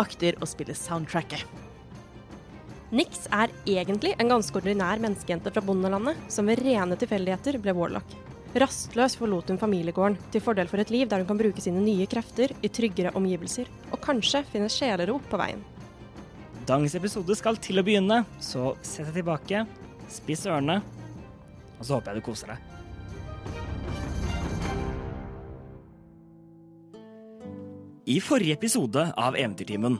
akter å spille soundtracket. Nix er egentlig en ganske ordinær menneskejente fra bondelandet, som ved rene tilfeldigheter ble warlock. Rastløs forlot hun familiegården, til fordel for et liv der hun kan bruke sine nye krefter i tryggere omgivelser, og kanskje finne sjelero på veien. Dagens episode skal til å begynne, så sett deg tilbake, spiss ørene, og så håper jeg du koser deg. I forrige episode av Eventyrtimen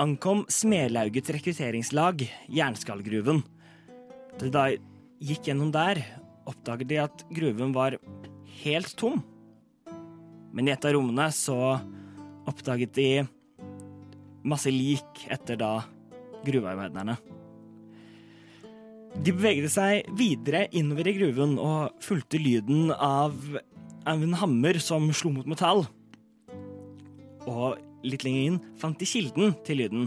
ankom Smelaugets rekrutteringslag Jernskallgruven. Da de gikk gjennom der, oppdaget de at gruven var helt tom. Men i et av rommene så oppdaget de masse lik etter da gruvearbeiderne. De beveget seg videre innover i gruven og fulgte lyden av av en hammer som slo mot metall. Og litt lenger inn fant de kilden til lyden.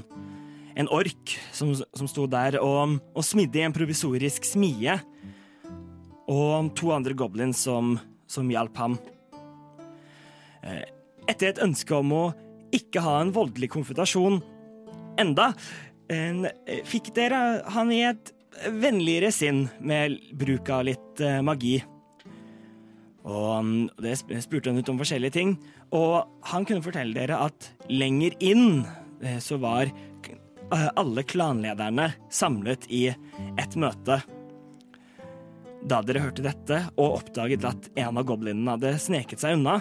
En ork som, som sto der og, og smidde i en provisorisk smie. Og to andre goblins som, som hjalp ham. Eh, Etter et ønske om å ikke ha en voldelig konfrontasjon enda, en, eh, fikk dere han i et vennligere sinn med bruk av litt eh, magi. Og mm, det sp- spurte han ut om forskjellige ting, og han kunne fortelle dere at lenger inn eh, så var k- eh, alle klanlederne samlet i et møte. Da dere hørte dette og oppdaget at en av goblinene hadde sneket seg unna,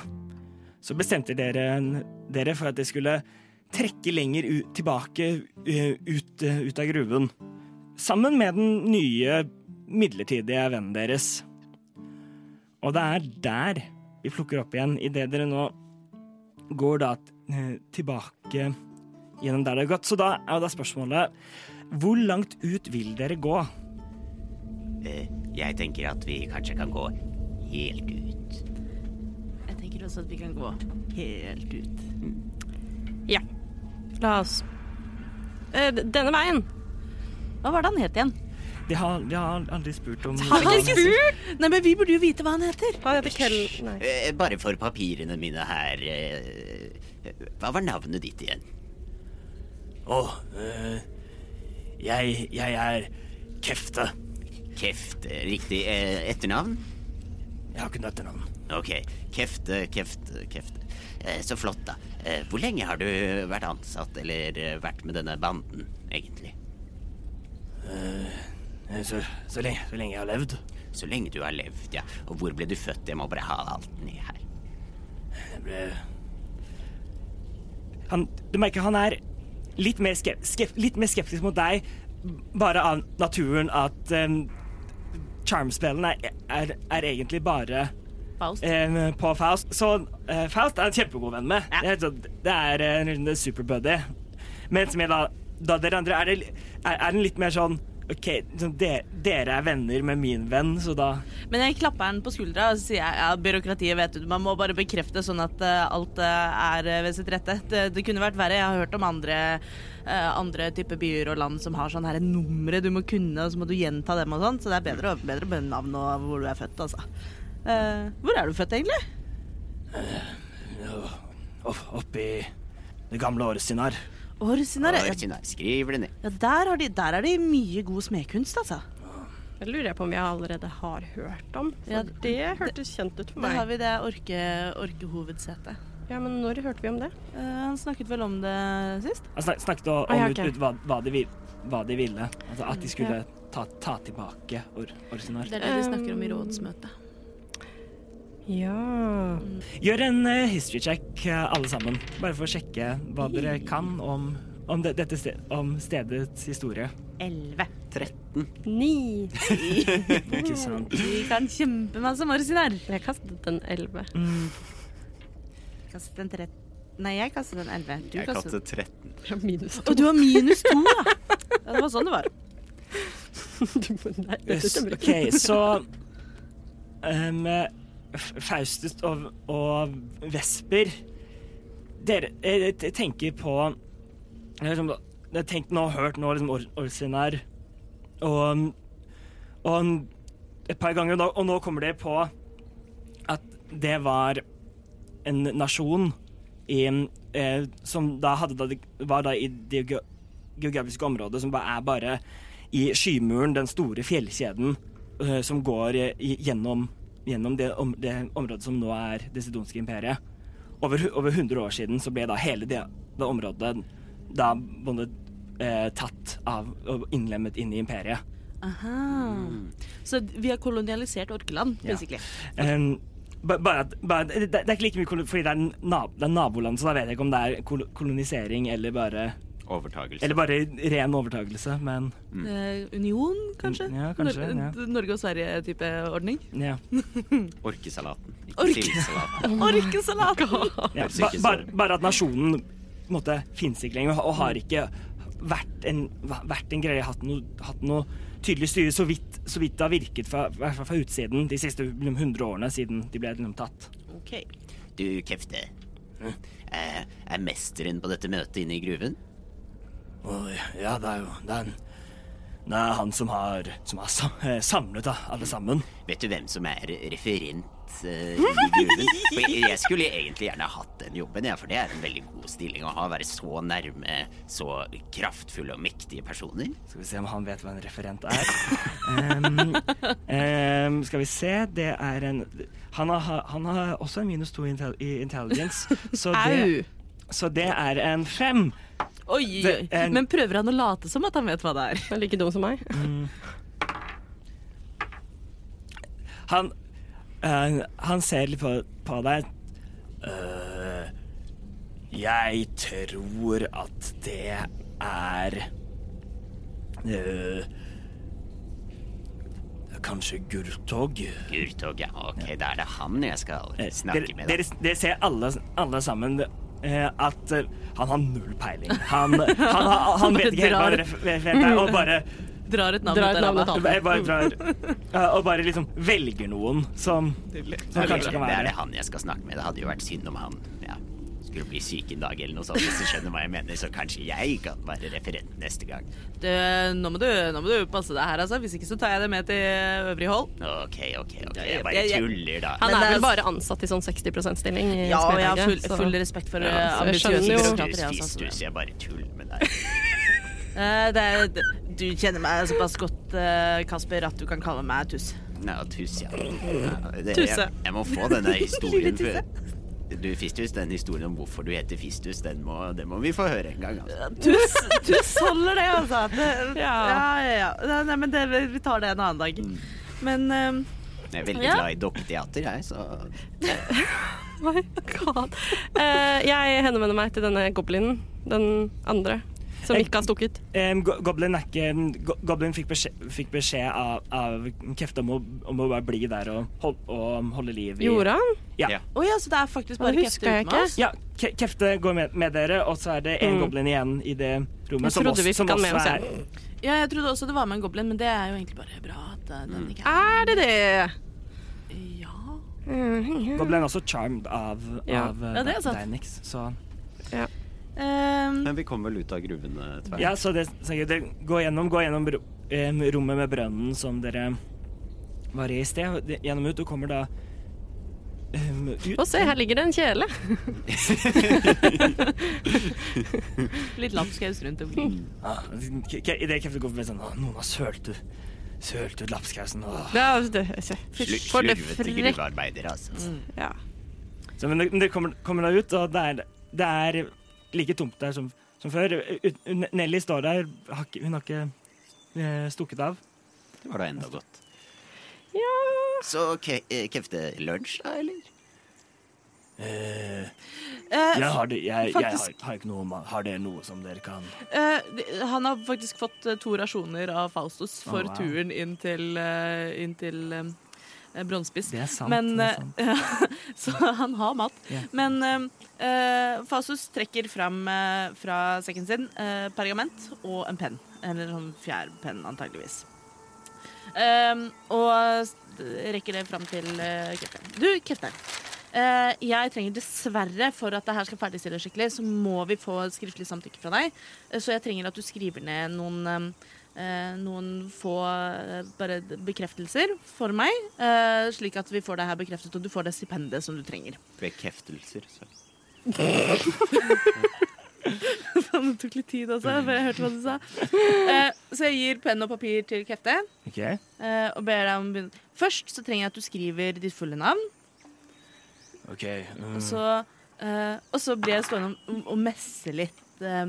så bestemte dere, dere for at de skulle trekke lenger ut, tilbake eh, ut, eh, ut av gruven. Sammen med den nye, midlertidige vennen deres. Og det er der vi plukker opp igjen, idet dere nå går da eh, tilbake gjennom der det har gått. Så da er jo da spørsmålet Hvor langt ut vil dere gå? Jeg tenker at vi kanskje kan gå helt ut. Jeg tenker også at vi kan gå helt ut. Ja. La oss Eh, d- Denne veien! Hva var det han het igjen? De har, de har aldri spurt om Har vi ikke spurt? Nei, men vi burde jo vite hva han heter. Hva heter Kel... Nei. Eh, Bare for papirene mine her eh, Hva var navnet ditt igjen? Å, eh, jeg, jeg er Kefte. Kefte, riktig eh, etternavn? Jeg har ikke dette navnet. Ok, Kefte, Kefte, Kefte. Eh, Så flott, da. Eh, Hvor lenge har du vært ansatt, eller eh, vært med denne banden, egentlig? Eh, Så, så, lenge, så lenge jeg har levd. Så lenge du har levd, ja. Og hvor ble du født? Jeg må bare ha alt ned her. Jeg ble han, Du merker han er litt mer, skep, skep, litt mer skeptisk mot deg, bare av naturen at um, Charm-spillen er, er, er egentlig bare Faust. eh, på Faust. Så eh, Faust er en kjempegod venn med. Det, er, sånn- det er eh, en runde superbuddy. Mens med da, da dere andre er, det, li- er, er den litt mer sånn OK, sånn, dere, dere er venner med min venn, så da Men jeg klapper han på skuldra og så sier jeg, ja, byråkratiet vet du, man må bare bekrefte sånn at eh, alt eh, er eh, ved sitt rette. Det, det kunne vært verre. Jeg har hørt om andre, eh, andre typer byer og land som har sånn her numre du må kunne, og så må du gjenta dem og sånn. Så det er bedre, å- bedre med navn og hvor du er født, altså. Eh, hvor er du født, egentlig? opp, Oppi det gamle Åresinar. Åresinar. Å, Ja, Sinar, Skriv det ned. ja, der, har de, der er det mye god smedkunst, altså. Det lurer jeg på om jeg allerede har hørt om. Ja, For det hørtes kjent ut for Der har meg. vi det orke, orkehovedsetet. Ja, men når hørte vi om det? Eh, han snakket vel om det sist? Jeg snak, snakket om, Ah, ja, ut, ok. Mm, ut hva, hva, de vil, hva de ville. Altså at de skulle Ja. ta, ta tilbake or, Orsinar. Det er det de snakker Eh, om i rådsmøtet. Ja Gjør en eh, history check, eh, alle sammen. Bare for å sjekke hva dere kan om, om, det, dette sted, om stedets historie. Elleve. 13. Ni. Ikke sant? Vi kan kjempemasse morsinar. Jeg kastet en elleve. Mm, Kastet en trett... Nei, jeg kastet en elleve. Du Jeg kastet kastet 13. Fra minus Å, du har minus to, ja! ja! Det var sånn det var. to. Nei, yes, dette stemmer OK, ikke. så um, Faustus og, og Vesper Dere eh, t- tenker på eh, liksom, Dere har tenkt nå og hørt nå liksom, Or- Orsinar og, og et par ganger, og nå, og nå kommer dere på at det var en nasjon i, eh, som da hadde da, var da i det geo- geografiske området som bare er bare i Skymuren, den store fjellkjeden eh, som går eh, i- gjennom, gjennom det, om, det området som nå er det sidonske imperiet. Over, hu- over 100 år siden så ble da hele det, det området da både, eh, tatt av og innlemmet inn i imperiet. Aha. Så vi har kolonialisert Orkeland, basically. Um, ba- bare at, bare, at- det, det er ikke like mye kolo- fordi det er, en nab det er naboland, så da vet jeg ikke om det er kol kolonisering eller bare, Overtagelse. eller bare ren overtakelse, men Eh, union, kanskje? Mm, ja, kanskje, Nor- Norge og Sverige-type ordning. ja. Orkesalaten. Ikke Orke- sildesalat. Orkesalat! ja. Høres Ba, ikke så- bare, bare at nasjonen på en måte, finnes ikke lenger, og, og har ikke vært en, vært en greie, hatt noe, hatt noe tydelig styre, så vidt, så vidt det har virket fra, i hvert fall fra utsiden de siste liksom, 100 årene siden de ble liksom, tatt. Ok. Du, Kefte. Eh, Er mesteren på dette møtet inne i gruven? Oi, ja, det er jo det er, en, det er han som har, som har sam- eh, samlet da, alle sammen. Vet du hvem som er referent eh, i gruven? For jeg- Jeg skulle egentlig gjerne hatt den jobben, ja, for det er en veldig god stilling å ha. Være så nærme så kraftfulle og mektige personer. Skal vi se om han vet hva en referent er. Ehm, ehm, skal vi se, det er en Han har, han har også en minus to i intel- i intelligence, så det, Au! så det er en fem. Oi, oi, Det er oi. en- Men prøver han å late som at han vet hva det er? Han er like dum som meg. Mm. Han, eh, han ser litt på, på deg. Eh, jeg tror at det er eh, Kanskje Gurtog? Gurtog, ja. Ok, da er det han jeg skal Eh, snakke dere- med. Dere, Da. dere ser alle, alle sammen eh, at eh, han har null peiling. Han, han, har- han vet ikke helt hva Bare drar. ref- referent er, og bare, Drar et navn Drar ut et av navn ræva. ut av- bare, drar, eh, og bare liksom velger noen som, som Det er, kanskje kan det er det være han jeg skal snakke med. Det hadde jo vært synd om han ja, skulle bli syk en dag eller noe sånt, hvis du skjønner hva jeg mener. Så kanskje jeg kan være referent neste gang. Du, Eh, nå, må du, nå må du passe deg her, altså. Hvis ikke så tar jeg det med til øvrig hold. Ok, ok, ok. Ja, ja, Jeg bare jeg- jeg- tuller, da. Han Men det er er vel bare ansatt i sånn 60 stilling. i Ja, og jeg har full, Spelberget, så- full respekt for Ja, eh, så jeg ambisiøse skjønner jo- byråkrater. Fistus, ja, sånn som fistus, det. jeg bare tuller med deg. Eh, det er- det- Du kjenner meg såpass godt, eh, Kasper, at du kan kalle meg Tuss. Ja, tuss, ja. ja det, Tusse. Jeg, jeg må få denne historien Lille før. tusse. Du, Fistus, den historien om hvorfor du heter Fistus, den må, den må vi få høre en gang. Altså. Tuss, tuss holder det, altså. Det, ja, ja, ja. Nei, Nei, men det, vi tar det en annen dag. Mm. Men eh, Jeg er veldig Ja. glad i dokketeater, jeg, så Oh My God. Eh, jeg henvender meg til denne goblinen. Den andre. Som ikke har stukket. Em, Go- Goblin, er ikke, Go- Goblin fikk beskjed, fikk beskjed av, av Kefte om å, om å bare bli der og, hold, og holde liv i Gjorde han? Ja. Å ja, så det er faktisk Ja, bare det krefter husker jeg uten oss? ja Ke- Kefte går med, med dere, og så er det en Mm. goblin igjen i det rommet. Jeg trodde vi også- fikk han med også oss, ja. er- Ja, jeg trodde også det var med en goblin, men det er jo egentlig bare bra at eh, Mm. den ikke er Er det det? Ja. Goblin er også charmed av, Ja. av eh, Ja, det er sant. Deinix, så Ehm, Mm. Men vi kommer vel ut av gruven tvert. Ja, så det, så det gå gjennom, gå gjennom bro- em, rommet med brønnen som dere var i i sted. og det- Gjennom ut, og kommer da em, ut. Å, se, her ligger det en kjele. litt lapskaus rundt omkring. Mm. Ah, Ke- Ke- i det Kefte går forbi sånn «Å, Noen har sølt ut, sølt ut lapskausen. Åh. altså, Det er, det, se. slu- For det slurvete frekk. Mm. gruvearbeidere, altså. Ja. Så, men dere kommer, kommer da ut, og det er, det er like tomt der som, som før. Ut- Nelly står der, har ikke, hun har ikke eh, stukket av. Det var da enda godt. Ja Så ke eh, kefte lunsj, da, eller? Eh, Jeg har, det, jeg, jeg har, faktisk- har ikke noe ma- Har dere noe som dere kan eh, de- han har faktisk fått eh, to rasjoner av Faustus for wow. turen inn til, eh, inn til eh, eh, Bronsespiss. Det er sant, Men, det er sant. eh, så han har mat. Ja. Men eh, eh, Faustus trekker fram eh, fra sekken sin eh, pergament og en penn. Eller sånn fjærpenn, antageligvis. Ehm, og s- rekker det fram til uh, Kefter. Du, Kefter. eh, jeg trenger dessverre, for at det her skal ferdigstilles skikkelig, så må vi få skriftlig samtykke fra deg. Eh, Så jeg trenger at du skriver ned noen ehm, eh, noen få eh, bare d- bekreftelser for meg, eh, slik at vi får det her bekreftet, og du får det stipendet som du trenger. Bekeftelser. Så. Faen, det tok litt tid også, for jeg hørte hva du sa. Eh, så jeg gir penn og papir til Kefte Ok, eh, og ber deg om å begynne. Først så trenger jeg at du skriver ditt fulle navn, ok mm. og så, eh, og så blir jeg stående og- og messe litt. eh,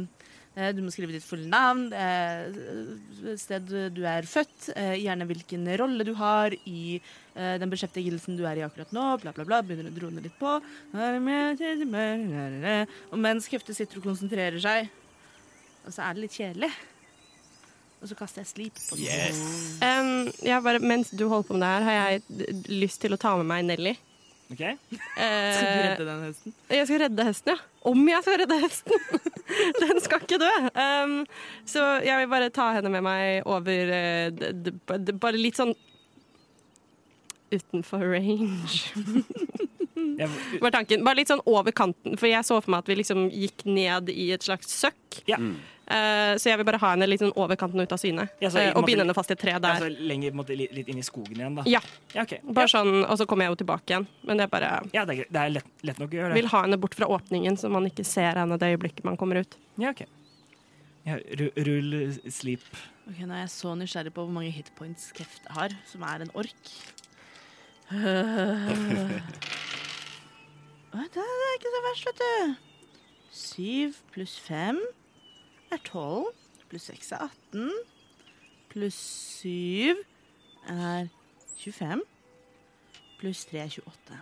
eh, du må skrive ditt fulle navn, eh, sted du er født, eh, gjerne hvilken rolle du har i eh, den beskjeftigelsen du er i akkurat nå, bla, bla, bla. Begynner å drone litt på. Og mens Kefte sitter og konsentrerer seg, og så er det litt kjedelig, og så kaster jeg slip på den. Yes. Em, jeg bare, mens du holder på med det her, har jeg d- lyst til å ta med meg Nelly. Ok. Eh, Redde den hesten. jeg skal redde hesten, ja. Om jeg skal redde hesten! Den skal ikke dø. Em, så jeg vil bare ta henne med meg over eh, d- d- b- d- Bare litt sånn utenfor range. Jeg, var tanken. Bare litt sånn over kanten, for jeg så for meg at vi liksom gikk ned i et slags søkk. ja. Eh, så jeg vil bare ha henne litt sånn over kanten og ut av syne. Ja, så i Eh, og måte- binde henne fast i et tre der. Altså, lenger på en måte, li- litt inn i skogen igjen, da. Ja, Ja, ok. bare sånn, og så kommer jeg jo tilbake igjen. Men det er bare Ja, det er, greit. det er lett, lett nok å gjøre det. Vil ha henne bort fra åpningen, så man ikke ser henne det øyeblikket man kommer ut. Ja, ok. Ja, ru- rull eh, sleep. Ok, Nå er jeg så nysgjerrig på hvor mange hitpoints Kefte har, som er en ork. Øh. Å, det er ikke så verst, vet du. Syv pluss fem er tolv. Pluss seks er 18. Pluss syv er 25. Pluss tre er 28.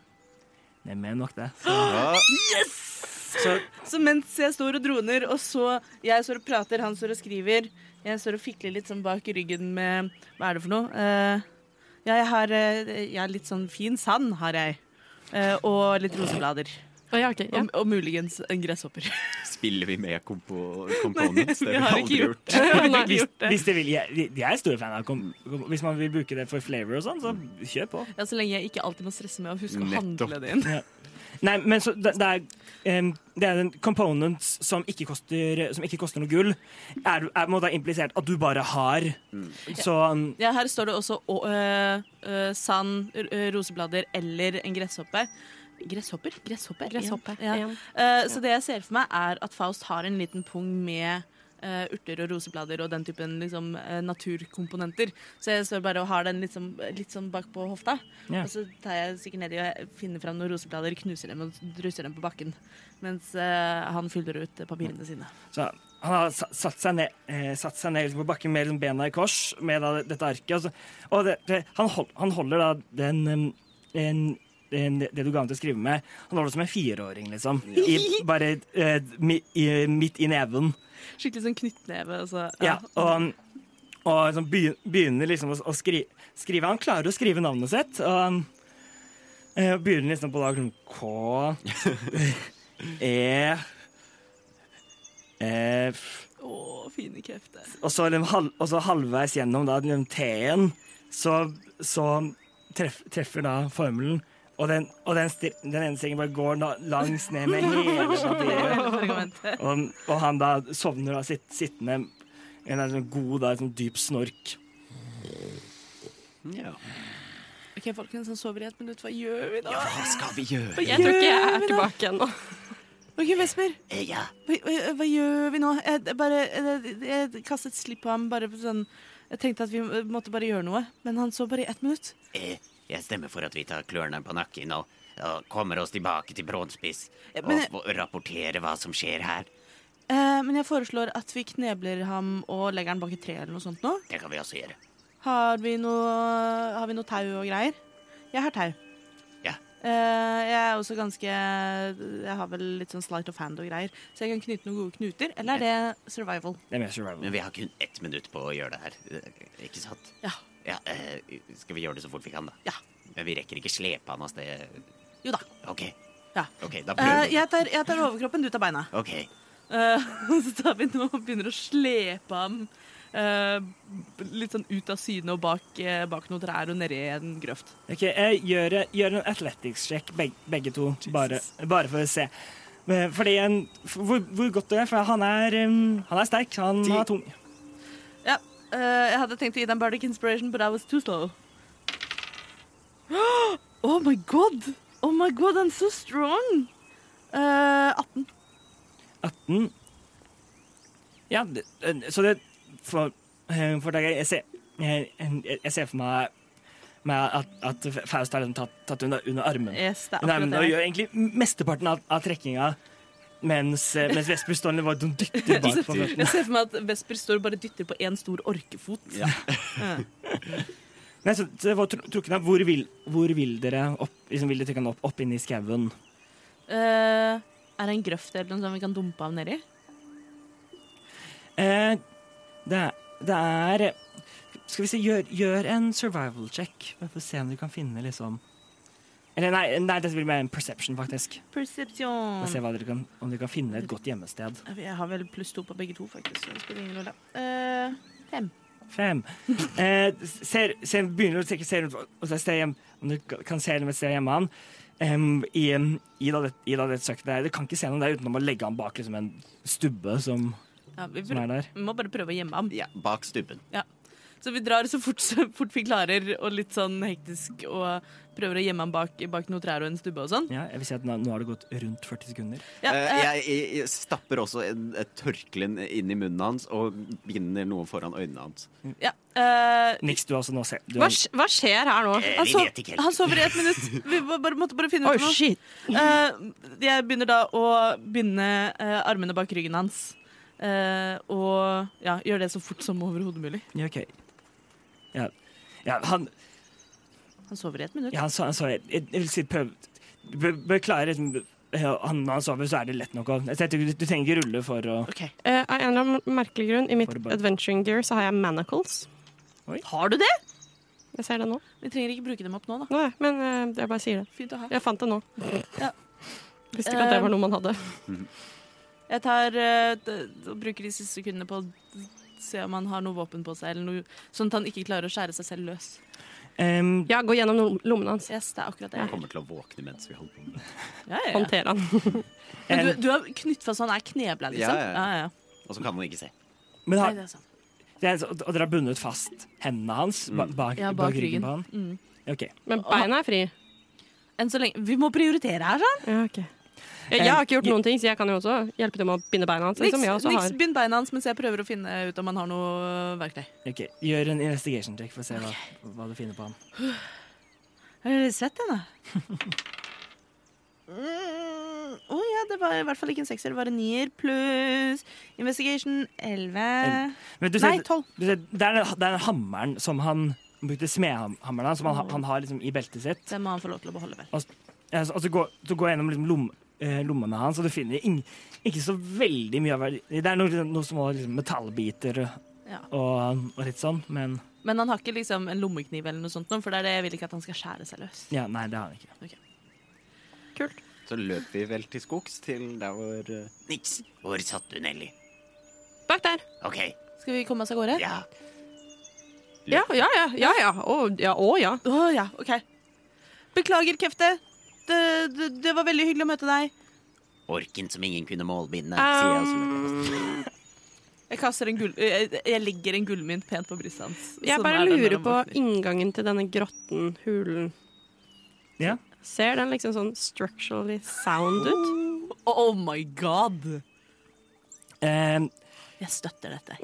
Det er mer enn nok, det. Så, så Så mens jeg står og droner, og så jeg står og prater, han står og skriver Jeg står og fikler litt sånn bak ryggen med Hva er det for noe? Eh, ja, jeg har eh, jeg har litt sånn fin sand, har jeg. Eh, og litt roseblader. Å, ja, ok, ja. Og, og muligens en gresshopper. Spiller vi med kompo components? Det har vi vi har aldri ikke gjort. Nei. hvis, hvis de vil jeg, jeg er stor fan av kom, kom, Hvis man vil bruke det for flavor og sånn, så kjør på. Ja, Så lenge jeg ikke alltid må stresse med å huske å Nettopp. handle det inn. Nei, men så det, det er um, Det er en component som ikke koster, som ikke koster noe gull. Er, er på en måte implisert at du bare har. Så um, Ja, her står det også å, øh, øh, sand, r- øh, roseblader eller en gresshoppe. Gresshopper? Gresshoppe. Gresshoppe, Ja. igjen. Eh, så det jeg ser for meg, er at Faust har en liten pung med eh, urter og roseblader og den typen liksom, eh, naturkomponenter. Så jeg står bare og har den litt sånn, litt sånn bak på hofta. Ja. Og så tar jeg sikkert nedi og finner fram noen roseblader, knuser dem og druser dem på bakken. Mens eh, han fyller ut papirene sine. Så han har sa- satt seg ned, eh, satt seg ned liksom på bakken med liksom bena i kors med da, dette arket. Og, så, og det, det, han, hold, han holder da den, em, en, en, det du ga ham til å skrive med, han holder det som en fireåring, liksom. I, bare eh, mi, i, midt i neven. Skikkelig sånn knyttneve. Altså. Ja, og, og sånn begy- begynner liksom å, å skri, skrive Han klarer å skrive navnet sitt. Og han, eh, begynner liksom på da sånn K E F Å, fine krefter. og så, liksom hal- og så halvveis gjennom da, den T-en, så, så treff, treffer da formelen. Og den, og den, stir, den ene strengen bare går da, langs ned med hele papiret. Pergamentet. Og, og han da sovner da sitt, sittende med en sånn god, da, sånn dyp snork. Ja. Ok, folkens, han sover i et minutt. Hva gjør vi da? Hva skal vi gjøre? Jeg tror ikke jeg er tilbake ennå. Ok, Vesper, Eh, Ja. hva, hva, hva gjør vi nå? Jeg, jeg bare, jeg, jeg kastet slipp på ham, bare på sånn Jeg tenkte at vi måtte bare gjøre noe, men han sov bare i ett minutt. Eh, Jeg stemmer for at vi tar klørne på nakken og og kommer oss tilbake til Brånspiss Ja, og Eh, men- f- rapporterer hva som skjer her. Eh, men jeg foreslår at vi knebler ham og legger han bak et tre eller noe sånt nå. Det kan vi også gjøre. Har vi noe, har vi noe tau og greier? Jeg har tau. Ja. Eh, jeg er også ganske Jeg har vel litt sånn slight of hand og greier. Så jeg kan knytte noen gode knuter. Eller er det survival? Det er mer survival. Men vi har kun ett minutt på å gjøre det her, eh, ikke sant? Ja. Ja, eh, skal vi gjøre det så fort vi kan, da? Ja. Men vi rekker ikke slepe han av sted. Jo da. OK, Ja. ok, da Eh, prøver vi. jeg, tar, jeg tar overkroppen, du tar beina. OK. Eh, så tar vi nå og begynner å slepe ham eh, litt sånn ut av syne og bak, eh, bak noen trær og nedi en grøft. Ok, jeg gjør, gjør en athletics-sjekk, beg, begge to, bare, bare for å se. Men Fordi en, for, hvor, hvor godt det er, for han er, um, han er sterk, han Ti. er tung. Ja. eh, jeg hadde tenkt å gi deg en bardic inspiration, but I was too slow. Oh my god! Oh my god, I'm so strong! Eh, 18. 18. Ja, det, eh, så det For, eh, for deg, jeg ser, jeg, jeg jeg ser for meg, meg at, at Faust har den tatt, tatt under, under armen. Yes, det er Under akkurat armen og det. gjør egentlig mesteparten av, av trekkinga, mens, eh, mens Vesper står og bare dytter bak på føttene. Jeg ser for meg at Vesper står og bare dytter på én stor orkefot. Nei, så det var tru- trukket av. Hvor vil, hvor vil dere opp, liksom, vil dere trekke han opp, opp inn i skauen? Eh, er det en grøft eller noe sånt vi kan dumpe ham nedi? Eh, det, er- det er Skal vi se, gjør, gjør en survival check. Bare for å se om du kan finne liksom Eller nei, nei det blir mer en perception, faktisk. For å se Perception. hva dere kan, om dere kan finne et godt gjemmested. Jeg har vel pluss to på begge to, faktisk. Så det spiller ingen rolle. Eh, fem. Fem. Eh, ser, ser, begynner å trekke ser rundt og så ser hjem, om du kan se gjennom et sted hjemme han. Em, i, i, da det, I da det søket der. Du kan ikke se noen der utenom å legge han bak liksom, en stubbe som, Ja, vi, som er prøv- der. vi må bare prøve å gjemme ham. Ja, bak stubben. Så vi drar så fort, så fort vi klarer, og litt sånn hektisk, og prøver å gjemme ham bak, bak noen trær og en stubbe og sånn. Ja, jeg vil si at nå, nå har det gått rundt 40 sekunder. Ja, Eh, eh, jeg, jeg, jeg stapper også en- et tørkle inn i munnen hans og binder noe foran øynene hans. ja. eh, Nix, du har også nå se- du Hva, har- sk- hva skjer her nå? Eh, han, vi sov, vet ikke han helt. sover i ett minutt. Vi må bare, måtte bare finne Oh, ut noe. shit! Eh, jeg begynner da å binde eh, armene bak ryggen hans. Eh, og ja, gjør det så fort som overhodet mulig. Ja, OK. Ja, ja han Han sover i ett minutt. Ja, han sa, han sa jeg, jeg vil si prøv Du bør, bør klare liksom ja, han, Når han sover, så er det lett nok å jeg tenkte, du, du trenger ikke rulle for å Ok. Eh, av en eller annen merkelig grunn, i mitt Bare bare- adventuring gear så har jeg manacles. Har du det? Jeg ser det nå. Vi trenger ikke bruke dem opp nå, da. Nei, men eh, jeg bare sier det. Fint å ha. Jeg fant det nå. Ja. Visste ikke at det var noe man hadde. Jeg tar, eh, d- d- bruker de siste sekundene på å d- se om han har noe våpen på seg, eller noe, sånn at han ikke klarer å skjære seg selv løs. Em, Ja, gå gjennom lom- lommene hans. Yes, det er akkurat Ja. det. Jeg kommer til å våkne mens vi holder på med det. Ja, ja, ja. Håndtere han. Men en, du, du har knytt fast så han er knebla, Ja, liksom? ja, ja. ja. Og så kan han ikke se. men Nei, har, det er sant. det er, og dere har bundet fast hendene hans ba, bak, Ja, bak ryggen på han? Mm. OK. Men beina er fri. Enn så lenge Vi må prioritere her, sant? Ja, ok. Eh, Jeg, jeg har ikke gjort Eh, noen ting, så jeg kan jo også hjelpe til med å binde beina hans. Niks, Liksom jeg også niks har. bind beina hans mens jeg prøver å finne ut om han har noe øh, verktøy. ok. Gjør en investigation check for å se hva, hva du finner på han. Har dere sett den, da? Mm, Å ja, det var i hvert fall ikke en sekser, det var en nier pluss investigation 11 Men du ser- Nei, 12. Du ser, det er den- det er den hammeren som han han brukte smedhammeren hans, som han, ha- han har liksom i beltet sitt. Den må han få lov til å beholde, vel. Ja, så- altså, gå, så går jeg gjennom liksom, lom, eh, lommene hans, og du finner ing, ikke så veldig mye av verdi. Det er noe, noe små liksom, metallbiter Ja. og, og litt sånn, men Men han har ikke liksom en lommekniv eller noe sånt, nå, for det er det jeg vil ikke at han skal skjære seg løs. ja, nei, det har han ikke. Så løp vi vel til skogs, til der hvor eh, Niks. Hvor satt du, Nelly? Bak der. OK, Skal vi komme oss av gårde? ja. Ja, ja, ja. ja, ja. Å, ja. Å, ja. Å ja, OK. Beklager, Kefte. Det, det, det var veldig hyggelig å møte deg. Orken som ingen kunne målbinde, Ah. sier jeg Eh, også. Jeg, kaster en gull, jeg, jeg legger en gullmynt pent på brystet hans. Jeg Sånn bare er det når lurer han på våkner. inngangen til denne grotten, hulen. Ja. Ser den liksom sånn structurally sound ut? Oh my god! Eh, Jeg støtter dette.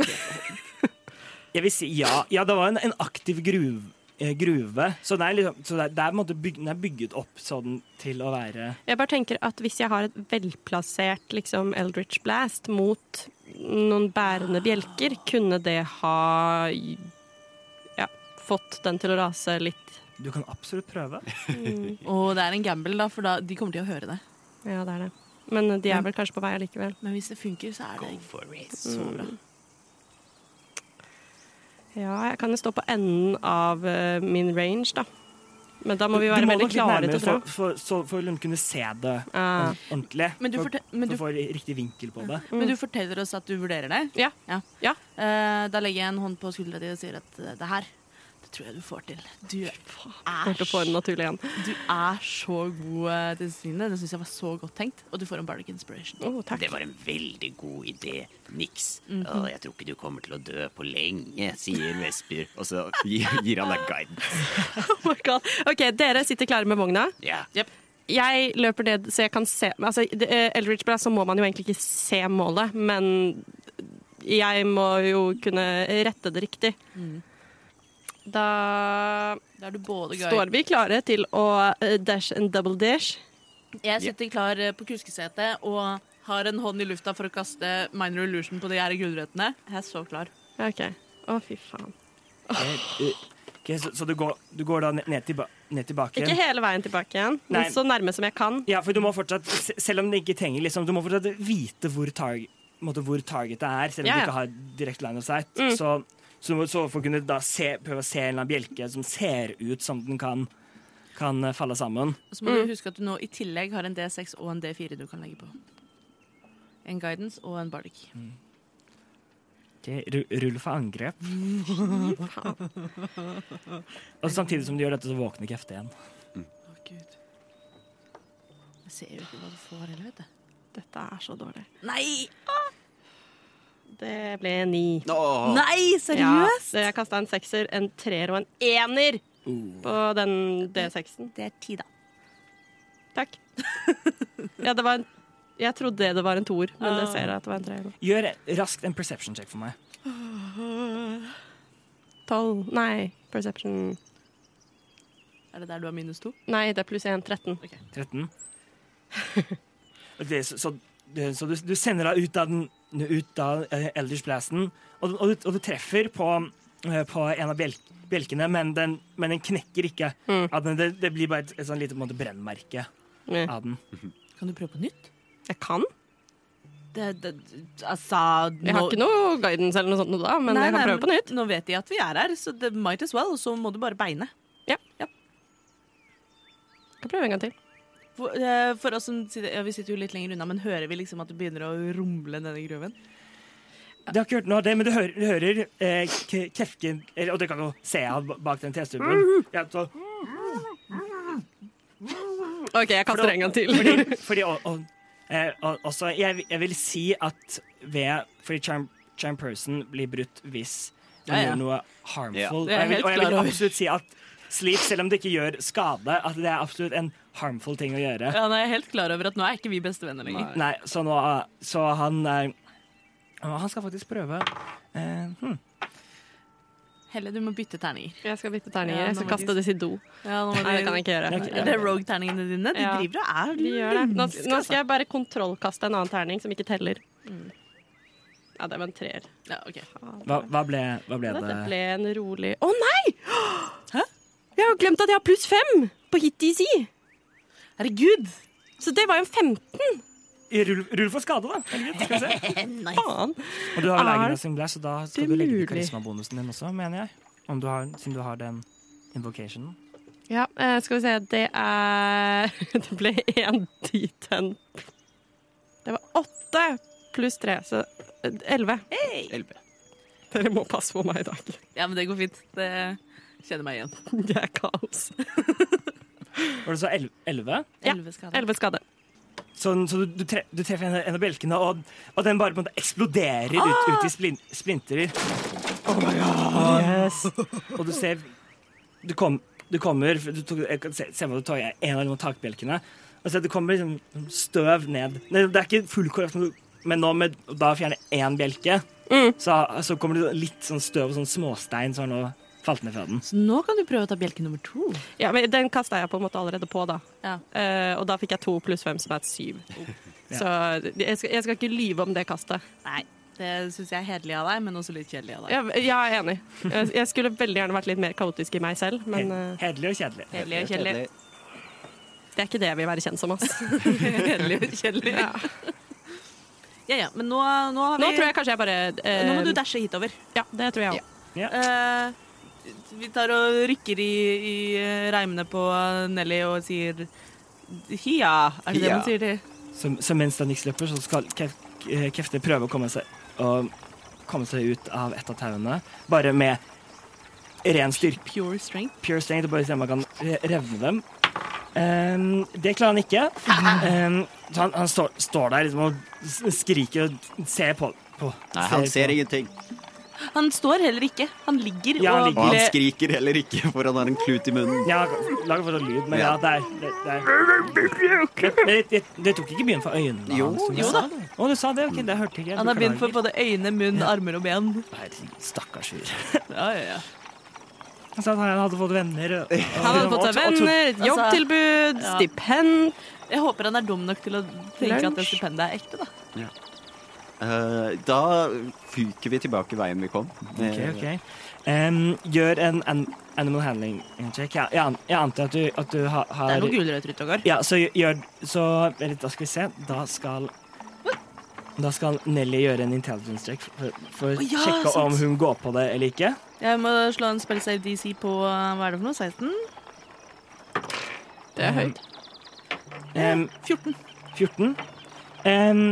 jeg vil si ja. Ja, det var en, en aktiv gruve, eh, gruve. Så, det er liksom, så det er, det er, på en måte byg- den er bygget opp sånn til å være Jeg bare tenker at hvis jeg har et velplassert liksom, Eldritch Blast mot noen bærende bjelker, kunne det ha ja, fått den til å rase litt. Du kan absolutt prøve. Og det er en gamble, da, for da, de kommer til å høre det. Ja, det er det. Men de er vel kanskje på vei allikevel. Men hvis det funker, så er det så bra. Ja, jeg kan jo stå på enden av eh, min range, da. Men da må vi Du være må veldig nok litt klare nærmere til å dra. for, for, så, for å kunne se det Ah. ordentlig. Men du, for, forte- for men, du, å få riktig vinkel på det. men du forteller oss at du vurderer det. Ja. Ja. Eh, da legger jeg en hånd på skuldra di og sier at eh, det her, det tror jeg du får til. Du Kommer er, til å få en naturlig en. du er så god eh, til Celine. Det syns jeg var så godt tenkt. Og du får en Bardic Inspiration. Å, takk. Det var en veldig god idé, Nix. Å, jeg tror ikke du kommer til å dø på lenge, sier Vesper. Og så gir, gir han deg guidance. Oh my God. OK, dere sitter klare med vogna. Ja. Jeg løper ned så jeg kan se altså, det- eh, Eldridge Brass, så må man jo egentlig ikke se målet, men jeg må jo kunne rette det riktig. Da Da er du både guide. står vi klare til å eh, dash and double dash. Jeg sitter klar eh, på kuskesetet og har en hånd i lufta for å kaste minor illusion på de her gulrøttene. Jeg er så klar. OK. Å, fy faen. Eh, ok, så, så du går, du går da ned, tilba, ned tilbake? Ikke hele veien tilbake igjen, men Nei. så nærme som jeg kan. Ja, for du må fortsatt, se- selv om det ikke trenger liksom, Du må fortsatt vite hvor, tar, på en måte, hvor targetet er, selv om Ja, du ja. ikke har direkte line of sight. Så, så du må så for å kunne da se, prøve å se en eller annen bjelke som ser ut som den kan, kan eh, falle sammen. Og så må Mm. du huske at du nå i tillegg har en D6 og en D4 du kan legge på. En guidance og en bardic. Mm. Ok, ru- Rull for angrep. Og samtidig som du gjør dette, så våkner Kefte igjen. Å, gud. Jeg ser jo ikke hva du får heller, vet du. Dette er så dårlig. Nei! Det ble ni. Nå, Nei, seriøst? Ja, jeg kasta en sekser, en treer og en ener på den D6-en. Det er ti, da. Takk. ja, det var en Jeg trodde det var en toer, men jeg ser at det var en treer. nå. Gjør raskt en perception check for meg. Tolv. Nei, perception Er det der du har minus to? Nei, det er pluss én. 13. 13. Det, så så, det, så du, du sender deg ut av, den, ut av eh, Elders Blasten, og, du- og, du, og du treffer på, eh, på en av bjelk, bjelkene, men den, men den knekker ikke. Av den, det, det blir bare et, et sånn lite på en måte, brennmerke Eh, av den. Kan du prøve på nytt? Jeg kan. Det, det, altså Jeg har ikke noe guidance eller noe sånt nå da, men jeg kan prøve på nytt. Nå vet de at vi er her, så det might as well. Så må du bare beine. Jeg kan prøve en gang til. For, eh, for oss som sitter, ja, vi sitter jo litt lenger unna, men hører vi liksom at det begynner å rumle nedi gruven? Du har ikke hørt noe av det, men du hører, du hører eh, K- Kefken eller- Og det kan du se av bak den testuben. Ja, så, OK, jeg kaster en gang til. fordi, fordi og, og, eh, og, også, jeg, jeg vil si at ved Fordi charm, charm person blir brutt hvis den Ja, ja. gjør noe Ja. harmful. Det er Og jeg vil, helt og jeg vil klar over. absolutt si at sleep, selv om det ikke gjør skade, at det er absolutt en harmful ting å gjøre. Ja, nei, jeg er helt klar over at nå er ikke vi bestevenner lenger. Nei, så nå eh, Så han eh, Han skal faktisk prøve. Eh, hmm. Helle, du må bytte terninger. Jeg skal bytte Ja, terninger. Jeg nå skal må kaste de- disse i do. Ja, nå må Nei, det kan jeg ikke gjøre. Ok, Er det rogue-terningene dine? De Ja. driver og er Vi gjør det. Nå, nå skal jeg bare kontrollkaste en annen terning som ikke teller. Ja, det var en treer. Ja, ok. hva, hva ble, hva ble Dette det? ble en rolig Å nei! Jeg har jo glemt at jeg har pluss fem på hit DC. Herregud! Så det var jo en 15. Rull, rull for skade, da. Herregud, Skal vi Eh, se. Og Faen. du har vel Er egen sin glass, så da skal det du legge mulig? til karismabonusen din også, mener jeg. Om du har, siden du har den invocationen. Ja, eh, skal vi se. Det er Det ble én D10. Det var åtte pluss tre, så eh, elleve. elleve. Dere må passe på meg i dag. Ja, men det går fint. Det kjenner meg igjen. Det er kaos. Var det så el- elleve? Ja, Elleve skader. Elleve skade. Sånn, så du, du, tre, du treffer en, en av bjelkene, og, og den bare på en måte eksploderer Ah! ut, ut i splin, splinter. Og du ser Du, kom, du kommer for du tok, jeg kan se, se hva du tar i en av de takbjelkene. Og så det kommer liksom støv ned. Nei, det er ikke full korrekt, men- men nå med Mm. da å fjerne én bjelke, så, så kommer det litt sånn støv og sånn småstein som er nå Falt ned fra den. Så nå kan du prøve å ta bjelke nummer to. Ja, men Den kasta jeg på en måte allerede på, da. Ja. Eh, og da fikk jeg to pluss fem, som er et syv. Så jeg skal, jeg skal ikke lyve om det kastet. Nei, det syns jeg er hederlig av deg, men også litt kjedelig av deg. Jeg, jeg er enig. Jeg, jeg skulle veldig gjerne vært litt mer kaotisk i meg selv, men eh, Hederlig og kjedelig. Kjedelig og kjedelig. Det er ikke det jeg vil være kjent som, ass. Kjedelig, kjedelig. Ja. Ja, ja, men nå, nå har vi Nå tror jeg kanskje jeg bare eh, Nå må du dashe hitover. Ja, det tror jeg òg. Ja. Eh, vi tar og rykker i, i eh, reimene på Nelly og sier Hia, er det det Hia. man sier til Så, så mens Danix løper, så skal Kef eh, Kefte prøve å komme seg, å komme seg ut av et av tauene. Bare med ren styrke. pure strength? Pure strength, og bare se om han kan re- revne dem. Ehm, det klarer han ikke. Ehm, så han han står, står der liksom, og s- skriker og ser på. på Nei, han ser på. ingenting. Han står heller ikke. Han ligger Ja, han og ligger. Og han ble- skriker heller ikke, for han har en klut i munnen. Ja, lager fortsatt lyd, men Ja. ja, der. der, der. Det, det, det, det tok ikke byen for øynene? Jo, hans, som jeg jo sa. Å, du sa det? Ok, det hørte ikke jeg. Han har begynt for Beklager. både øyne, munn, armer og ben. Herregud, Stakkars fyr. Ja, ja, ja. Han sa at han hadde fått venner. og- og- Han hadde og- fått seg og- og- venner, Altså, jobbtilbud, ja. stipend Jeg håper han er dum nok til å tenke at det Lunsj. stipendet er ekte, da. Eh, da fyker vi tilbake veien vi kom. Ok, ok. Em, gjør en an animal handling check. Jeg, jeg, an- jeg antar at du, at du har, har Det er noe gulrøtter ute og går. Ja, så gjør Så vent litt, da skal vi se. Da skal da skal Nelly gjøre en intelligence check for, for å Å ja, sjekke sant. om hun går på det eller ikke. Jeg må slå en spell save DC på eh, hva er det for noe? 16? Det er høyt. Em, 14. 14. Em,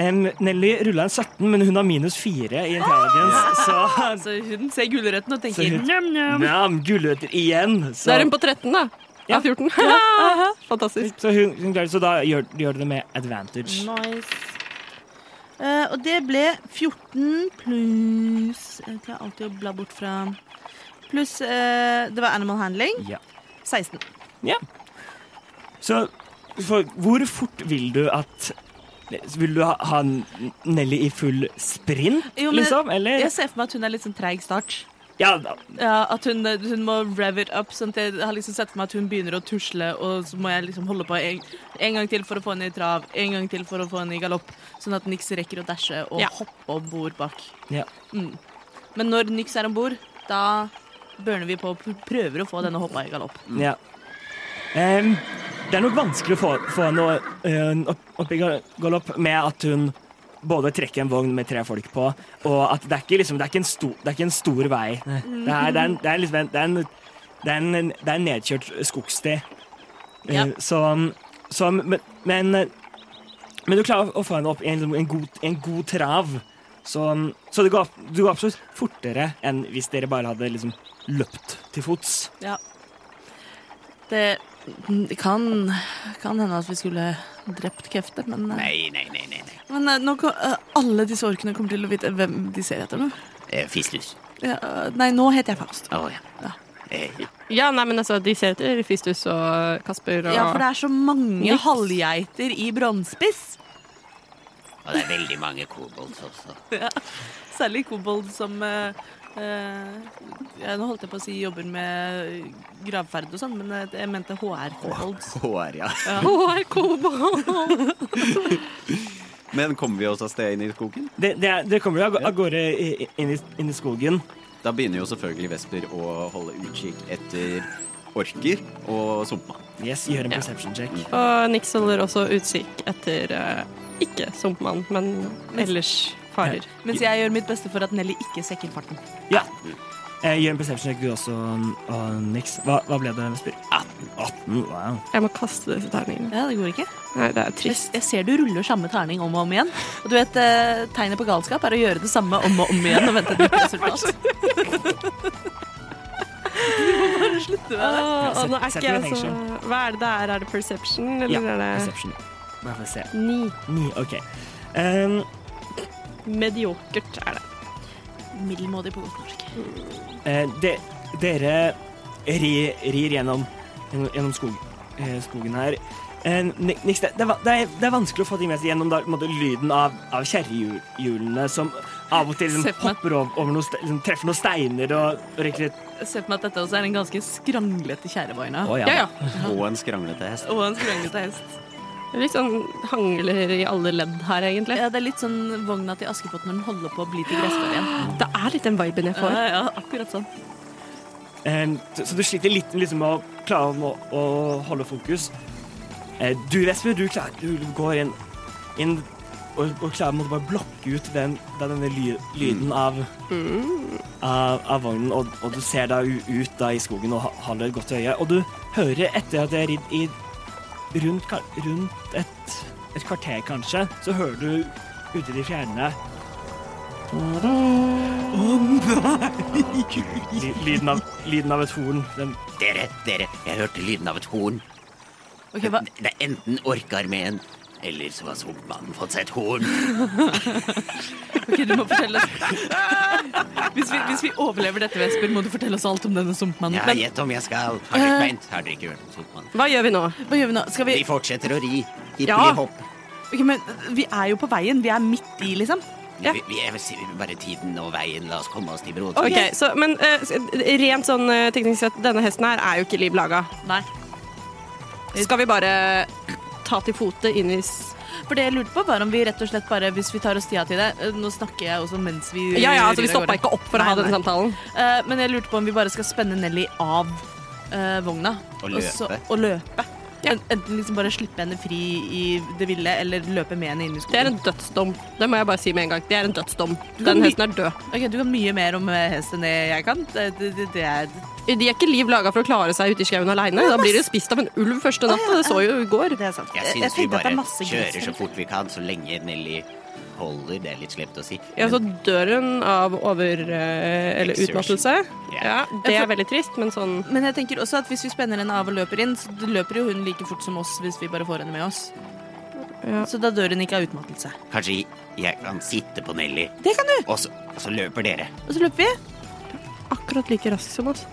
em, Nelly rulla en 17, men hun har minus 4 i intelligence, så Så hun ser gulrøttene og Så tenker hun- njam-njam. Ja, men gulrøtter igjen. Så, Da er hun på 13, da. Ja. Av 14. Fantastisk. så, hun, hun klarer, så da gjør, gjør du det med advantage. Nice. Eh, og det ble 14 pluss Jeg klarer alltid å bla bort fra Pluss eh, Det var animal handling. Ja. 16. Så for, hvor fort vil du at Vil du ha, ha Nelly i full sprint, Jo, men- liksom? Eller? Jeg ser for meg at hun er litt sånn treig start. Ja, da- Ja, at hun, hun må rev it up. Sånn at jeg har liksom sett for meg at hun begynner å tusle, og så må jeg liksom holde på en, en gang til for å få henne i trav, en gang til for å få henne i galopp, sånn at Nix rekker å dashe og Ja. hoppe om bord bak. Ja. Mm. Men når Nix er om bord, da burner vi på og pr- prøver å få denne hoppa i galopp. ja. Em, det er nok vanskelig å få, få henne eh, opp, opp i ga- galopp med at hun både trekker en vogn med tre folk på, og at det er ikke, liksom, det er ikke, en, sto, det er ikke en stor vei. Det er, det er, en, det er liksom en, det er en, det er en, det er en nedkjørt skogsti. Eh, Ja. Så, så men, men, men du klarer å få henne opp i en, en, god, en god trav. Så, så det går, du går absolutt fortere enn hvis dere bare hadde liksom løpt til fots. Det det kan, kan hende at vi skulle drept Kefte, men, eh, Nei, nei, nei. nei, nei. men eh, nå, kan- eh, alle disse orkene kommer til å vite hvem de ser etter nå. Eh, Fistus. Ja, eh, nei, nå heter jeg Faust. Å ja. Ja. Eh, ja. Ja, nei, men altså, de ser etter Fistus og Kasper og Ja, for det er så mange Niks. halvgeiter i bronsespiss. Og det er veldig mange kobolds også. Særlig kobold som eh, eh, ja, Nå holdt jeg på å si jobber med gravferd og sånn, men eh, jeg mente HR-kobolds. Hår, ja. Å, er kobold. Men kommer vi oss av sted inn i skogen? Det, det, er- dere kommer jo av- av gårde i- inn i, inn i skogen. Da begynner jo selvfølgelig Vesper å holde utkikk etter orker og sumpmann. Yes, gjør en Ja. perception check. Og Nix holder også utkikk etter eh, ikke sumpmann, men ellers farer. Mens jeg gjør mitt beste for at Nelly ikke sekker farten. Ja. Eh, gjør en perception check du også, og Nix. Hva, hva ble det? Vesper? 18. Wow. Jeg må kaste disse terningene. Ja, det går ikke. Nei, det er Jeg, trist. jeg ser du ruller samme terning om og om igjen. Og du vet, eh, tegnet på galskap er å gjøre det samme om og om igjen og vente et nytt resultat. Du må bare slutte med det. Å, og nå er Sett- ikke jeg sett i så Hva er det det er? Er det perception, Ja, eller er det perception. Bare for å se. Ni. Ni, OK. Em, Mediokert er det. Middelmådig på godt norsk. eh, de, dere rir, rir gjennom, gjennom, gjennom skog, eh, skogen her. Eh, Ni- Nix, det, det, er va- det, er, det er vanskelig å få ting med seg gjennom da, på en måte, lyden av, av kjerrehjulene som, Av og til Se liksom, på meg. hopper over, over noen, ste- liksom, treffer noen steiner og, og rekker litt Jeg ser for meg at dette også er en ganske skranglete kjærebeina. Å, ja. ja, Og en skranglete hest. Og en skranglete hest. Litt sånn hangler i alle ledd her, egentlig. Ja, det er litt sånn vogna til Askepott når den holder på å bli til gresshår igjen. Det er litt den viben jeg får. Ja, ja, akkurat sånn. Eh, Så så du sliter litt liksom, med å klare å, å holde fokus. Eh, Du, Vesper, du, klarer, du går inn, inn og, og klarer på en måte bare å blokke ut den, den, denne ly, Mm. lyden av, av, av vognen, og, og du ser da u- ut da, i skogen og ha- holder et godt øye. Og du hører etter at jeg har ridd i rundt, ka- rundt et, et kvarter, kanskje, så hører du ute i det fjerne ly- lyden av, lyden av et horn. Den Dere, dere, jeg hørte lyden av et horn. Ok, hva? Det er enten orkarmeen, eller så har sumpmannen fått seg et horn. Ok, du må fortelle oss hvis vi, hvis vi overlever dette, Vesper, må du fortelle oss alt om denne sumpmannen. Ja, Men Eh. gjett om jeg skal. Har dere ikke beint? Har dere ikke hørt om sumpmannen? Hva gjør vi nå? hva gjør vi nå? Skal vi De fortsetter å ri. Ja. Hippeli-hopp. Ok, men vi er jo på veien. Vi er midt i, liksom. Ja. Vi, vi, jeg vil si bare tiden og veien. La oss komme oss til broen. Ok, så, Men eh, s- rent sånn eh, teknisk sett, denne hesten her er jo ikke liv laga. Nei. Skal vi bare ta til fote inn i s- For det jeg lurte på, var om vi rett og slett bare Hvis vi tar oss tida til det eh, Nå snakker jeg også mens vi Ja ja, altså vi rir av stoppa gårde. ikke opp for å Nei, ha denne nei. samtalen. Eh, Men jeg lurte på om vi bare skal spenne Nelly av eh, vogna. Og løpe. og løpe. En- Enten liksom bare slippe henne fri i det ville, eller løpe med henne inn i skogen. Det er en dødsdom. Det må jeg bare si med en gang. Det er en dødsdom. kan Den li- hesten er død. Ok, Du kan mye mer om eh, hest enn det jeg kan. Det, det, det, det er De er ikke liv laga for å klare seg ute i skauen aleine. Da blir de spist av en ulv første natt. og Det så jo i går. Det er sant. Jeg Jeg syns vi tenkte at det bare er masse kjører gresshår. så fort vi kan, så lenge Nelly holder. Det er litt slemt å si. Ja, altså- så dør hun av over... eh, Eller Exertion. utmattelse. Ja. Ja, det er veldig trist, men sånn Men jeg tenker også at hvis vi spenner henne av og løper inn, så løper jo hun like fort som oss hvis vi bare får henne med oss. Ja. Så da dør hun ikke av utmattelse. Kanskje jeg kan sitte på Nelly, Det kan du! og så, og så løper dere. Og så løper vi. akkurat like rask som oss.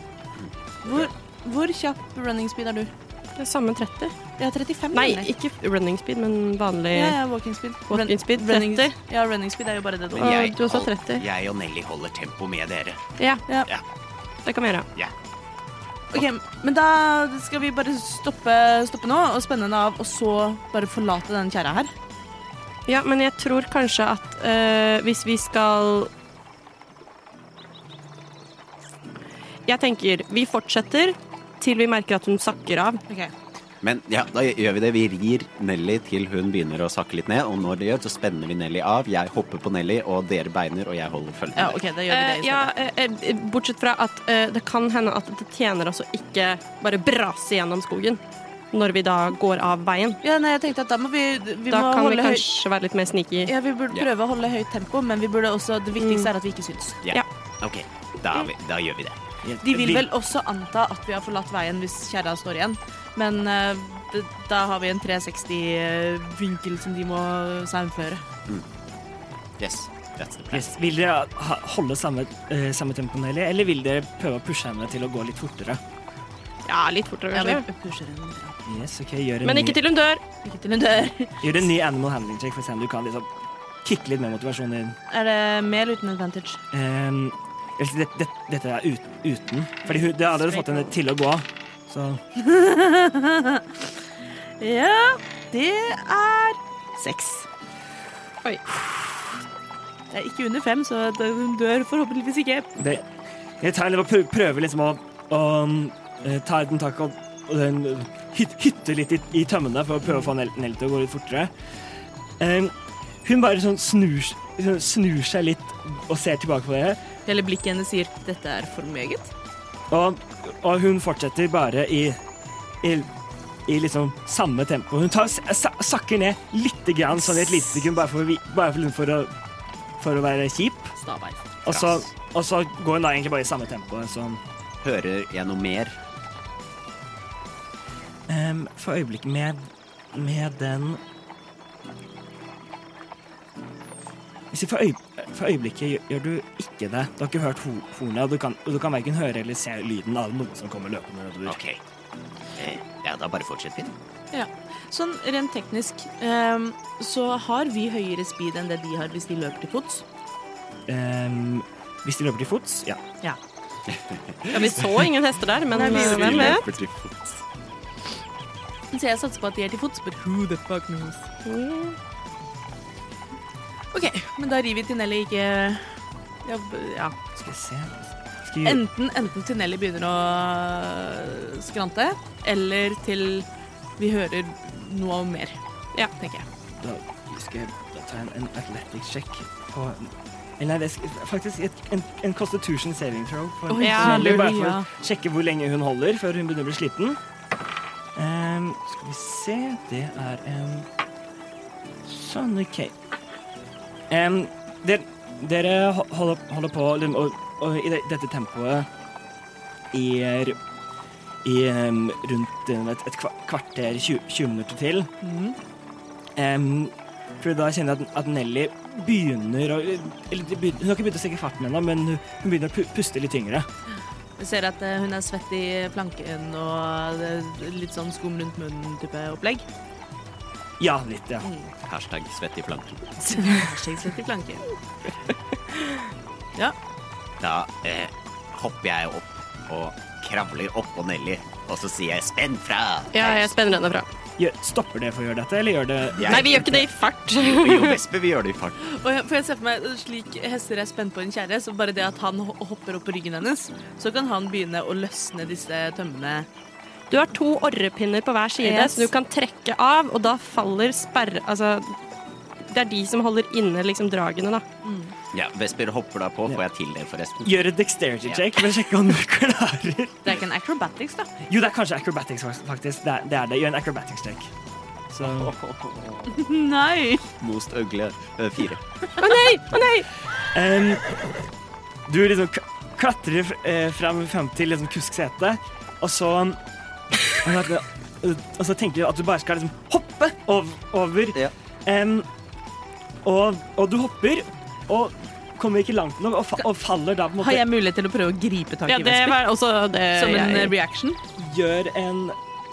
Hvor, hvor kjapp running speed er du? Det er samme 30. Jeg har 35. Nei, mener jeg. ikke running speed, men vanlig ja, ja, walking speed. Walking Run- speed, running, 30. Ja, running speed er jo bare det du Ja. Men jeg, du også hold- 30. jeg og Nelly holder tempo med dere. Ja, Ja. Ja. det kan vi gjøre. ja. Ok, Men da skal vi bare stoppe, stoppe nå og spenne henne av, og så bare forlate den kjerra her. Ja, men jeg tror kanskje at eh, hvis vi skal Jeg tenker vi fortsetter til vi merker at hun sakker av. Ok, Men ja, da gjør vi det. Vi rir Nelly til hun begynner å sakke litt ned. Og når det gjør, så spenner vi Nelly av. Jeg hopper på Nelly, og dere beiner, og jeg holder følge Ja, med ok, dere. da gjør vi det Eh, i stedet. ja, eh, eh, bortsett fra at eh, det kan hende at det tjener oss å ikke bare brase gjennom skogen når vi da går av veien. Ja, nei, jeg tenkte at da må vi, vi Da må kan vi holde høy- kanskje være litt mer sneaky. Ja, vi burde Ja. prøve å holde høyt tempo, men vi burde også, det Mm. viktigste er at vi ikke syns. Ja. Ok, da, er vi, da gjør vi det. De vil vel også anta at vi har forlatt veien hvis kjerra står igjen, men eh, d- da har vi en 360-vinkel som de må saumføre. Yes, that's the plan. Yes. Vil dere ha- holde samme, eh, samme tempo, Nelly, eller vil dere prøve å pushe henne til å gå litt fortere? Ja, litt fortere, Ja, vi kanskje. pusher henne litt. Yes, ok, gjør en, Men ny, ikke til hun dør. Ikke til hun dør. gjør en ny animal handling check for å se om du kan liksom kicke litt mer motivasjonen din. Er det med eller uten advantage? Ehm, jeg vil si det, det, dette er ut, uten, Fordi hun, det hadde du fått henne til å gå. Så Ja, det er seks. Oi. Det er ikke under fem, så det- hun dør forhåpentligvis ikke. det, jeg tar litt og prø- prøver liksom å, å eh, ta et tak og, og den, hyt, hytte litt i, i tømmene for å prøve å få Nell, Nell til å gå litt fortere. Ehm, hun bare sånn snur, sånn snur seg litt og ser tilbake på dere. Hele blikket hennes sier 'dette er for meget'. Og, og hun fortsetter bare i, i, i liksom samme tempo. Hun tar, sa, sakker ned lite grann, sånn i et lite sekund, bare for, å vi- bare for, liksom for, å, for å være kjip. Stabein. Og så, og så går hun da egentlig bare i samme tempo. Sånn. Hører jeg noe mer? Ehm, for øyeblikket med, med den Hvis vi for, øye, for øyeblikket gjør, gjør du ikke det. Du har ikke hørt ho hornet, og du kan, og du kan verken høre eller se lyden av noen som kommer løpende nedover. Ok. Eh, Ja, da bare fortsetter vi. Ja. Sånn rent teknisk ehm, så har vi høyere speed enn det de har hvis de løper til fots. Ehm, hvis de løper til fots, ja. Ja, vi så ingen hester der, men eh, vi gjorde hvem vet? Så jeg satser på at de er til fots, but who the fuck knows? OK, men da rir vi til Nelly ikke ja, b- ja. Skal vi se Skal vi... Enten, enten til Nelly begynner å skrante, eller til vi hører noe mer. Ja, tenker jeg. Da skal jeg da ta en, en athletics check på Nei, det skal, faktisk et, en, en constitution saving throw. For for Oi, Nelly, bare for halleluja. å sjekke hvor lenge hun holder før hun begynner å bli sliten. Ehm, skal vi se Det er en Sånn, OK. Ehm, dere, dere ho- holder, holder på liksom, og, og i det, dette tempoet i, ru- i ehm, rundt eh, et, et kva- kvarter, 20, 20 minutter til. Em, for da kjenner jeg at, at Nelly begynner å eller, det begyn- Hun har ikke begynt å stikke farten ennå, men hun hun begynner å pu- puste litt tyngre. Vi ser at eh, hun er svett i planken og det er litt sånn skum rundt munnen-type opplegg. Ja, litt, ja. Hashtag svett i flanken. Hashtag svett i planken. Ja. Da eh, hopper jeg opp og kravler oppå Nelly, og så sier jeg 'spenn fra'. Ja, jeg spenner henne fra. Gjør, stopper det for å gjøre dette, eller gjør det Jeg- Nei, vi gjør ikke det i fart. Jo, Vesper, vi gjør det i fart. Og jeg, for jeg ser for meg slik hester er spent på en kjerre, så bare det at han ho- hopper opp på ryggen hennes, så kan han begynne å løsne disse tømmene. Du har to orrepinner på hver side Yes. som du kan trekke av, og da faller sperre... Altså, det er de som holder inne liksom dragene, da. Ja, Vesper hopper da på, får jeg til det forresten. Gjør et dexterity check for å sjekke om du klarer Det er ikke en acrobatics, da. Jo, det er kanskje acrobatics, fak- faktisk. Det er det. Er det. Gjør en acrobatics check. Så Nei! Most ugly eh, fire. Å nei! Å nei! em, Du liksom k- klatrer fr- eh, fram, fram til liksom kusksetet, og så Og så tenker du at du bare skal liksom hoppe ov over Ja. Em, og, og du hopper, og kommer ikke langt nok, og, fa og faller da på en måte Har jeg mulighet til å prøve å gripe tak i Ja, det Vesper? var også det Som en eh, jeg reaction? Gjør en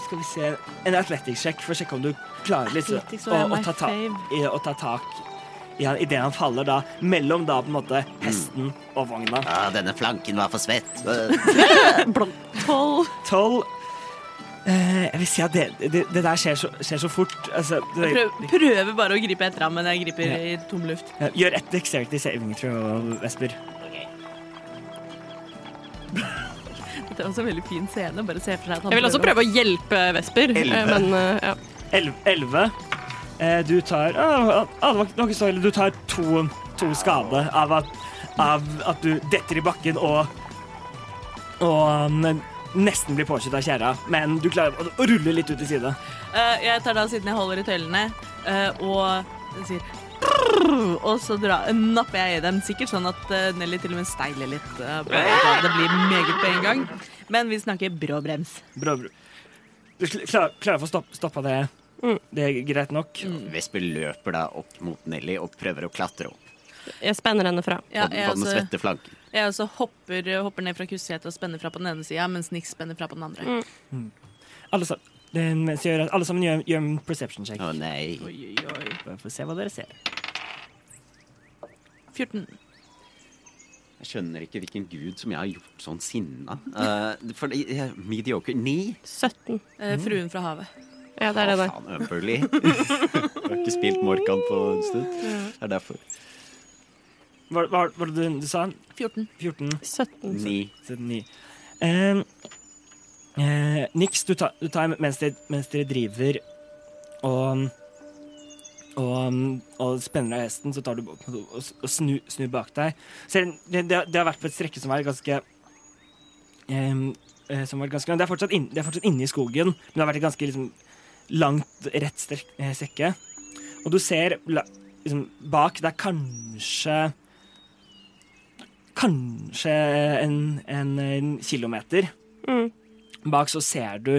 skal vi se, en athletics-sjekk for å sjekke om du klarer litt å, Athletics var å, my ta, ta, fave. i, å ta tak i han idet han faller, da, mellom da på en måte hesten og vogna. Ja, denne flanken var for svett. Eh, Tolv. Tolv eh, Jeg vil si at det, det, det der skjer så, skjer så fort. Altså, det, Prøv, prøver bare å gripe etter ham, men jeg griper i tom luft. Ja, Gjør et dexterity saving throw, Vesper. Det er også en veldig fin scene. Bare se for seg at han Jeg vil også prøver prøve å hjelpe Vesper, eh, men eh, ja. Elv- Elleve. Eh, Du tar ah, ah, det var ikke- det var ikke så ille. Du tar to, to skade av at, av at du detter i bakken og Og mm, nesten blir påkjørt av kjerra, men du klarer å- å rulle litt ut til side. å- Eh, Jeg tar da siden jeg holder i tøylene, eh, og sier "Brrr", og så dra, napper jeg i dem, sikkert sånn at eh, Nelly til og med steiler litt. eh, på at Det blir meget på en gang. Men vi snakker brå brems. Bra, bra. Du sl- klar- klarer å få stopp, stoppa det. Det er greit nok. Vesper løper da opp mot Nelly og prøver å klatre opp jeg spenner henne fra. Ja, på, den- jeg på den også, svette flanken. jeg også hopper, eh, hopper ned fra kustsetet og spenner fra på den ene sida, mens Nix spenner fra på den andre. Alle, sa- den- så gjør, alle sammen gjør, gjør en perception check. Å nei. Oi, oi, oi. Bare for å se hva dere ser. 14. Jeg skjønner ikke hvilken gud som jeg har gjort sånn sinna. Eh, for uh, mediocre Ni? 17. Mm. Eh, fruen fra havet. Ja, det er det Å, der. faen, Umberley. Jeg har ikke spilt Morkan på en stund. Det er derfor. Hva hva- hva var det du, du sa? 14. 14? 17. Ni. 79. Ehm, eh, Nix, du tar, du tar mens, dere, mens dere driver og og, og spenner av hesten, så tar du og, og snur, snur bak deg. Så det, det, det har vært på et strekke som er ganske ehm, eh, som har vært ganske langt. Det er fortsatt, inn, det er fortsatt inne i skogen, men det har vært et ganske liksom, langt, rett strek, eh, strekke. Og du ser la- liksom, bak Det er kanskje kanskje en, en, en kilometer. Mm. Bak så ser du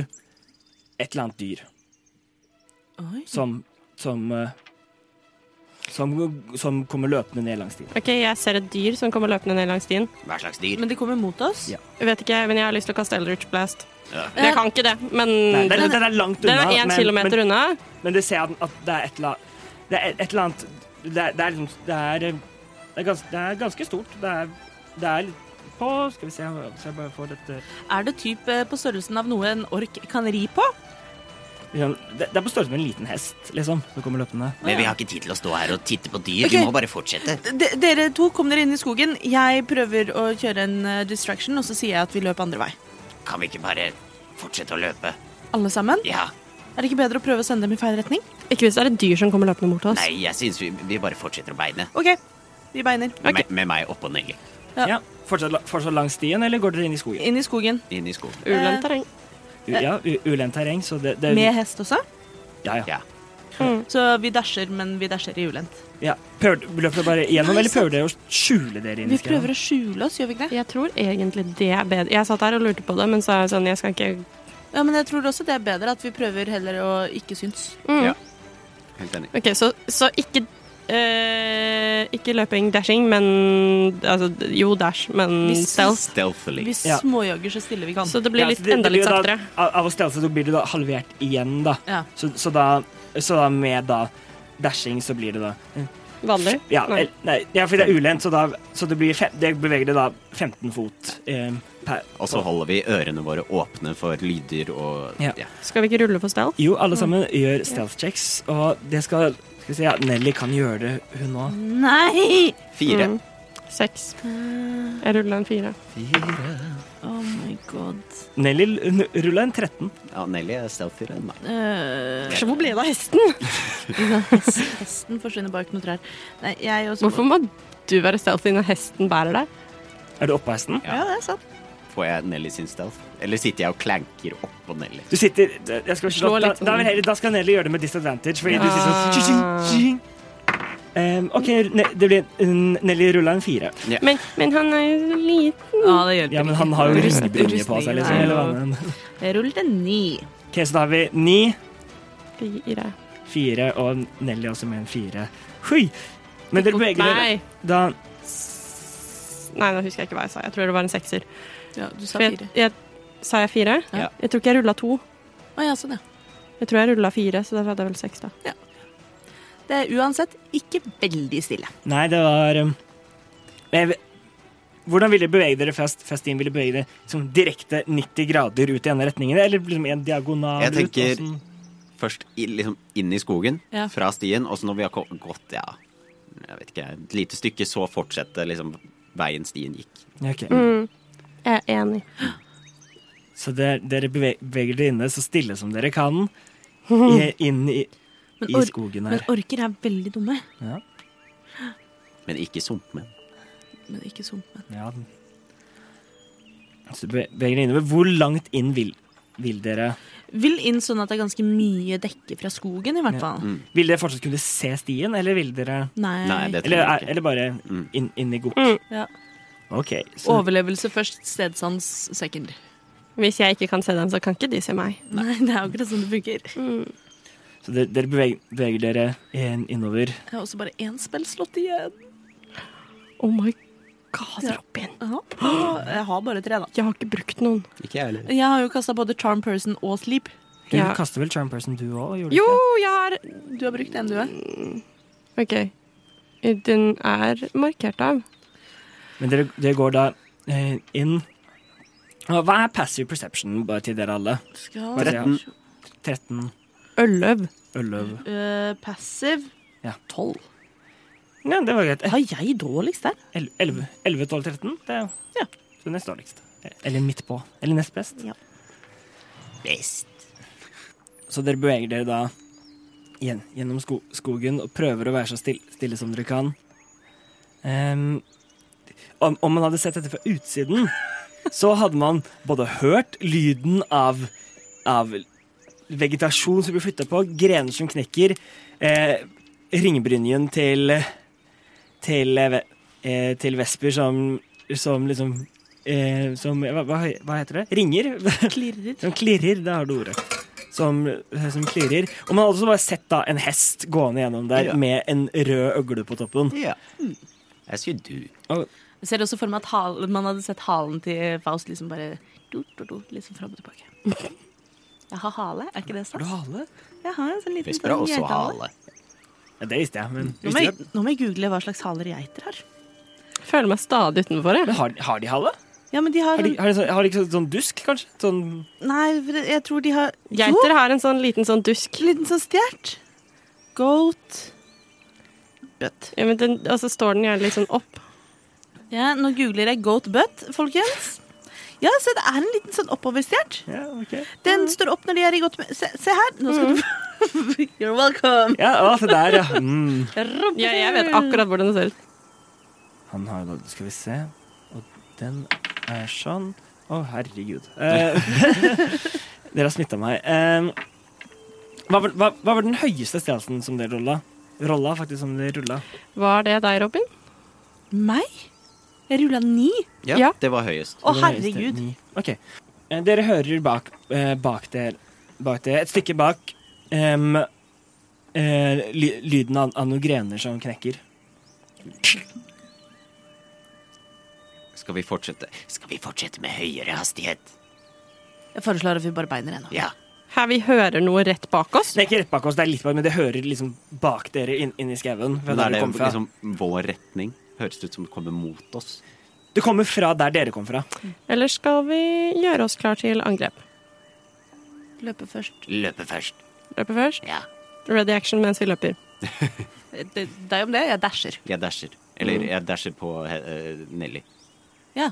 et eller annet dyr Oi. som som, eh, som, som kommer løpende ned langs stien. OK, jeg ser et dyr som kommer løpende ned langs stien. Hva slags dyr? Men de kommer mot oss. Ja. Jeg vet ikke, men jeg har lyst til å kaste Eldritch Blast. Ja. Jeg kan ikke det, men Nei, den den, den er langt unna. Mm. er én kilometer men, unna. men, men du ser at, at det liksom- er et eller annet Det er et eller annet Det er, det er, eh, Det er, gans det er ganske stort. Det er, det er litt på Skal vi se så jeg bare får dette Er det typ eh, på størrelsen av noe en ork kan ri på? liksom, det, det er på størrelse med en liten hest, liksom, som kommer løpende. Men vi har ikke tid til å stå her og titte på dyr. Ok. Vi må bare fortsette. D dere to kom dere inn i skogen. Jeg prøver å kjøre en eh, distraction, og så sier jeg at vi løper andre vei. Kan vi ikke bare fortsette å løpe? Alle sammen? Ja. Er det ikke bedre å prøve å sende dem i feil retning? Ikke hvis det er et dyr som kommer løpende mot oss. Nei, jeg syns vi, vi bare fortsetter å beine. OK, vi beiner. Med, med meg oppå Nelly. Ja. Ja, fortsatt, la- fortsatt langs stien, eller går dere inn i skogen? Inn i skogen. Inn i skogen. Ulendt terreng. U- Ja, u- ulendt terreng, så det, det Med hest også. Ja, ja. Ja. Så vi dasher, men vi dasher i ulendt. ja. Prøver, løper dere bare gjennom, eller prøver dere å skjule dere inn Vi i skauen? prøver å skjule oss, gjør vi ikke det? Eh, Jeg tror egentlig det er bedre. Jeg satt der og lurte på det, men så er jeg sånn, jeg skal ikke Ja, men jeg tror også det er bedre at vi prøver heller å ikke synes. mm. Ja. Helt enig. OK, så, så ikke eh, Ikke løping, dashing, men Altså, jo, dash, men Hvis- stealth. Stealthily. Vi Ja. småjogger så stille vi kan. Så det blir Ja, litt, så det- enda det litt blir jo saktere. Da, av- av å stelle seg, så blir det da halvert igjen, da. Ja. Så, så, da, så da med da dashing, så blir det da Vanlig. Ja, Nei. el- nei, ja for det er ulendt, så, da, så det, blir fem, det beveger det da 15 fot eh, per Og så holder vi ørene våre åpne for lyddyr og Ja. ja. Skal vi ikke rulle for stealth? Jo, alle sammen gjør stealth checks, og det skal Skal vi si, ja, Nelly kan gjøre det, hun òg. Nei! Eh, Fire. Mm. Seks. Jeg rulla en fire. Oh my god. Nelly l- ruller en 13. Ja, Nelly er stealthigere enn meg. Eh, Så hvor ble det av hesten? hest, hesten forsvinner bak noen trær. Nei, jeg også Hvorfor må du være stealthy når hesten bærer deg? Er du oppå hesten? Ja, det er sant. Får jeg Nelly sin stealth? Eller sitter jeg og liksom? klanker oppå Nelly? Du sitter jeg skal, Slå da, litt Ah. sånn. da, vil Nelly- da skal Nelly gjøre det med disadvantage, fordi du sitter sånn tjing, tjing. Em, OK, ne, det blir, mm, Nelly rulla en fire. Men, men han er jo så liten. Ja, det hjelper Ja, men han har jo Rust- rystebrynje på seg. rustningen Liksom, er eller jo- hva men- Jeg rullet en ni. OK, så da har vi ni, Fire. fire og Nelly også med en fire. Hui! Men dere beveger dere Nei. da Nei, nå husker jeg ikke hva jeg sa. Jeg tror det var en sekser. Ja, du sa For jeg, fire. jeg, sa jeg fire? Ja. Jeg tror ikke jeg rulla to. Å ja, sånn, ja. Jeg tror jeg rulla fire, så derfor hadde jeg vel seks, da. Det er uansett ikke veldig stille. Nei, det var um, jeg, vet- Hvordan ville dere bevege dere fast? Festin ville bevege dere liksom, direkte 90 grader ut i ene retningen, eller liksom i en diagonal Jeg tenker- ut? sånn? Åssen- Først i, liksom inn i skogen, Ja. fra stien, og så når vi har ko- gått ja, jeg vet ikke, et lite stykke, så fortsette liksom veien stien gikk. Ja, ok. Mm. Jeg er enig. Så det, dere beve- beveger dere inne så stille som dere kan, i, inn i, Men, i or skogen men her. orker er veldig dumme. Ja, Men ikke sumpmenn. Men ikke sumpmenn. ja. Så be- beveger dere innover. Hvor langt inn vil, vil dere Vil inn sånn at det er ganske mye dekke fra skogen, i hvert fall. Vil dere fortsatt kunne se stien, eller vil dere Nei. Nei, det Eller, trenger er, vi ikke. eller bare Mm. inn, inn i gok? Mm. Ja. OK. Så Overlevelse først, stedsans second. Hvis jeg ikke kan se dem, så kan ikke de se meg. Nei, det er akkurat sånn det funker. Så dere, dere beveger, beveger dere inn, innover. Jeg har også bare én spill slått igjen. Oh my god, Ja. Robin. Jeg har bare tre, da. Jeg har ikke brukt noen. Ikke jeg heller. Jeg har jo kasta både Charm Person og Sleep. Du Ja. kaster vel Charm Person, du òg? Jo, jeg har Du har brukt en, du òg. OK. Den er markert av. Men dere, dere går da eh, inn. Og Hva er passive perception, bare til dere alle? Skal Bare Tretten. 13 Ølløv. øløv. Øh, Passive Ja. 12. Ja, det var greit. Har jeg dårligst der? 11, 11 12, 13. Det er Ja. så nest dårligst. Eller midt på. Eller nest best. Best. Så dere beveger dere da igjen, gjennom sko skogen og prøver å være så stille, stille som dere kan. Ehm, om, om man hadde sett dette fra utsiden, så hadde man både hørt lyden av, av vegetasjon som blir flytta på, grener som knekker, eh, ringbrynjen til til, eh, ve- eh, til vesper som, som liksom eh, Som hva, hva hva heter det? Ringer? Klirrer. Som klirrer, det har du ordet. Som, eh, som klirrer. Og man har også bare sett da en hest gående gjennom der Ja. med en rød øgle på toppen. Ja. Mm. Jeg sier du. Jeg ser også for meg at halen, man hadde sett halen til Faust liksom bare do, do, do, liksom fram og tilbake. Jeg har hale, er ikke det Har du sant? hale? Jeg har en sånn liten Vesper har sånn også geithale. hale. Ja, det visste jeg, men Nå visste må jeg jeg, nå må jeg google hva slags haler geiter har. Føler meg stadig utenfor. Jeg. Men har, har de hale? Ja, men de har, Har de, har de, sånn- har de ikke sånn- sånn dusk, kanskje? Sånn Nei, for jeg tror de har Geiter har en sånn liten sånn dusk. Jo, liten sånn stjert. Goat. Butt. Ja, men den, og så står den gjerne litt sånn opp. Ja, nå googler jeg goat butt, folkens. Ja, se, det er en liten sånn oppoverstjert. Ja, ok. Den står opp når de er i godt humør. Se, se her, nå skal du få You're welcome. Ja, å, se der, ja. Mm. Ja, jeg vet akkurat hvordan det ser ut. Han har gått Skal vi se. Og den er sånn. Å, herregud. Eh, dere har smitta meg. Eh, hva, var, hva, hva var den høyeste stjelsen som dere rulla? Rolla, faktisk, som dere rulla. Var det deg, Robin? Meg? Jeg rulla ni. Ja, Ja. det var høyest. Å, Det var høyeste, herregud. ni. OK. Eh, dere hører bak, eh, bak, der, bak der, et stykke bak, em, eh, ly, lyden av, av noen grener som knekker. Skal vi fortsette? Skal vi fortsette med høyere hastighet? Jeg foreslår at vi bare beiner ennå. Ja. Her vi hører noe rett bak oss. Det er ikke rett bak oss, det er litt bak, men det hører liksom bak dere inn, inn i skauen. fra Men der er du det kom fra. liksom vår retning? Høres det ut som det kommer mot oss? Du kommer fra der dere kom fra. Eller skal vi gjøre oss klar til angrep? Løpe først. Løpe først. Løpe først. Ja. Ready action mens vi løper. Det, det er jo om det. Jeg dasher. Jeg dasher. Eller Mm. jeg dasher på eh, Nelly. Ja.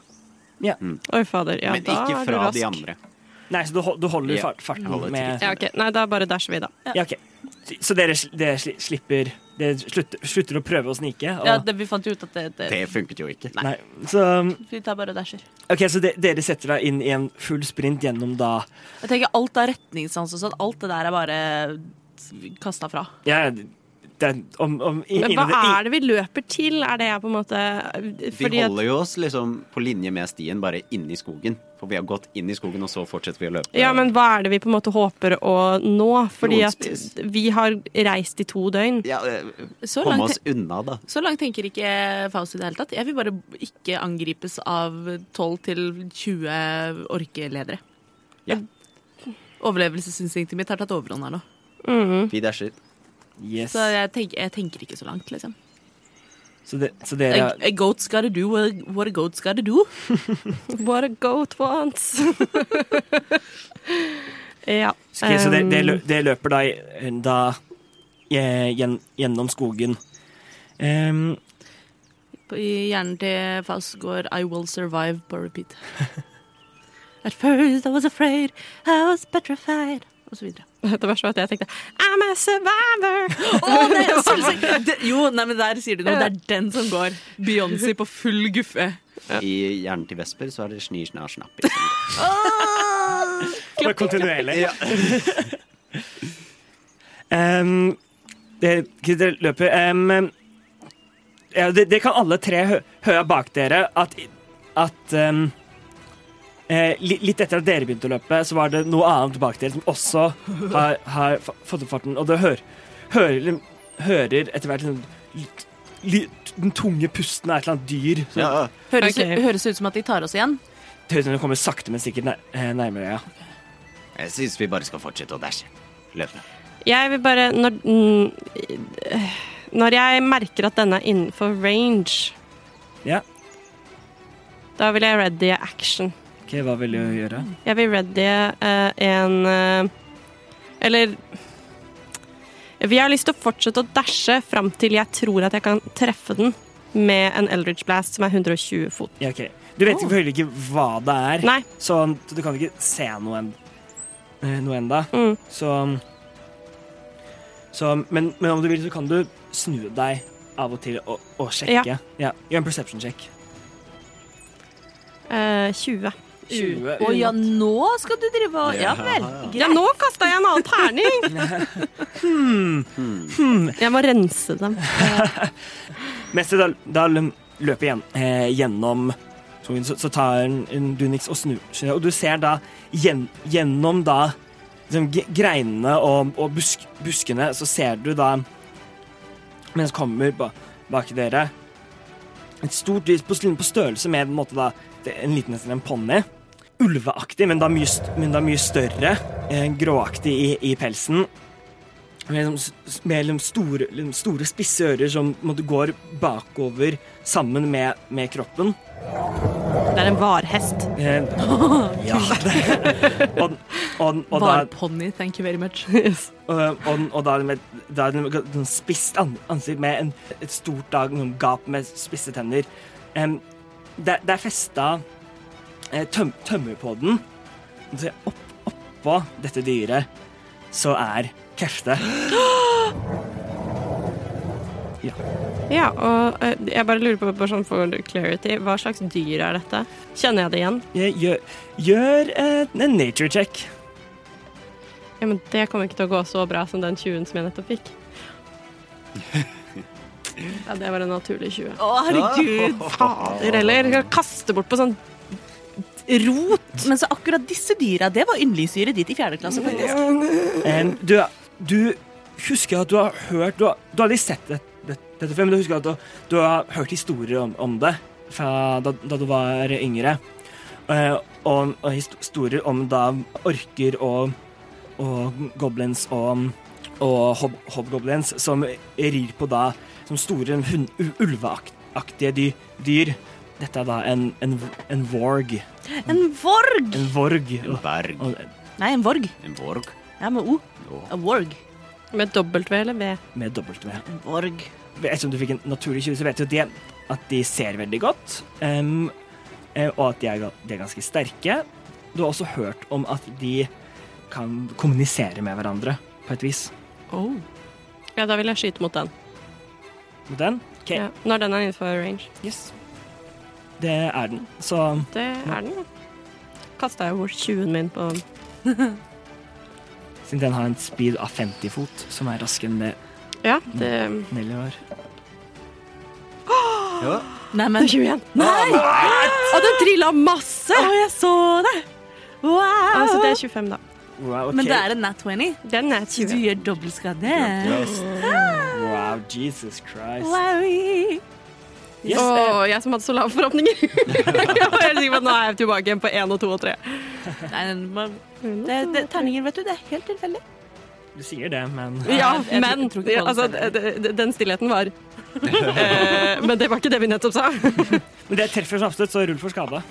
Oi, fader. Ja, Men da ikke er du fra rask. de andre. Nei, så du, hol- du holder Ja, fart, farten holder med trykket. Ja, ok. Nei, da bare dasher vi, da. Ja, ok. Så- Så dere, sl- dere sli- slipper Dere slutter, slutter å prøve å snike? Og, ja det, vi fant jo ut at det, det Det funket jo ikke. nei, så um, Vi tar bare og dasher. OK, så de, dere setter deg inn i en full sprint gjennom da Jeg tenker alt er retningssans og sånn. Alt det der er bare kasta fra. Ja, det, om, om, i- Men hva innen det- i- er det vi løper til? Er det jeg på en måte De Fordi at holder jo oss liksom på linje med stien, bare inni skogen. For vi har gått inn i skogen, og så fortsetter vi å løpe. Ja, men hva er det vi på en måte håper å nå? Fordi at Blodspis. vi har reist i to døgn. Ja, eh, Så Komme langt- oss unna, da. Så langt tenker ikke Faust i det hele tatt. Jeg vil bare ikke angripes av 12-20 orkeledere. Ja. Overlevelsesinstinktet mitt har tatt overhånd her nå. Mm. Vi dasher. Yes. Så jeg, tenk, jeg tenker ikke så langt, liksom. Så, de, så A, dere a goat's gotta do what a- what a goat's gotta do. What a goat wants. ja. Ok, så det, det, ehm, lø- det løper da, da eh, gjen, gjennom skogen. Ehm, På- I hjernen til Faust går I will survive på repeat. At first I was afraid, I was petrified, og så videre. Det verste var at jeg tenkte I'm a survivor! Å, nei, jeg skulle si- det, jo, nei, men der sier du noe. Det er den som går. Beyoncé på full guffe. I hjernen til Vesper så er det sni, sna, snapp. liksom. Bare kontinuerlig. Ehm, det, det løper ehm, ja, det, det kan alle tre hø høre bak dere at, at ehm, eh, li- Litt etter at dere begynte å løpe, så var det noe annet bak dere som også har, har fa- fått opp farten. Og det hører, hører, hører etter hvert liksom, litt- litt- den tunge pusten av et eller annet dyr. som- Ja, Høres, Ok. høres ut som at de tar oss igjen. Det høres ut som det kommer sakte, men sikkert nær- eh, nærmere. Ja. jeg syns vi bare skal fortsette å dashe. Løpe. Jeg vil bare når, mm, eh, når jeg merker at denne er innenfor range, Ja. da vil jeg ready action. Ok, Hva vil du gjøre? Jeg vil ready eh, en eh, Eller Vi har lyst til å fortsette å dashe fram til jeg tror at jeg kan treffe den med en Eldridge Blast som er 120 fot. Ja, ok. Du vet selvfølgelig ikke hva det er. Nei, Sånn, så du kan ikke se noe, en, eh, noe enda. Mm. Så, så men, men om du vil, så kan du snu deg av og til og, og sjekke. Ja. Gjør en perception check. eh, 20. Å ja, nå skal du drive og Ja Ja. vel. Ja, nå kasta jeg en annen terning! Jeg må rense dem. Mens du da, da lø- løper igjen, eh, gjennom skogen, så, så tar en, en Dunix og snur seg, og du ser da gjen, gjennom da liksom, g- greinene og, og busk, buskene, så ser du da mens kommer ba, bak dere et stort lys på, på størrelse med på en, måte, da, det- en liten nesten en ponni. Ulveaktig, men da mye, st- men da mye større. Eh, gråaktig i, i pelsen. Med, liksom, s- med liksom, store, liksom, store spisse ører som på en måte, går bakover sammen med, med kroppen. Det er en varhest. Eh, ja. og, og, og, da, Bare ponni, thank you very much. og, og, og da er det med da er det med et spisst an- ansikt med en, et stort da, noen gap med spisse tenner. Em, det, det er festa eh, tøm, tømmer på den. Og så Opp, oppå dette dyret så er kreftet. Ja, og eh, jeg bare lurer på, bare sånn for clarity, hva slags dyr er dette? Kjenner jeg det igjen? Jeg Gjør, gjør eh, en nature check. Ja, men det kommer ikke til å gå så bra som den 20-en som jeg nettopp fikk. Ja, det var en naturlig 20. Å, herregud. Fader heller, jeg skal kaste bort på sånn rot. Men så akkurat disse dyra, det var yndlingsdyret ditt i fjerde klasse, faktisk. Em, du, du husker at du har hørt Du har, du har aldri sett det, det, dette før, men du husker at du, du har hørt historier om, om det fra da, da du var yngre. Eh, og, og historier om da orker og, og goblins og, og hob, hobgoblins som rir på da som store hun- u- ulveaktige dy, dyr. Dette er da en, en, en vorg. En vorg! En vorg. En berg. Og, Nei, en vorg. En borg. Ja, med O. Å. En vorg. Med W eller V? med dobbelt V. En vorg. Ettersom du fikk en naturlig 20, så vet du at de, at de ser veldig godt, em, eh, og at de er, ga- de er ganske sterke. Du har også hørt om at de kan kommunisere med hverandre på et vis. Ja, da vil jeg skyte mot den. Mot den? OK. Ja, når den er innenfor range. Yes. Det er den. Så Det er den, ja. Kasta jeg bort 20-en min på siden den har en speed av 50 fot, som er raskere enn det Ja, det Nelly har. Ja. Nei, Det men er 21. Nei! Og den trilla masse! Å, jeg så det! Wow! Altså, det er 25, da. Wow, ok. Men det er en nat 20, Den er så du 20. gjør dobbeltskade. Wow, Jesus Christ. Wowie! Yes, Åh, eh, jeg som hadde så lave forhåpninger. jeg var helt sikker på at nå er jeg tilbake igjen på 1 og 2 og 3. Nei, men man- det, det, terninger, vet du, det er helt tilfeldig. du sier det, men Ja, jeg tror- men jeg tror ikke på altså, det. d- d- den stillheten var Eh, Men det var ikke det vi nettopp sa. Men det treffer så absolutt, så rull for skade.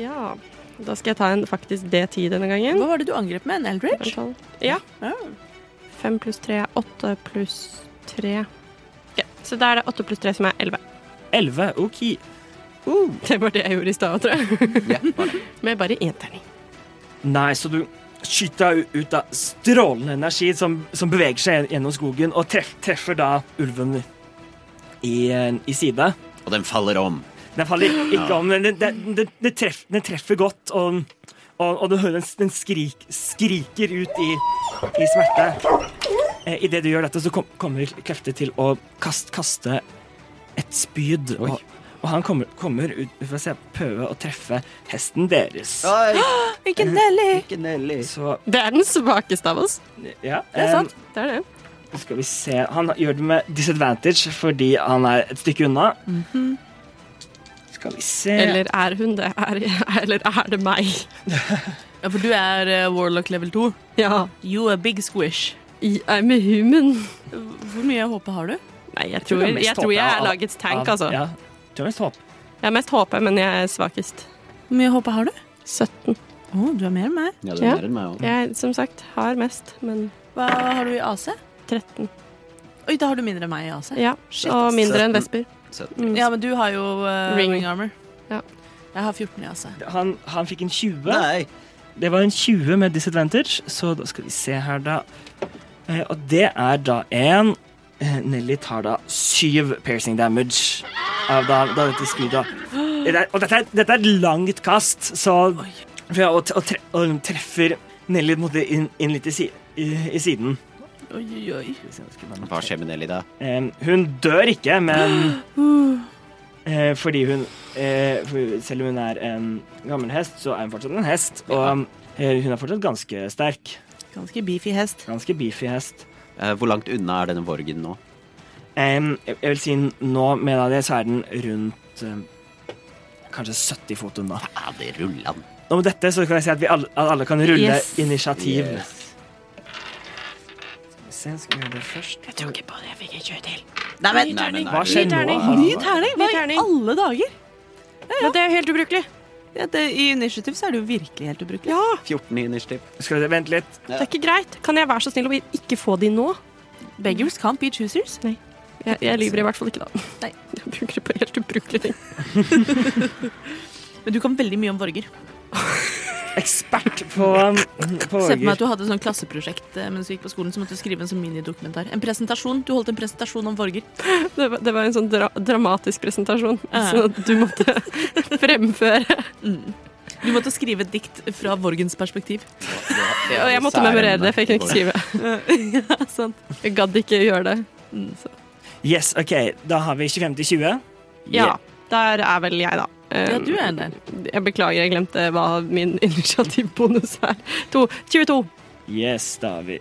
Ja, da skal jeg ta en faktisk D10 denne gangen. Mm. Hva var det du angrep med? En Eldridge? Ja. Ja. 5 pluss 3 er 8 pluss 3. Ok, så da er det 8 pluss 3 som er 11. 11. OK. Uh. Det var det jeg gjorde i stad, tror jeg. Med bare én terning. Nei, så du skyter deg ut av strålende energi som, som beveger seg gjennom skogen, og treff, treffer da ulven i, i side. Og den faller om. Den faller ikke om, men den, den, den, den, treff, den treffer godt, og, og, og du hører den, den skrik, skriker ut i, i smerte. Eh, Idet du gjør dette, så kom, kommer krefter til å kast, kaste et spyd. Og, og han kommer, kommer ut for å se, prøve å treffe hesten deres. Ikke Nelly! Ikke Nelly. Så Det er den svakeste av oss. ja. Det er em, sant. Det er det. Skal vi se Han gjør det med disadvantage fordi han er et stykke unna. Skal vi se Mhm. Eller er hun det? Er, eller er det meg? Ja, for du er eh, Warlock level 2. Ja. You a big squish. I'm a human. Hvor mye håpe har du? Nei, jeg tror tror, det er mest jeg, tror jeg håpet er av- lagets av- tank, altså. Ja. Du er mest håp. Jeg er mest HP, men jeg er svakest. Hvor mye håpe har du? 17. Å, du er mer enn meg. Ja, det er mer enn meg Jeg, som sagt, har mest, men Hva har du i AC? 13. Oi, da har du mindre enn meg i AC. Ja, Shit, Og ass. mindre enn 17. Vesper. òg. Mm. Ja, men du har jo eh, Ring. ring. armor. Ja. Jeg har 14 i AC. Han, han fikk en 20. Nei. Det var en 20 med disadvantage, så da skal vi se her, da. Eh, og det er da en eh, Nelly tar da syv piercing damage av da, da dette spydet. Det er- Og dette er, dette er et langt kast, så for ja, og, og, tre, og treffer Nelly på en måte inn, inn litt i, si, i, i siden. Oi, oi, oi. Hva skjer med Nelly da? Eh, hun dør ikke, men eh, Fordi hun eh, for Selv om hun er en gammel hest, så er hun fortsatt en hest. Og eh, hun er fortsatt ganske sterk. Ganske beefy hest. Ganske beefy hest. Eh, Hvor langt unna er denne vorgen nå? Em, jeg jeg vil si nå, med av det, så er den rundt em, kanskje 70 fot unna. Ja, det ruller han. Og med dette så kan jeg si at vi alle, at alle kan rulle Yes. initiativ. se, skal vi gjøre det først? Jeg tror ikke på det. Jeg fikk en 20 til. Nei, men Nei, men Hva skjer nå? Ny terning? Hva Ny i terning. alle dager? Men det er jo helt ubrukelig. Ja, det, I initiativ så er det jo virkelig helt ubrukelig. Ja, 14 i initiativ. Skal vi se, vent litt. det er ikke greit. Kan jeg være så snill å ikke få de nå? Beggars can't be choosers. Jeg, jeg lyver i hvert fall ikke da. Nei, jeg bruker det på helt ubrukelige ting. Men du kan veldig mye om borger. Ekspert på, på Se for meg orger. at du hadde et sånt klasseprosjekt eh, mens du gikk på skolen, så måtte du skrive en sånn minidokumentar. En presentasjon. Du holdt en presentasjon om borger. Det var, det var en sånn dra dramatisk presentasjon, Ja. så du måtte fremføre. Du måtte skrive et dikt fra borgens perspektiv. Og jeg måtte memorere det, for jeg kunne ikke skrive. ja, sant. Jeg gadd ikke gjøre det. Yes, OK, da har vi 25 til 20. Ja, der er vel jeg, da. Ja, du er der. Jeg beklager, jeg glemte hva min initiativbonus er. To. 22. Yes, da har vi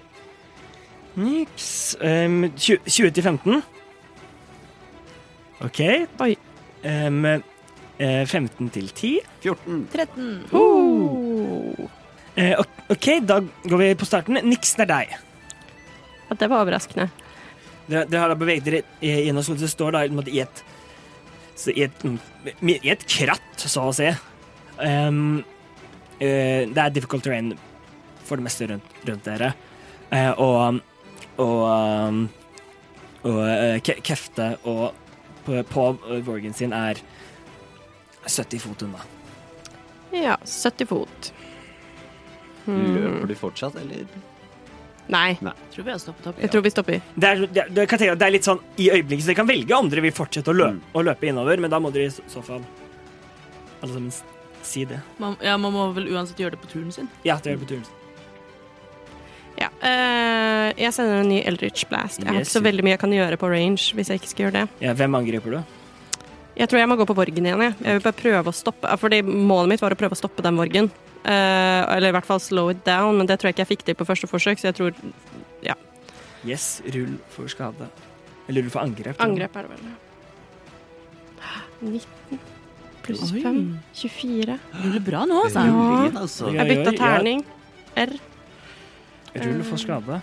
Niks. Ehm, 20, 20 til 15. OK. Oi. Ehm, eh, 15 til 10. 14. 13. Oh. Eh, ok- OK, da går vi på starten. Niksen er deg. Ja, det var overraskende. Dere, dere har da beveget dere i- gjennom skolen. Det står da i en måte i et så i et, mm, i et kratt, så å si. Ehm, eh, det er difficult terrain for det meste rundt, rundt dere. Eh, og og, um, og eh, Ke- Kefte og på, på Vorgen sin er 70 fot unna. Ja, 70 fot. Mm. Løper du fortsatt, eller? Nei, Tror vi har stoppet opp. jeg tror vi stopper. Det er, det, er- det, kan jeg tenke, at det er litt sånn i øyeblikket, så dere kan velge om dere vil fortsette å løpe, Mm. å løpe innover, men da må dere i så- så fall alle sammen s- si det. Man, ja, man må vel uansett gjøre det på turen sin. Ja, det gjør det på turen. Ja. eh, jeg sender en ny Eldritch Blast. Jeg har Yes. ikke så veldig mye jeg kan gjøre på range hvis jeg ikke skal gjøre det. Ja, hvem angriper du? Jeg tror jeg må gå på Vorgen igjen. Jeg, jeg vil bare prøve å stoppe eh, Fordi Målet mitt var å prøve å stoppe den Vorgen. Eh, eller i hvert fall slow it down, men det tror jeg ikke jeg fikk til på første forsøk. Så jeg tror Yes, rull for skade. Eller rull for angrep. angrep er det vel. 19 pluss 5 24. Du gjør det bra nå, altså. Ja. Altså, Ja. Jeg bytta terning. R. Rull for skade.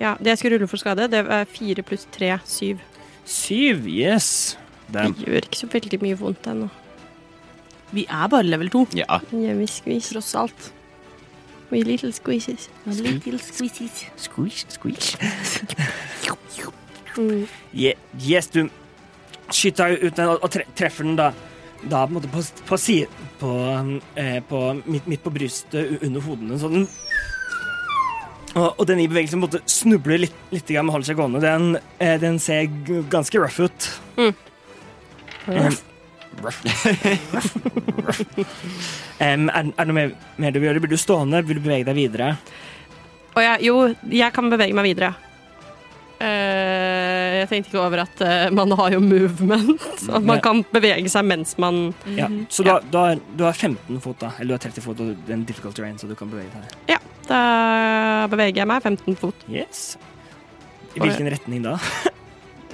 Ja, Det jeg skulle rulle for skade, det var 4 pluss 3 7. Syv, yes. Det Damn. gjør ikke så veldig mye vondt ennå. Vi er bare level 2. Ja. En Hjemme skvis. Tross alt. Wee little squeezes. squish, squish. Mm. Ye- yes, du skyter jo ut den og og tre treffer den da, da på, en måte på, s- på siden på, um, eh, på, midt, midt på brystet u- under hodene. Så den og, og den i bevegelsen på en måte snubler litt, litt grann, men holder seg gående. Den, eh, den ser g- ganske rough ut. Mm. Um, rough. um, er, er det noe mer, mer du vil gjøre? Blir du stående? Vil du bevege deg videre? Og jeg, jo, jeg kan bevege meg videre. Eh, jeg tenkte ikke over at eh, man har jo movement. At man kan bevege seg mens man Mm. Mhm. Ja, så du, har, du, har, du har 15 fot, da. Eller du har 30 fot, og det er en difficult terrain, så du kan bevege deg. Da beveger jeg meg 15 fot. Yes. I hvilken retning da?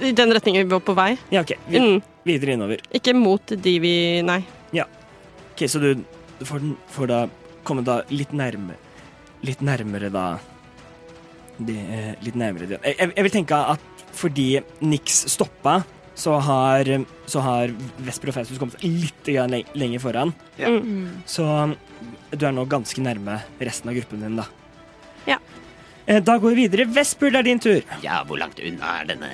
I den retningen vi var på vei. Ja, OK. Vi, Mm. Videre innover. Ikke mot de vi Nei. OK, så du, du får, den, får da komme da litt nærmere Litt nærmere da det, eh, Litt nærmere det. Jeg, jeg- jeg vil tenke at fordi Nix stoppa, så har, så har Vesper og Faustus kommet litt grann le- lenger foran. Ja. Så du er nå ganske nærme resten av gruppen din, da. Ja. Eh, Da går vi videre. Vesper, det er din tur. Ja, hvor langt unna er denne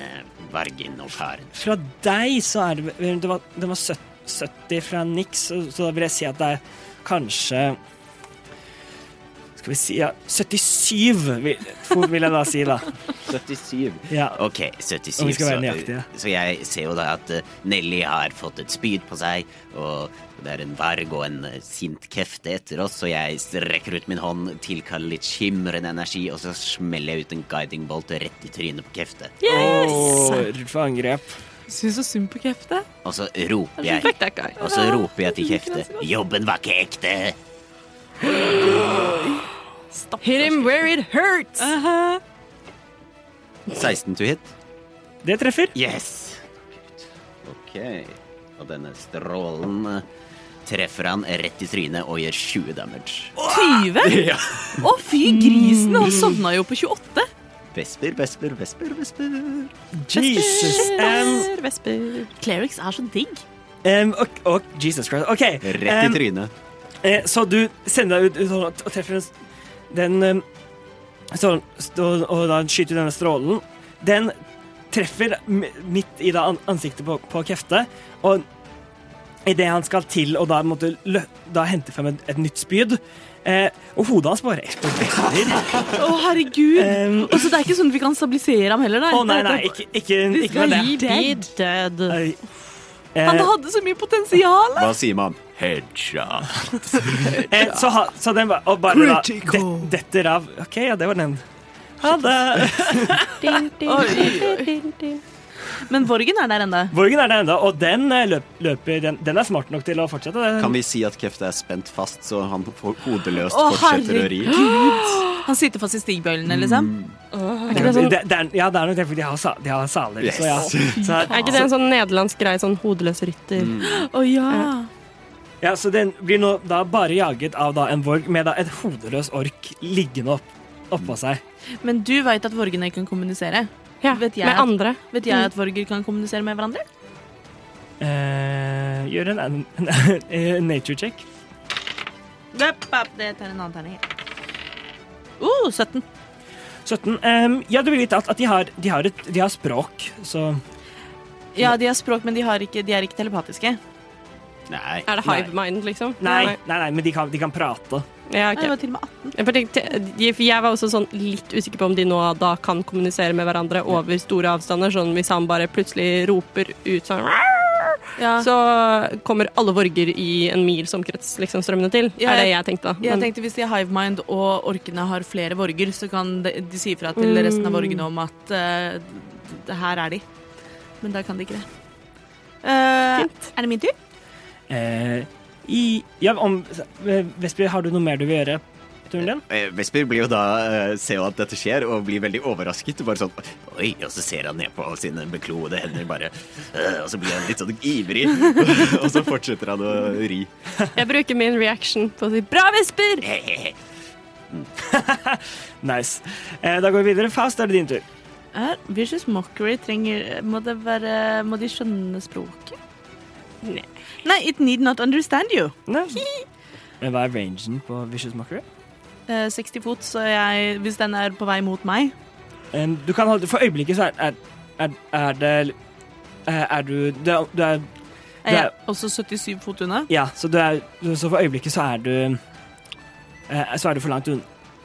vargen og karen? Fra deg så er det vel- Det var, det var søt- 70 fra Nix, så, så da vil jeg si at det er kanskje Skal vi si ja, 77 vil, fort vil jeg da si, da. 77. Ja. Ok, 77. Om vi skal være så- nøyaktige. Så jeg ser jo da at eh, Nelly har fått et spyd på seg, og det er en varg og en eh, sint kefte etter oss, så jeg strekker ut min hånd, tilkaller litt skimrende energi, og så smeller jeg ut en guiding bolt rett i trynet på kefte. Åh, rull for angrep. Syns så synd på Kefte. Og så roper jeg, Fuck that guy. og Altså, så roper jeg til kefte. Jobben var ikke ekte! Hit him where it hurts! 16 to hit. Det treffer. Yes! OK. Og denne strålen eh, treffer han rett i trynet og gjør 20 damage. Mm. 20? Å, fy grisen! Han sovna jo på 28. Vesper, vesper, vesper, vesper. Jesus! Um, Vesper, vesper. Clerics er så digg. um, ok, ok, Jesus Christ. OK. Rett i um, trynet. Eh, så du sender deg ut, ut og, og treffer den, den eh, så, og, og da skyter denne strålen. Den treffer m- midt i da an- ansiktet på, på Kefte, og idet han skal til og da, måtte, lø, da hente frem et, et nytt spyd, eh, og hodet hans bare eksploderer. Å, herregud. Em. Og så det er ikke sånn at vi kan stabilisere ham heller, nei. Å nei, nei, ikke, ikke, ikke med det. Skal gi dead. Oi. Han Eh, hadde så mye potensial. Hva sier man? Headshot. eh, så, ha, så den ba- og bare da, det, detter av. OK, ja, det var den. Ha det. Ding, ding, Oi, ding, ding, ding. Men Vorgen er der ennå. Vorgen er der ennå, og den eh, løp, løper den, den er smart nok til å fortsette. Den. Kan vi si at Kefte er spent fast, så han får hodeløst Å, fortsetter å ri? Han sitter fast i stigbøylene, liksom. Er ikke det sånn, det, det er, ja, det er nok det, for de har, sa, de har saler. Yes. Så ja. Så, er ikke det en sånn nederlandsk greie, sånn hodeløs rytter? Mm. Å ja. sånn- ja, så den blir nå da bare jaget av da en Vorg med da et hodeløs ork liggende opp, oppå seg. Men du veit at Vorgen ikke kan kommunisere? Ja, Vet jeg med at- andre. Vet Mm. jeg at Vorger kan kommunisere med hverandre? Eh, gjør en, an- en, en nature check. Løp opp, Det tar en annen terning. jeg. Uh, 17. 17. em, ja, du vil vite at, at de, har, de, har et, de har språk, så Ja, de har språk, men de, har ikke, de er ikke telepatiske. Nei. Er det hive mind, liksom? Nei, nei, nei men de kan, de kan prate. Ja, Nei, det ok. var til og med 18. Jeg, jeg, for jeg var også sånn litt usikker på om de nå da kan kommunisere med hverandre over store avstander. Sånn hvis han bare plutselig roper ut sånn Ja. Så kommer alle vorger i en mil som krets liksom strømmende til. Ja, er det jeg- jeg tenkte da. Jeg Men- tenkte Hvis de har hive mind og orkene har flere vorger, så kan de, de si fra til resten av vorgene om at eh, d- her er de. Men da kan de ikke det. Eh, er det min tur? Eh, i, ja, om, eh, Vesper, har du noe mer du vil gjøre? i Turen din? Eh, Vesper blir jo da eh, ser jo at dette skjer, og blir veldig overrasket. Bare sånn Oi! Og så ser han ned på sine bekloede hender, bare eh, Og så blir han litt sånn ivrig. og så fortsetter han å ri. Jeg bruker min reaction på å si 'bra, Vesper'! Nice. Eh, da går vi videre. Faust, er det din tur. Er Vicious Mockery trenger Må det være Må de skjønne språket? Nei. Nei, it need not understand you. Nei. Men Hva er rangen på Vicious Mockery? Eh, 60 fot, så jeg Hvis den er på vei mot meg Em, Eh, du kan holde, for øyeblikket så er, er, er, er det eh, Er du du er, du er er jeg Det også 77 fot unna. Ja, så du er Så for øyeblikket så er du eh, Så er du for langt, un,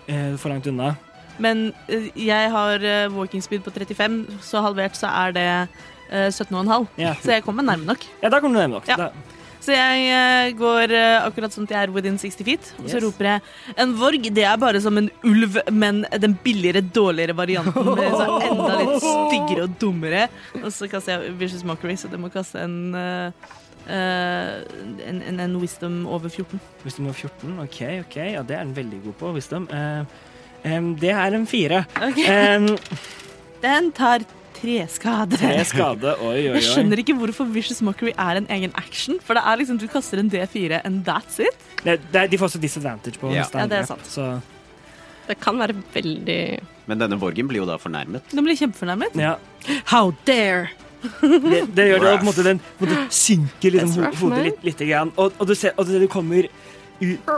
eh, for langt unna. Men eh, jeg har eh, walking speed på 35, så halvert så er det eh, 17,5. Ja. Så jeg kommer nærme nok. ja, da kommer du nærme nok. Ja. Da, Så jeg eh, går eh, akkurat sånn at jeg er within 60 feet, og så Yes. roper jeg En vorg, det er bare som en ulv, men den billigere, dårligere varianten. Med så enda litt styggere og dummere. Og så kaster jeg Vicious Mockery, så det må kaste en eh, eh, en, en, en wisdom over 14. Wisdom of 14. OK, ok. Ja, det er den veldig god på, Wisdom. Eh, em, det er en fire. Em, Den tar tre skader. Tre skade. Oi, oi, Jeg oi. skjønner ikke hvorfor Vicious Mockery er en egen action. For det er liksom, du kaster en D4 and that's it. Det, det, de får også disadvantage på Ja. neste Ja, det er angrep, sant. Så Det kan være veldig Men denne Borgen blir jo da fornærmet. Den blir kjempefornærmet. ja. How dare! Det, det gjør det, og på en måte den på en måte synker liksom, ho That's rough, hodet man. litt, lite grann. Og, og du ser at det kommer ut,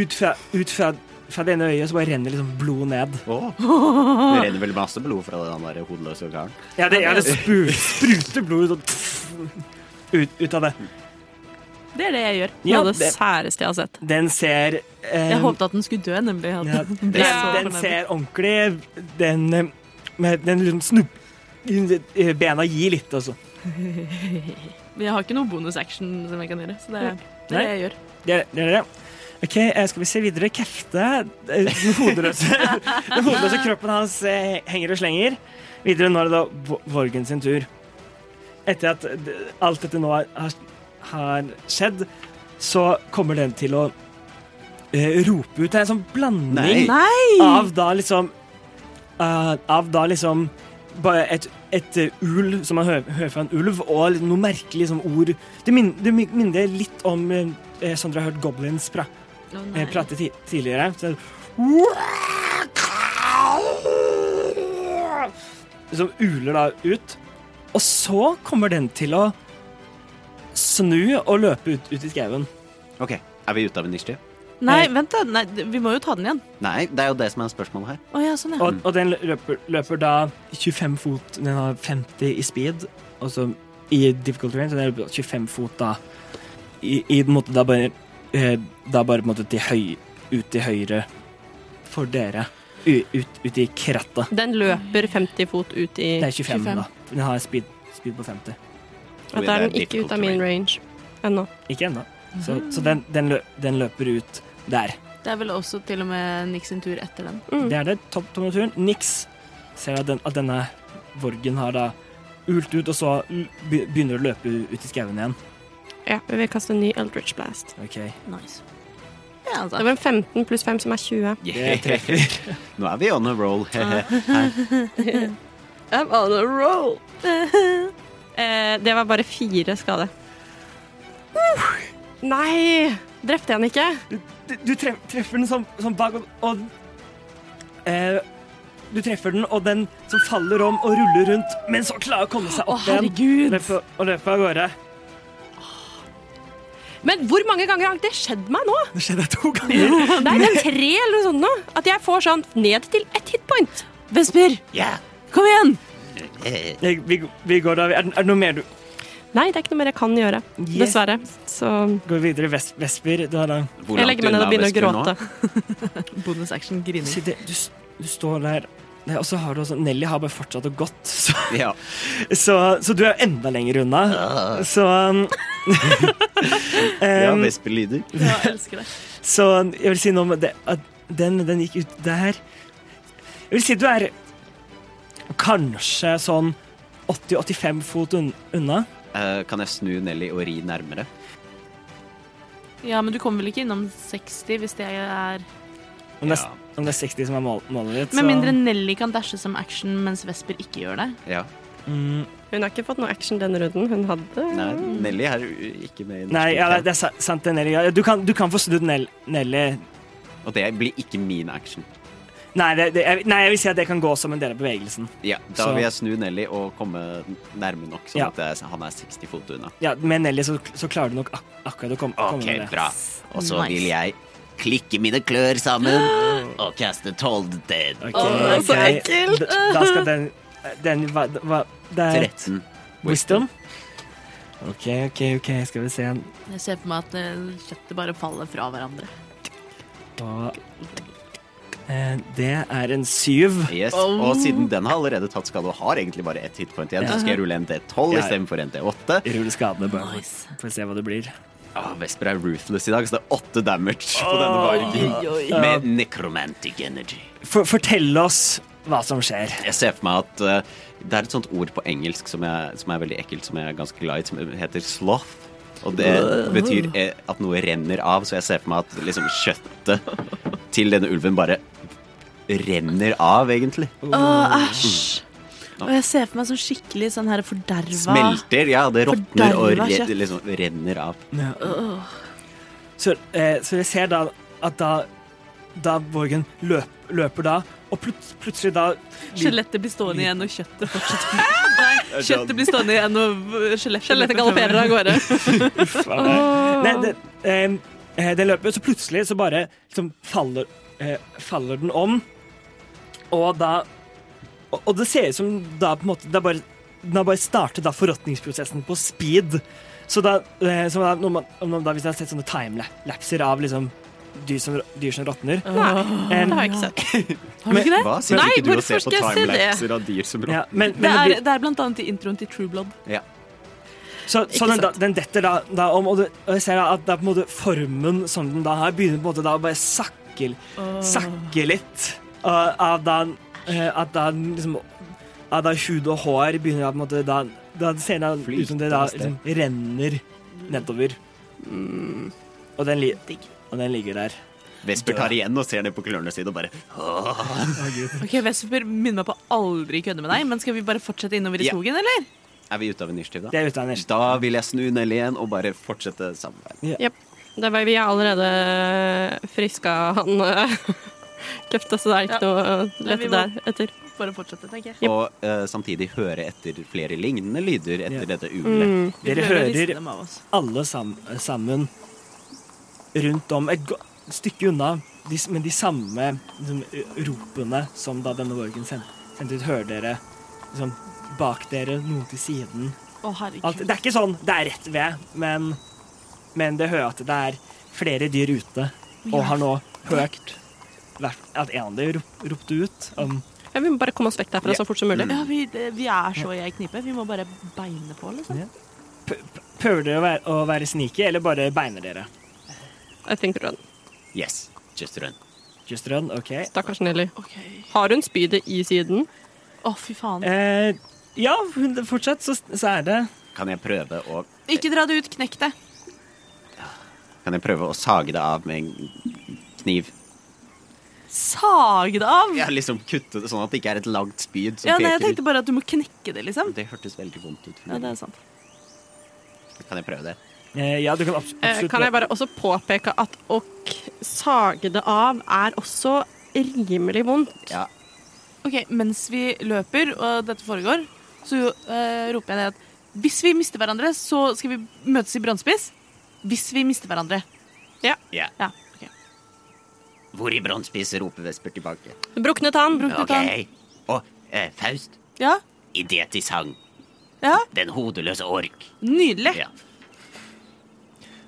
ut, fra, ut fra, fra det ene øyet, så bare renner liksom blod ned. Åh. Det renner vel masse blod fra den der hodeløse karen. Ja, det, ja, det spru, spruter blod sånn, ut, ut av det. Det er det jeg gjør. Ja, noe av det det, særeste jeg har sett. den ser eh, Jeg håpet at den skulle dø, nemlig. At ja, den, ble så den fornærmet. ser ordentlig Den, eh, med, den liksom snup, eh, Bena gir litt, altså. Men jeg har ikke noe bonus action som jeg kan gjøre. Så det er det, er Nei. det jeg gjør. Det er det. Er det. OK, eh, skal vi se videre. Kefte. eh, Den hodeløse, den hodeløse kroppen hans eh, henger og slenger. Videre nå er det da Vo- Vorgen sin tur. Etter at d- alt dette nå har- har, har skjedd, så kommer den til å eh, rope ut Det er en sånn blanding Nei! av da liksom eh, Av da liksom bare et, et eh, ul som man hø- hører fra en ulv, og litt- noe merkelig sånn ord. Det, min, det min- minner litt om eh, eh, sånn dere har hørt goblins pra, Å, eh, nei. prate ti, tidligere. Så, som liksom uler da ut. Og så kommer den til å snu og løpe ut, ut i skauen. OK, er vi ute av en nisje? Nei, vent, da. Nei, d- vi må jo ta den igjen. Nei, det er jo det som er spørsmålet her. Å ja, sånn, ja. Og, og den løper, løper da 25 fot Den har 50 i speed, og så i difficult range, så den løper 25 fot da i, i en måte da bare eh, Da bare på en måte til høy, ut til høyre for dere. U, ut, ut i krattet. Den løper 50 fot ut i Det er 25, 25. da. Den har speed, speed på 50. Ja, Da er den ikke ut av min range ennå. Ikke ennå. Så, så den, den, lø, den løper ut der. Det er vel også til og med Nick sin tur etter den. Mm. Det er det. Topp topp av turen. Niks ser at, den, at denne vorgen har da ult ut, og så be- begynner å løpe ut i skauen igjen. Ja, vi vil kaste en ny Eldritch Blast. Ok, Nice. Ja, Det altså. var en 15 pluss 5 som er 20. det treffer. Nå er vi on a roll. Ah. Her. I'm on a roll! eh, det var bare fire skade. Nei! Drepte jeg den ikke? Du, du tref, treffer den som, som bak, og, og eh, Du treffer den, og den som faller om og ruller rundt, men så klarer å komme seg opp igjen. herregud! Løper, og løper av gårde. Men hvor mange ganger har det skjedd meg nå? Det skjedde to ganger. Nei, det er tre eller noe sånt nå. At jeg får sånn ned til ett hitpoint. Vesper, Ja. kom igjen! Eh, Jeg, vi, vi går da Er, det- er det noe mer du Nei, det er ikke noe mer jeg kan gjøre. Yeah. Dessverre. Så Går videre, Ves- Vesper? Du, har da, Hvor jeg langt legger meg ned unna og begynner å Vesper nå? gråte. Bonus action griner. sitter, du, s- du står der, Nei, og så har du også Nelly har bare fortsatt og gått, så Ja. Så, så du er jo enda lenger unna. Så um, ja, um, Vesper lider. Ja, jeg elsker det. Så jeg vil si noe om det, at den, den gikk ut der. Jeg vil si du er kanskje sånn 80-85 fot un unna. Eh, kan jeg snu Nelly og ri nærmere? Ja, men du kommer vel ikke innom 60 hvis det er Om det, Ja. er, om det er 60 som er mål målet ditt, Med mindre Nelly kan dashe som action mens Vesper ikke gjør det. Ja. mm, Hun har ikke fått noe action denne runden. Hun hadde Nei, Nelly er jo ikke med i norsk Nei, ja, det, utgave. det er sa- sant, det, Nelly. Ja, Du kan, du kan få snudd Nell Nelly. Og det blir ikke min action. Nei, det, det, jeg, nei, jeg vil si at det kan gå som en del av bevegelsen. Ja, da Så- vil jeg snu Nelly og komme nærme nok, sånn Ja. at jeg, han er 60 fot unna. Ja, Med Nelly så, så klarer du nok ak akkurat å komme, komme Ok, med det. bra. Og så Nice. vil jeg klikke mine klør sammen og kaste tolv dead. Ok, Åh, så grei. ekkelt. Da, da skal den, den hva, hva, Det er 13. wisdom. OK, OK, ok, skal vi se. Jeg ser for meg at eh, kjøttet bare faller fra hverandre. Og, eh, det er en syv. Yes. Og siden den har allerede tatt skade og har egentlig bare ett hitpoint igjen, så skal jeg rulle en D12 Ja. istedenfor en D8. Rull skadene, bare Nice. for å se hva det blir. Ah, Vesper er ruthless i dag, så det er åtte damage på denne vargen. Med necromantic energy. For, fortell oss hva som skjer. Jeg ser for meg at eh, det er et sånt ord på engelsk som, jeg, som er veldig ekkelt, som jeg er ganske glad i, som heter sloth. Og det betyr eh, at noe renner av, så jeg ser for meg at liksom kjøttet til denne ulven bare renner av, egentlig. Å, Mm. æsj. Og jeg ser for meg sånn skikkelig sånn her forderva Smelter, ja, det råtner og Forderva re kjøtt. liksom renner av. Så, eh, så jeg ser da at da, da Borgen løp, løper da, og plut, plutselig da Skjelettet blir stående igjen, og kjøttet fortsetter. Nei, kjøttet blir stående igjen, og øh, skjelettet Skjelettet galopperer av gårde. Uff, faen. Nei, det, em, eh, den løper, så plutselig så bare liksom faller, eh, faller den om. Og da Og, og det ser ut som da på en måte det er bare, Den har bare startet da forråtningsprosessen på speed. Så da, eh, så da når man, om man da hvis jeg har sett sånne timelapser av liksom dyr som, dyr som råtner Nei, det har jeg ikke sett. Har du ikke det? Hva syns Nei, ikke du å se hvorfor på skal jeg se det? timelapser av dyr som ja, men, men Det det er, blir, det er blant annet i introen til True Blood. Ja. så så den, da, den detter da, da om, og, det, og jeg ser da at da på en måte formen som den da har, begynner på en måte da å bare sakke sakke litt. Og at da, eh, at da liksom at da hud og hår begynner å på en måte Da, da ser det Flyte ut som det da et sted. liksom, renner nedover. Og, den li og den ligger der. Vesper tar igjen og ser ned på klørne sine og bare Ok, Vesper, minn meg på aldri kødde med deg, men skal vi bare fortsette innover i Ja. skogen, eller? Er vi ute av initiativ, Det da? er ute av energi. Da vil jeg snu Nelly igjen og bare fortsette samarbeidet. Jep. Det var, vi er allerede friska han eh, Køfta, eh, så det er ikke noe å lette vi må- der etter. bare fortsette, tenker jeg. Og eh, samtidig høre etter flere lignende lyder etter dette ulet. Mm. Vi Dere prøver å riste hører dem av oss. alle sam sammen rundt om et go- stykke unna, de, s- men de samme liksom, ø- ropene som da denne Vorgen sendte sendt ut, hører dere liksom, bak dere, noe til siden. Å, herregud. Alt, det er ikke sånn, det er rett ved, men, men det hører at det er flere dyr ute, og har nå hørt hvert- at en av dem rop, ropte ut. Um, Ja, vi må bare komme oss vekk derfra så fort som mulig. Ja, Mm. vi, det- vi er så i ei knipe. Vi må bare beine på, liksom. Ja. p- p- prøver dere å være, å være sneaky, eller bare beiner dere? I think run. Yes, just run. Just run, OK. Stakkars Nelly. OK. Har hun spydet i siden? Å, fy faen. Eh, ja, hun- fortsatt så, så er det Kan jeg prøve å Ikke dra det ut. Knekk det. Kan jeg prøve å sage det av med en kniv? Sag det av! Jeg har liksom kuttet det sånn at det ikke er et langt spyd som Ja, nei, jeg peker tenkte bare at du må knekke det, liksom. ut. Det hørtes veldig vondt ut. For Ja, meg. det er sant. Kan jeg prøve det? eh, Ja, du kan abs Eh, absolutt Kan jeg bare også påpeke at å k- sage det av er også rimelig vondt. Ja. Ok, Mens vi løper, og dette foregår, så eh, roper jeg ned at hvis vi mister hverandre, så skal vi møtes i brannspiss. Hvis vi mister hverandre. ja. Ja, ok. Hvor i brannspis roper Vesper tilbake? Brukne tann. OK. Og eh, Faust, Ja, idé til sang. ja. Den hodeløse ork. Nydelig. Ja.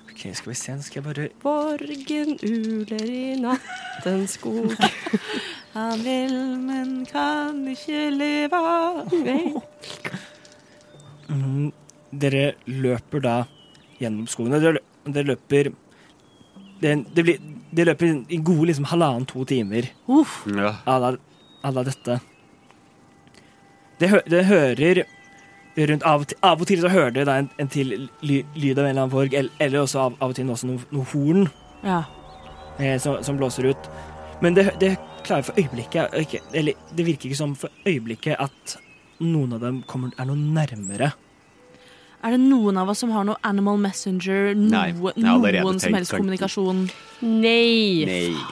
Ok, skal vi se, nå skal jeg bare Borgen uler i nattens skog. Han vil, men kan ikke leve. Oh. Nei. Mm, Dere løper da gjennom skogen. og Dere, lø- dere løper det, det blir, Dere løper i gode liksom halvannen-to timer Uff. Ja. à la- à la dette. Det, hø, det hører rundt av og, til, av og til så hører dere da en, en til ly, lyd av en eller annen forg, eller, eller også av, av og til også noe, noe horn Ja. eh, som, som blåser ut. Men det, det klarer for øyeblikket ikke, Eller det virker ikke som for øyeblikket at noen av dem kommer, er noe nærmere. Er det noen av oss som har noe Animal Messenger, Nei, noe, jeg har allerede noen som tenkt helst tanken. kommunikasjon? Nei. Nei.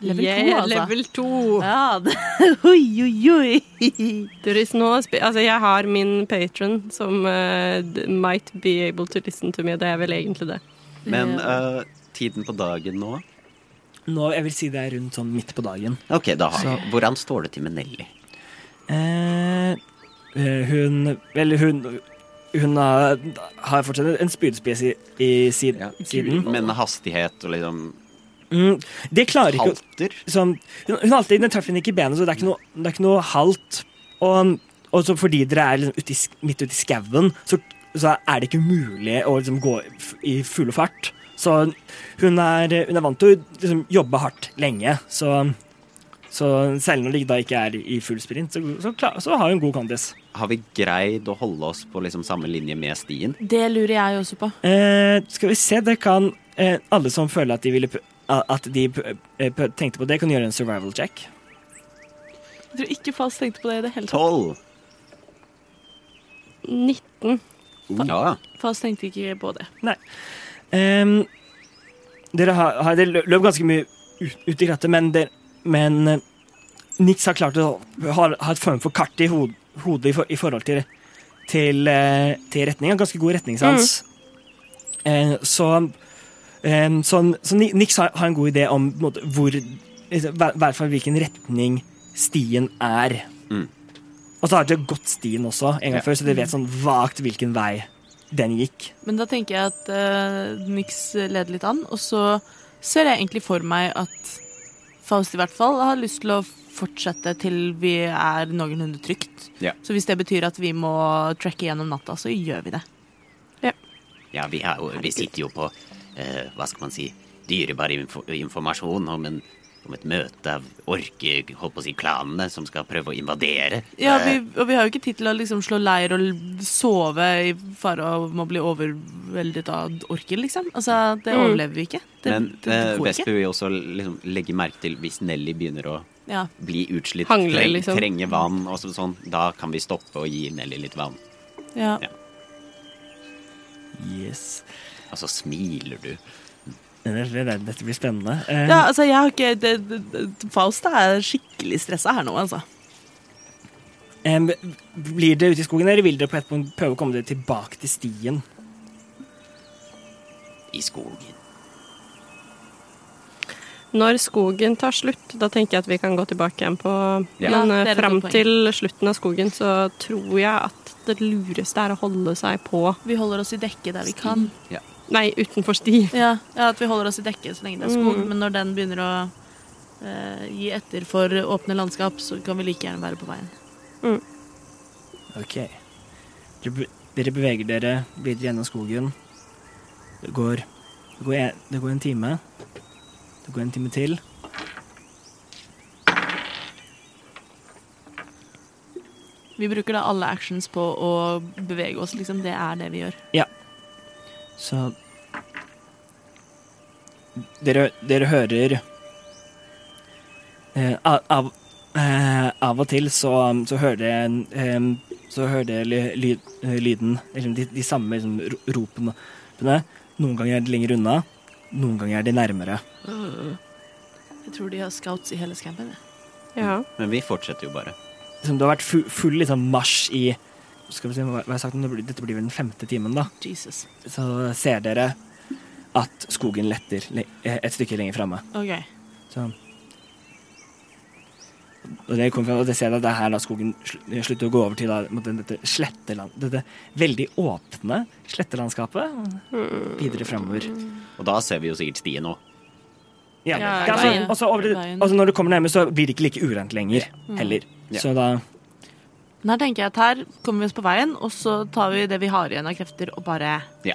Level Yeah, 2, altså. Level 2. Ja, det, oi, oi, oi. There is no spe- altså, jeg har min patron som eh, d- might be able to listen to me. Det er vel egentlig det. Men eh, tiden på dagen nå Nå, jeg vil si det er rundt sånn midt på dagen. OK, da har jeg. Hvordan står det til med Nelly? Eh, eh, hun Eller hun Hun har, har fortsatt en spydspiss i, i siden. siden. Men hastighet og liksom Mm, det klarer ikke å- halter? sånn, Hun, hun har alltid den treffer henne ikke i benet, så det er ikke noe, det er ikke noe halt. Og, og så fordi dere er liksom ute i, sk- midt ute i skauen, så, så er det ikke mulig å liksom gå i f- i full fart. Så hun er, hun er vant til å liksom, jobbe hardt lenge, så, så selv når de da ikke er i full sprint, så, så, klar, så har hun god kondis. Har vi greid å holde oss på liksom samme linje med stien? Det lurer jeg også på. Eh, skal vi se, det kan eh, alle som føler at de, ville, pr- at de pr- eh, pr- tenkte på det, kan gjøre en survival check. Jeg tror ikke Fast tenkte på det i det hele tatt. Tolv! 19. Ja. Fast tenkte ikke på det. Ehm, dere har, har dere lø- løp ganske mye ut, ut i krattet, men, dere- men eh, Nix har klart å ha, ha et form for kart i hod, hodet i, for, i forhold til, til, eh, til retninga. Ganske god retningssans. Mm. Eh, så eh, sånn- så Ni- Nix har, har en god idé om på en måte, hvor I hvert fall hvilken retning stien er. Mm. Og så har dere gått stien også en gang Ja. før, så dere vet sånn vagt hvilken vei den gikk. Men da tenker jeg at uh, Nix leder litt an, og så ser jeg egentlig for meg at Faust i hvert fall har lyst til å fortsette til vi er noenlunde trygt. Ja. Så hvis det betyr at vi må trekke gjennom natta, så gjør vi det. Ja, vi, har, jo- vi sitter jo på eh, hva skal man si, dyrebar info informasjon om, en, om et møte av orke, holdt på å si, klanene som skal prøve å invadere. Ja, Eh, vi, Og vi har jo ikke tid til å liksom slå leir og l- sove i fare om å bli overveldet av orker, liksom. Altså, det Mm. overlever vi ikke. Det, men det, det eh, går ikke. Vesper vil jo også liksom, legge merke til hvis Nelly begynner å Ja. bli utslitt, Hangle, treng, liksom. trenge vann og så- sånn, da kan vi stoppe og gi Nelly litt vann. ja. Ja. Yes. Og så Altså, smiler du. Det- det- Dette blir spennende. Eh, Ja, altså, jeg har ikke det, det, det, Faust er skikkelig stressa her nå, altså. Em, blir det ute i skogen, eller vil dere på et punkt prøve å komme dere tilbake til stien? i skogen. Når skogen tar slutt, da tenker jeg at vi kan gå tilbake igjen på Ja. Men Ja, eh, det er et fram godt poeng. til slutten av skogen så tror jeg at det lureste er å holde seg på Vi holder oss i dekke der vi kan. Nei, utenfor sti. Ja, ja at vi holder oss i dekke så lenge det er skog. Mm. Men når den begynner å eh, gi etter for åpne landskap, så kan vi like gjerne være på veien. Ok. Dere, be- dere beveger dere videre gjennom skogen. Det går, det, går en, det går en time. Det går en time til. Vi bruker da alle actions på å bevege oss, liksom. Det er det vi gjør. Så Dere, dere hører eh, av, av, eh, av og til så, så hører dere en, em, Så hører dere ly, lyd, eh, lyden Eller de, de samme liksom, ro- ropene. Noen ganger er de lenger unna, noen ganger er de nærmere. Jeg tror de har scouts i hele scampen. jeg. Ja. Men vi fortsetter jo bare. Liksom, det har vært full, full liksom, marsj i skal vi se, hva hva har jeg sagt, nå? Det blir- Dette blir vel den femte timen, da. Jesus. Så ser dere at skogen letter le- eh, et stykke lenger framme. OK. Sånn. Og det kommer fra, og det ser jeg at det er her da skogen sl- slutter å gå over til da, mot den- dette sletteland, dette veldig åpne slettelandskapet Hmm. videre fremover. Og da ser vi jo sikkert stien nå. Ja, Ja, ja, veien. så- og så altså over til- Veien. og så når du kommer nærmere, så blir det ikke like urent lenger heller. Ja. Så da Men her tenker jeg at her kommer vi oss på veien, og så tar vi det vi har igjen av krefter, og bare Ja.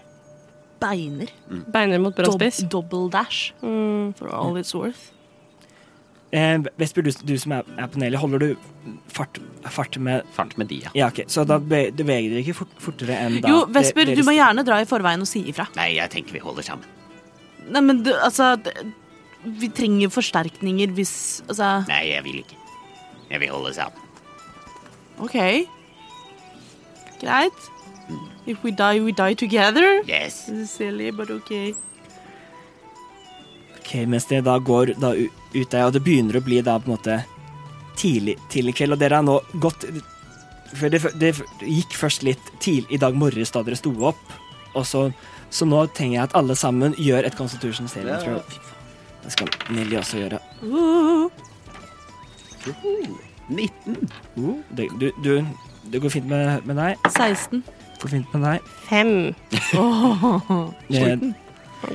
beiner. Beiner mot Dob brødspiss. double dash Mm. for all it's worth. eh, Vesper, du, du som er, er på panelet, holder du fart, fart med Fart med dia. Ja, OK, så da be- du beveger dere ikke fort, fortere enn da Jo, Vesper, de- du må deres- gjerne dra i forveien og si ifra. Nei, jeg tenker vi holder sammen. Nei, men du, altså d- Vi trenger forsterkninger hvis Altså, Nei, jeg vil ikke. Jeg vil holde sammen. OK. Greit. If we die, we die together. Yes. This is silly, but OK. Ok, mens det da går da u- ut der, og det begynner å bli da på en måte tidlig, tidlig kveld, og dere har nå gått for det, det gikk først litt tidlig i dag morges da dere sto opp, og så, så nå trenger jeg at alle sammen gjør et Constitution saving throw. Det skal Nelly også gjøre. Uh, 19. Uh, det, du, du, det går fint med, med deg. 16. Går fint med deg. Fem. Eh,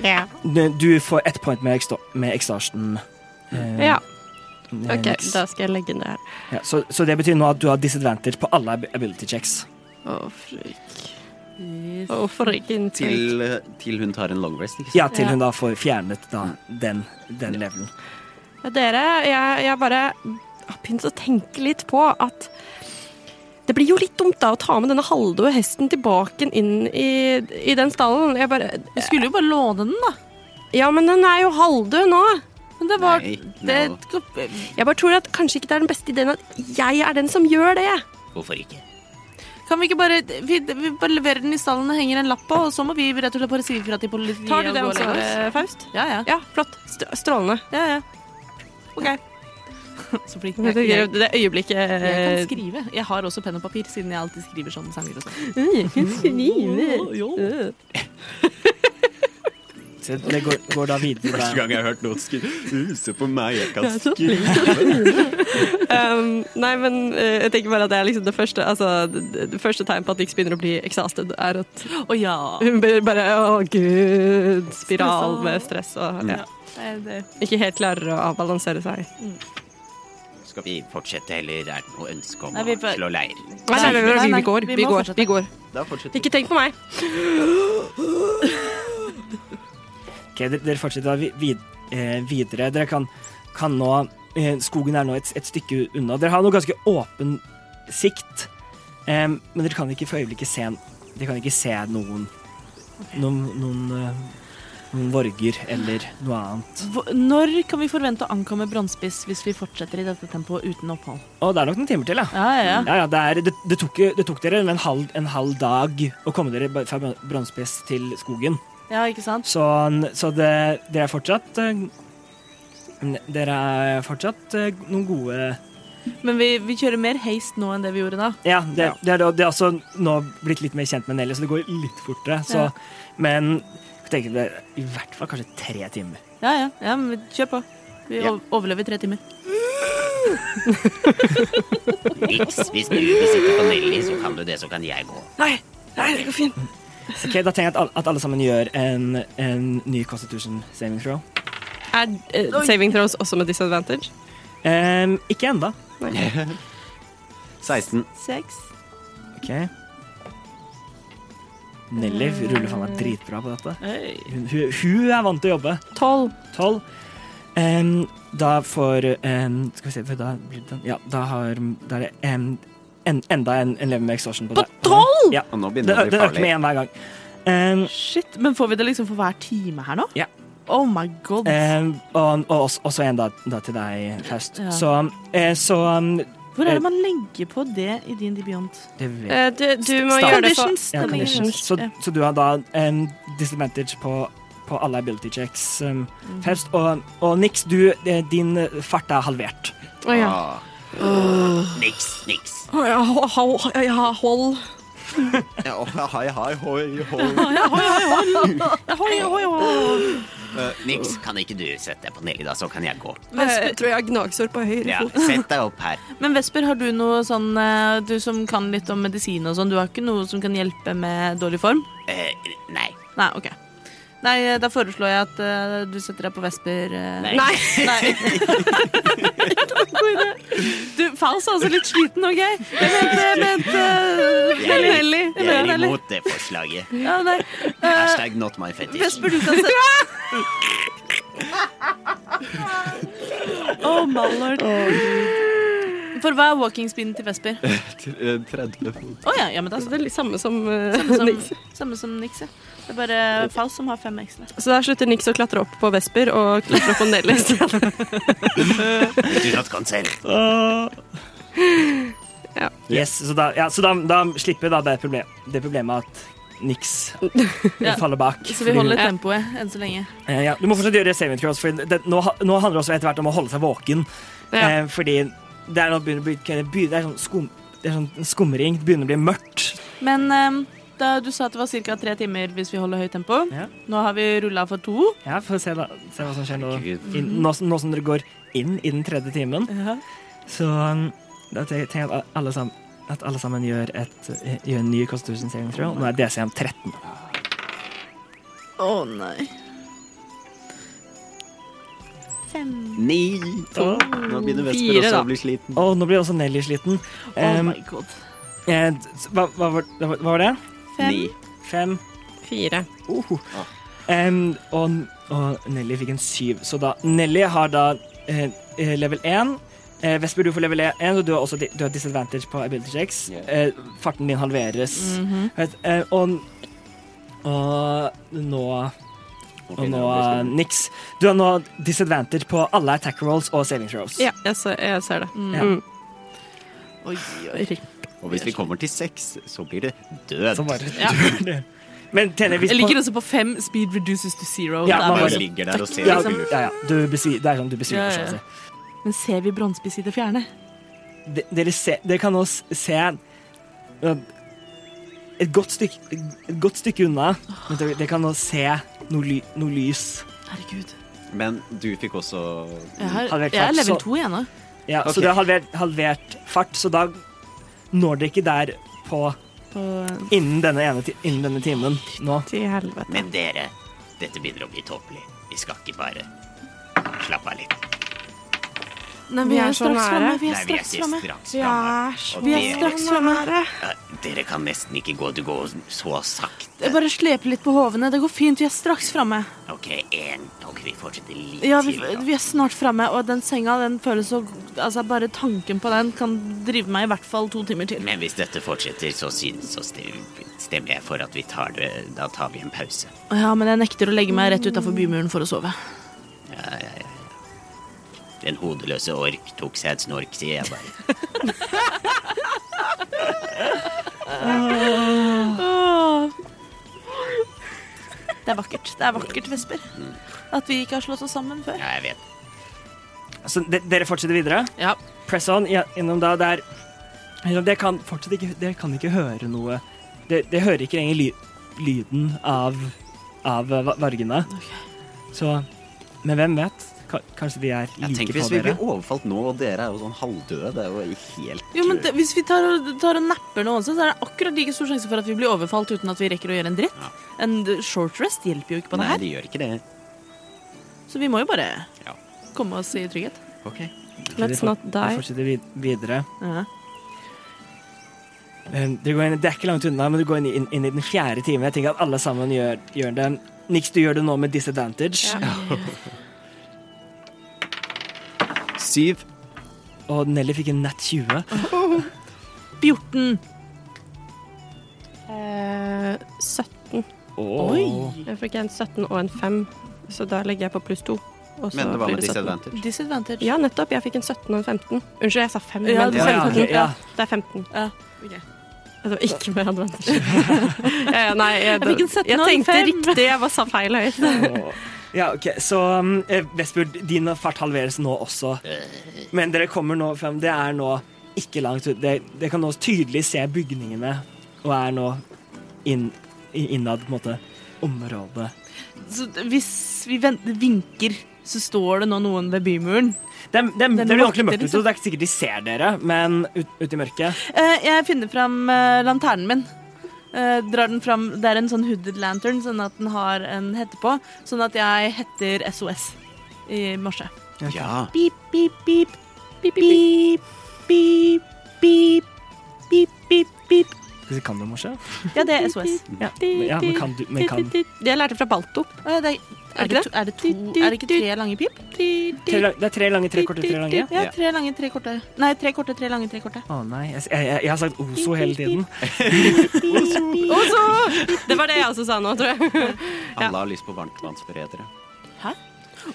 Ja. du- Du får ett point med, eksta, med ekstasjen. eh, ja. eh, OK, Nix. da skal jeg legge ned her. Ja, så, så det betyr nå at du har disadvantage på alle ab- ability checks. Å, frik. Å, frikken frik. Til, til hun tar en long rest, ikke sant? Ja, til Ja. hun da får fjernet da den, den levelen. Ja, Dere, jeg, jeg bare har begynt å tenke litt på at det blir jo litt dumt da å ta med denne halvdøde hesten tilbake inn i, i den stallen. Jeg bare Vi skulle jo bare låne den, da. Ja, men den er jo halvdød nå. Men det var Nei, det, nå. Jeg bare tror at kanskje ikke det er den beste ideen at jeg er den som gjør det. Hvorfor ikke? Kan vi ikke bare vi, vi bare leverer den i stallen og henger en lapp på, og så må vi rett og slett bare si ifra til politiet? Tar du og det gå og legge oss? ansvaret, Faust? Ja, ja. Ja, flott. St strålende. ja, ja. OK. Så flink. Det, Jeg, jeg, det øyeblikket eh, jeg kan skrive. Jeg har også penn og papir, siden jeg alltid skriver sånne sanger. og sånn. Mm. Eh, Mm. Så det går, går da videre. da. gang jeg har hørt noen skrive "Uh, Se på meg, jeg kan Um, nei, men eh, jeg tenker bare at det er liksom det første altså, det, det første tegn på at Dix begynner å bli exhausted, er at Å ja. hun blir bare Å, gud! Spiral med stress og ja. Nei, Eh, det ikke helt klarer å avbalansere seg. Skal vi fortsette, eller er det noe ønske om Nei, vi å får- slå leir? Nei, nei, nei, nei, Nei, nei, vi går. vi Vi må går. fortsette. Vi går. Da fortsetter Ikke tenk på meg. Ok, dere, dere fortsetter da vi- vid, eh, videre. Dere kan, kan nå eh, Skogen er nå et, et stykke unna. Dere har nå ganske åpen sikt, em, men dere kan ikke for øyeblikket se Dere kan ikke se noen noen, noen, eh, noen vorger eller noe annet. Hvor- Når kan vi forvente å ankomme Brannspiss hvis vi fortsetter i dette tempoet uten opphold? Mm. Å, det er nok noen timer til, ja. Ja, ja, ja. Ja, ja, det, er, det, det, tok, det tok dere en halv, en halv dag å komme dere ba- fra Brannspiss til skogen. ja ikke sant? Så, så det, dere er fortsatt eh, n- Dere er fortsatt eh, noen gode Men vi, vi kjører mer haste nå enn det vi gjorde da. Ja, det, Det, er, da- det er også nå blitt litt mer kjent med Nelly, så det går litt fortere. Så, Ja. Men jeg tenker det er i hvert fall kanskje tre timer. Ja, ja, ja men vi- kjør på. Vi Ja. ov- overlever i tre timer. Niks. Hvis du vil sitte på Nelly, så kan du det, så kan jeg gå. Nei, nei, det går fint. Ok, Da tenker jeg at, alle- at alle sammen gjør en, en ny Constitution saving throw. Er eh, saving throws også med disadvantage? Ehm, ikke ennå. 16. Seks. Ok. Nelly ruller faen meg dritbra på dette. Hey. Hun, hun, hun er vant til å jobbe. Tolv. Tolv. Ehm, da får ehm, Skal vi se for da, blir det den- ja, da, har, da er det ehm, en, enda en, en level med exhaustion på, På det. tolv?! Ja. Og nå Det, begynner det å det bli øker med farlig. én hver gang. Ehm, Shit, men får vi det liksom for hver time her nå? Ja. Oh my god. ehm, og og også, også en da, da til deg, Faust. Ja. Så, eh, så um, Hvor er det man legger på det i D&D Beyond? det vet Eh, du, du må Sta- gjøre det for Ja, conditions. Så, Ja. så du har da en disadvantage på, på alle ability checks. Um, Mm. Faust. Og, og Nix, du, eh, din eh, fart er halvert. Å ja. Ah. Niks, niks. Å, ja, ho- ho- ja, ja, hold. Ja, og hei, hei, hoi, hoi. Hoi, hoi, hoi. Niks, Eh, kan ikke du sette deg på Nelly, da, så kan jeg gå. Vesper tror jeg har gnagsår på høyre Ja, fot. Sett deg opp her. Men Vesper, har du noe sånn eh, Du som kan litt om medisin og sånn, du har ikke noe som kan hjelpe med dårlig form? Eh, nei. Nei, OK. Nei, eh, da foreslår jeg at eh, du setter deg på Vesper. eh. Nei. Nei, Nei. God idé. Du, Faust er altså litt sliten, OK? Jeg mente, jeg mente eh, Jeg er- Nelly. Jeg Jeg er mente Nelly. imot det forslaget. Ja, nei. Eh, Hashtag not my fetish. Vesper, du kan se Oh my lord. For hva er walking speeden til Vesper? Å 30 fot. ja, ja, men da altså, det er litt samme som, eh, samme Nix. som, samme som Nix, ja. Det er bare Faust som har fem ekstra. Så der slutter Nix å klatre opp på Vesper og klatre opp på Nelly. Do not consent. Ah. Yes, så da, ja, så da, da slipper da det, problem, det problemet at Nix Ja. faller bak. Så vi holder Fordi tempoet enn så lenge. hun- eh, ja, du må fortsatt gjøre saving throws, for det, nå, ha- nå handler det også etter hvert om å holde seg våken. Ja. Eh, fordi det er, nå begynner, å bli- det er sånn skum... Det er sånn skumring. Det begynner å bli mørkt. Men ehm, da du sa at det var ca. tre timer hvis vi holder høyt tempo. Ja. Nå har vi rulla for to. Ja, Få se, da- se hva som skjer nå. Herregud. Inn, nå, som- nå som dere går inn i den tredje timen. Så um, da te- tenker jeg at alle sammen, at alle sammen gjør, et, eh, gjør en ny Constitution saving throw. Nå er DCM 13. Å nei. Fem. Ni. To. Nå begynner Vesper Fire, også da. å bli sliten. Og nå blir også Nelly sliten. Oh Um, my god. eh, s- hva, hva, var, hva var det? Fem. Ni. Fem. Fire. Um, og, og Nelly fikk en syv. Så da Nelly har da eh, eh, level 1. Eh, Vesper, du får level 1, og du har også di- du har disadvantage på ability checks. Yeah. Eh, farten din halveres. Mm. Mhm. Vet- eh, og, og nå Og nå eh, niks. Du har nå disadvantage på alle attack rolls og saving throws. Ja, jeg ser, jeg ser det. Ja. Mm. Oi, oi. Og hvis vi kommer til seks, så blir det død. Så bare Ja. Men tjener hvis Jeg liker også på fem. Speed reduces to zero. Ja, Det er man Bare bare- sånn. bare- ligger der og ser ja, oss i luften. ja, ja. Du besvi, det er sånn du besvimer. Ja, ja, sånn å ja. si. Men ser vi bronsebiss i det fjerne? De- Dere, se, dere kan nå s- se eh, et godt stykke, et godt stykke unna, men dere, dere kan nå se noe, ly, noe lys. Herregud. Men du fikk også Jeg, har, Hadde vært jeg er fart, level så- to igjen nå. Ja, Ok. Så dere har halvert, halvert fart, så da når dere ikke der på På innen denne, ene, ti- innen denne timen nå. Til helvete. Men dere, dette begynner å bli tåpelig. Vi skal ikke bare slappe av litt. Nei, vi er straks framme, Vi Nei, vi er ikke straks framme. Og Vi det- er straks framme. Ja, Dere kan nesten ikke gå. Du går så sakte. Bare slepe litt på hovene. Det går fint. Vi er straks framme. OK, én. Ok, vi fortsetter litt Ja, vi, til. da. vi er snart framme, og den senga den føles så Altså, bare tanken på den kan drive meg i hvert fall to timer til. Men hvis dette fortsetter, så, synes, så stem- stemmer jeg for at vi tar det Da tar vi en pause. Ja, men jeg nekter å legge meg rett utafor bymuren for å sove. Ja, ja, ja. Den hodeløse ork tok seg et snork, sier jeg bare. Det er vakkert. Det er vakkert, Vesper. At vi ikke har slått oss sammen før. Ja, jeg vet. Så de, dere fortsetter videre? Ja. Press on ja, innom da der Dere kan fortsatt ikke, dere kan ikke høre noe Dere, dere hører ikke lenger ly, lyden av, av eh, va- vargene. Så Men hvem vet? Ka- Kanskje de er Jeg like tenker på Hvis vi dere. blir overfalt nå, og dere er jo sånn halvdøde Det er jo helt Jo, men det, Hvis vi tar og, tar og napper noe også, så er det akkurat like stor sjanse for at vi blir overfalt uten at vi rekker å gjøre en dritt. Ja. En d- short rest hjelper jo ikke på det Nei, her, de gjør ikke det. så vi må jo bare Ja. komme oss i trygghet. Ok. Let's Dere not fort- Dere die. fortsetter vid, videre. Ja. Um, dere går inn, det er ikke langt unna, men du går inn, inn, inn i den fjerde timen. Jeg tenker at alle sammen gjør, gjør det. Nix, du gjør det nå med disadvantage. Syv. Og Nelly fikk en nett 20. 14. Eh, 17. Oi! Jeg fikk en 17 og en 5, så da legger jeg på pluss 2. Og så Men det var blir med 17. disadvantage. Disadvantage. Ja, nettopp. Jeg fikk en 17 og en 15. Unnskyld, jeg sa 5. Ja, men du sa ja, 17. ok, ja. Det er 15. Ja, Det var ikke med advantage. ja, ja, nei, jeg, Jeg fikk en 17 jeg og en tenkte 5. riktig, jeg bare sa feil høyt. Ja, ok, så um, eh, Vestbjørn, din fart halveres nå også. Men dere kommer nå frem. Det er nå ikke langt ut. Dere dere kan nå tydelig se bygningene og er nå inn, i- innad på en måte området. Så d- hvis vi vent- vinker, så står det nå noen ved bymuren. Det det- det blir vakter ordentlig mørkt ute, liksom. så det er ikke sikkert de ser dere, men ut- ute i mørket Eh, jeg finner fram eh, lanternen min. Eh, drar den fram. Det er en sånn hooded lantern, sånn at den har en hette på. Sånn at jeg heter SOS i morse. Ja. Beep, beep, beep. Beep, beep, beep. Beep, beep, beep, beep. Hvis kan du morse? Ja, det er SOS. Ja, men, ja, men kan du men kan. Jeg lærte fra Balto. Å ja, det er, Er er, det det ikke to, er det to Er det ikke tre lange pip? Tre, lang- Det er tre lange, tre korte, tre lange. Ja, tre lange, tre korte. Nei, tre korte, tre lange, tre korte. Å nei, jeg, jeg, jeg- jeg har sagt Ozo hele tiden. Ozo! Det var det jeg også sa nå, tror jeg. Alle har lyst på varmtvannsberedere.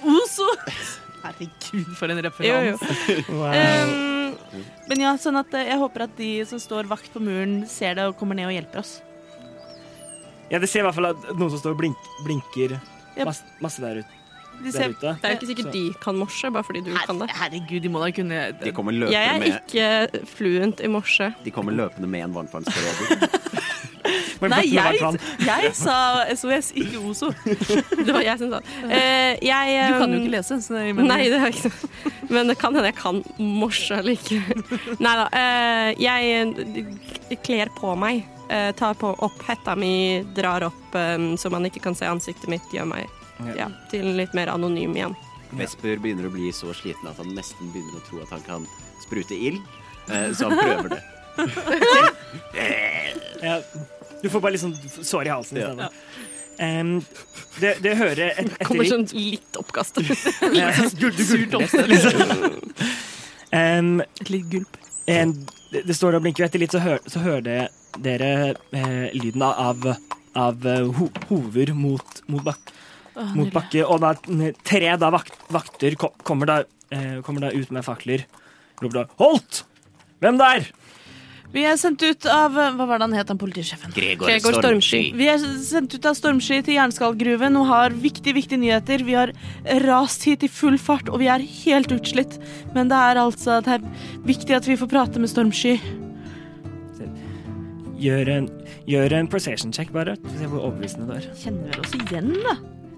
Ozo! Herregud, for en Jo, referanse. jo. Wow. Um, Men ja, sånn at eh, jeg håper at de som står vakt på muren, ser det og kommer ned og hjelper oss. Ja, det ser i hvert fall at noen som står og blink, blinker Ja. masse, masse der, ut, De der ser, ute. det er jo ikke sikkert de kan morse, bare fordi du kan det. Her- herregud, de må da kunne De kommer løpende, Jeg er med, ikke fluent i morse. de kommer løpende med en varmtvannsbereder. Men Nei, Bjarte, hva jeg, er planen? jeg sa SOS, ikke Ozo. Det var jeg som sa det. Eh, jeg, Du kan jo um, ikke lese. Så det, men, Nei, det har jeg ikke noe Men det kan hende jeg kan morse likevel. Nei da. eh, jeg eh, kler på meg. eh, tar på opp hetta mi, drar opp eh, så man ikke kan se ansiktet mitt, gjør meg ja, til litt mer anonym igjen. Vesper begynner å bli så sliten at han nesten begynner å tro at han kan sprute ild, eh, så han prøver det. Ja, du får bare liksom sår i halsen i Ja. stedet. Em, det, det hører et, Kommer etter sånn litt oppkast. Ja, gul- du gulper nesten, liksom. Em, Et litt gulp. en, det, det står og blinker. Etter litt så, hør, så hører det, dere eh, lyden av, av eh, ho, hover mot, mot, bak, Å, mot nydelig. bakke. Og da, n- tre da vakt, vakter ko, kommer, da, eh, kommer da ut med fakler. Roper da 'Holdt! Hvem der?' Vi er sendt ut av eh, Hva var det han het, han politisjefen? Gregor, Gregor Stormsky. Vi er sendt ut av Stormsky til Jernskallgruven og har viktige, viktige nyheter. Vi har rast hit i full fart, og vi er helt utslitt. Men det er altså det er viktig at vi får prate med Stormsky. Gjør en, gjør en procession check, bare. Se hvor overbevisende du er. Kjenner vel oss igjen, da?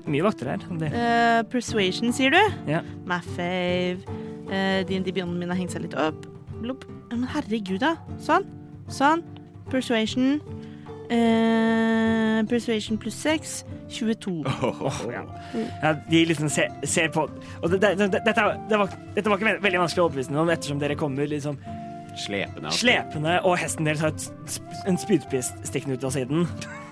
Mye vakter her. Det. Eh, persuasion, sier du? Ja. My fave. Eh, D&D Beyond min har hengt seg litt opp. Blubb. Ja, Men herregud, da. Sånn. Sånn. Persuasion. Eh, persuasion pluss 6. 22. Ja, de liksom ser, ser på Og det, det, det, dette, er- det var, dette var ikke ve- veldig vanskelig å overbevise noen om, ettersom dere kommer liksom Slepende. altså. slepende, og hesten deres har et, sp- en spydspiss stikkende ut av siden.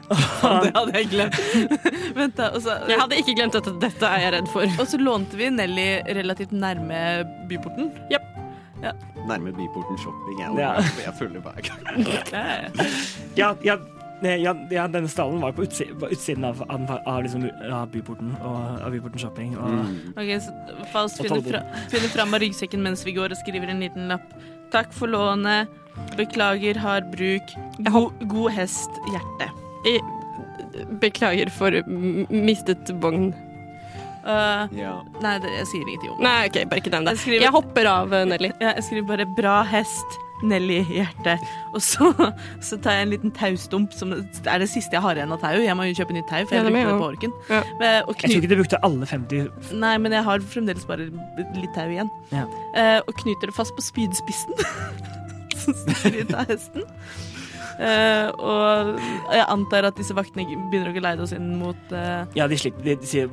Det hadde jeg glemt. Vent, da. Og så, Jeg hadde ikke glemt dette. Dette er jeg redd for. og så lånte vi Nelly relativt nærme byporten. Nærme byporten shopping. Jeg, Ja. jeg følger bak. Ja, ja, ne, ja, ja denne stallen var på utsi- på utsiden av, av, av, liksom, av byporten og av byporten shopping. Og, Mm. Ok, så Faust Og finner, fra, Talbot. finner fram av ryggsekken mens vi går og skriver en liten lapp. Takk for lånet. Beklager hard bruk. God, god hest, hjerte. Jeg beklager for m- mistet vogn. Eh, Ja. nei, det, jeg sier ingenting om det. Nei, ok, bare ikke den der. Jeg skriver- Jeg hopper av, eh, Nelly. Ja, Jeg skriver bare 'bra hest', Nelly i hjertet. Og så, så tar jeg en liten taustump, som er det siste jeg har igjen av tau. Jeg må jo kjøpe nytt tau, for jeg Ja, det brukte må jeg det på også. orken. Ja. Men- Og Jeg tror kny ikke du brukte alle 50 nei, men jeg har fremdeles bare litt tau igjen. Ja. Eh, og knyter det fast på spydspissen, som stikker ut av hesten. Eh, og jeg antar at disse vaktene begynner å geleide oss inn mot eh, Ja, de slipper De, de sier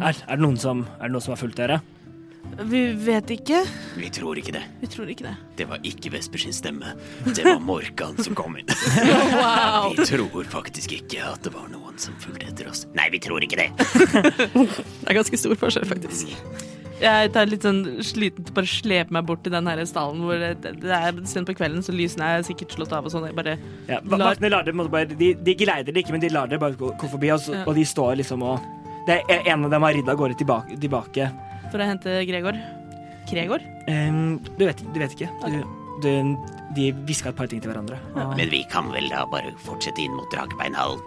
er, er, det noen som, er det noen som har fulgt dere? Vi vet ikke. Vi tror ikke det. Vi tror ikke det. Det var ikke Vespers stemme. Det var Morkan som kom inn. Wow. Vi tror faktisk ikke at det var noen som fulgte etter oss. Nei, vi tror ikke det. Det er ganske stor forskjell, faktisk. Jeg tar litt sånn slitent bare sleper meg bort til den her stallen hvor det, det er sent på kvelden, så lysene er sikkert slått av og sånn. Jeg bare Ja, va- Lar- vaktene lar det, på en måte bare, de, de geleider det ikke, men de lar det bare gå, gå forbi, og, så, Ja. og de står liksom og det er En av dem har ridd av gårde tilbake. tilbake. For å hente Gregor. Gregor? Ehm, du, vet, du vet ikke. Du, du, de hviska et par ting til hverandre. Og, Men vi kan vel da bare fortsette inn mot Dragbeinhallen.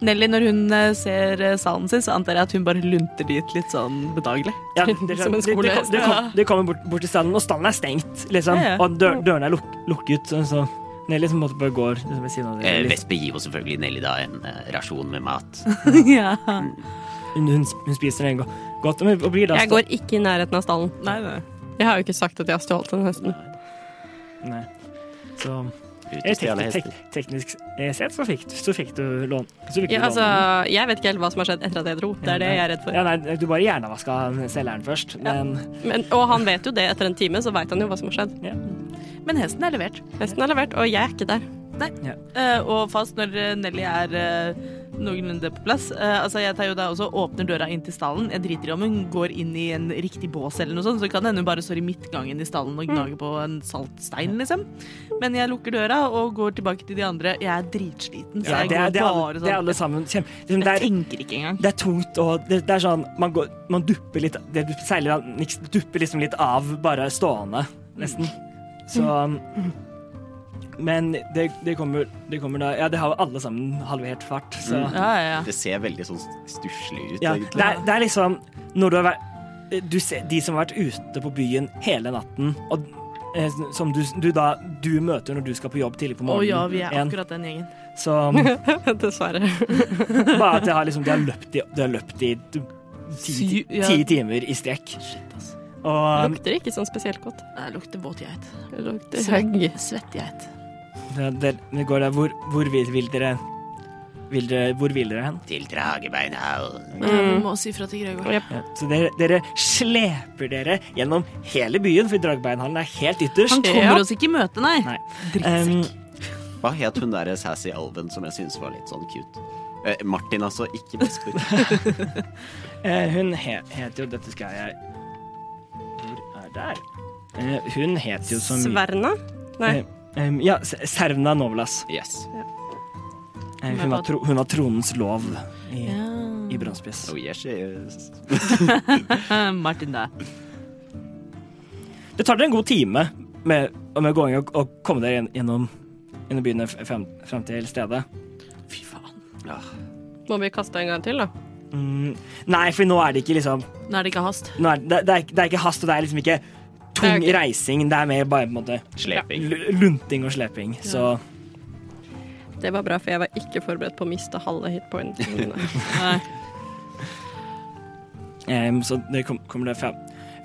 Nelly, når hun eh, ser eh, stallen sin, så antar jeg at hun bare lunter dit litt sånn bedagelig. ja, det, Som en det- det kom- skolehest, det kom- ja. De kommer bort, bort til stallen, og stallen er stengt, liksom. Ja, ja. Og dør, dørene er luk, lukket. Så, så Nelly som måtte bare går liksom, ved siden av Eh, dere. litt. Vesper gir jo selvfølgelig Nelly da en eh, rasjon med mat. ja. Hun, hun, hun spiser den go- godt men- og blir da Jeg sta- går ikke i nærheten av stallen. Nei, nei. Jeg har jo ikke sagt at jeg har stjålet den hesten. Nei. Så Ut eh, og stjele tek, tek, hester. teknisk eh, sett så fikk, så fikk du lån. Så fikk du Ja, altså, låne den. jeg vet ikke helt hva som har skjedd etter at jeg dro. Det er det jeg er redd for. Ja, nei, du bare hjernevaska selgeren først, men Men, og han vet jo det etter en time, så veit han jo hva som har skjedd. Men hesten er levert. Hesten er levert, og jeg er ikke der. Eh, og fast når eh, Nelly er eh, noenlunde på plass. Eh, altså Jeg tar jo da også åpner døra inn til stallen. Jeg driter i om hun går inn i en riktig bås, eller noe sånt, så kan det hende hun bare står i midtgangen i stallen og gnager på en saltstein, liksom. Men jeg lukker døra og går tilbake til de andre. Jeg er dritsliten, så ja, jeg det, er, går det, er alle, bare det er alle sånn. sammen kjem- liksom, det, Jeg er, tenker ikke engang. det er tungt, og det, det er sånn Man, går, man dupper litt det, du- Særlig da, Nix dupper liksom litt av, bare stående, nesten. Så Men det, det, kommer, det kommer da Ja, det har jo alle sammen halvert fart, så Ja, ja, ja. Det ser veldig sånn stusslig ut, ja, det, egentlig. er, det er liksom Når du har vært du ser, De som har vært ute på byen hele natten, og eh, som du, du da Du møter når du skal på jobb tidlig på Å morgenen. ja, vi er igjen. akkurat den gjengen. Så Dessverre. bare at de har, liksom, de har løpt i, de har løpt i ti, Sy- ja. ti timer i strekk. Shit, ass. Og um, Lukter ikke sånn spesielt godt. Det lukter våt geit. Det Lukter høgg. Svett geit. det, det, det går der hvor, hvor vil, vil dere vil dere, hvor vil dere hen? Til Dragbeinhallen. Mm. Jeg Må si ifra til Gregor. Jep. Ja, så dere, dere sleper dere gjennom hele byen, for Dragbeinhallen er helt ytterst. Han kommer oss ikke i møte, nei. Nei. Drittsekk. Um, Hva het hun derre sassy alven som jeg syns var litt sånn cute? Eh, Martin, altså. Ikke Vesper. eh, hun he, heter jo Dette skal jeg Hvor er der? Eh, hun heter jo som Sverna? Nei. um, Ja, S- Servna Novlas. Yes. Eh, hun, har tro, hun har tronens lov i, i Ja. Bronsepiss. Oh, yes, yes. Eh, Martin, da. Det tar dere en god time med, med gåing og, og komme dere gjen- gjennom, gjennom byen f- frem, frem til stedet. Fy faen. Må vi kaste en gang til, da? Mm, nei, for nå er det ikke liksom Nå er det ikke hast. nå er, det, det, er, ikke- det er ikke hast, og det er liksom ikke tung Det er ikke- reising. Det er mer bare på en måte Sleping. l- lunting og sleping. Så Det var bra, for jeg var ikke forberedt på å miste halve hitpointene. Ehm, så det kom, kommer det fram,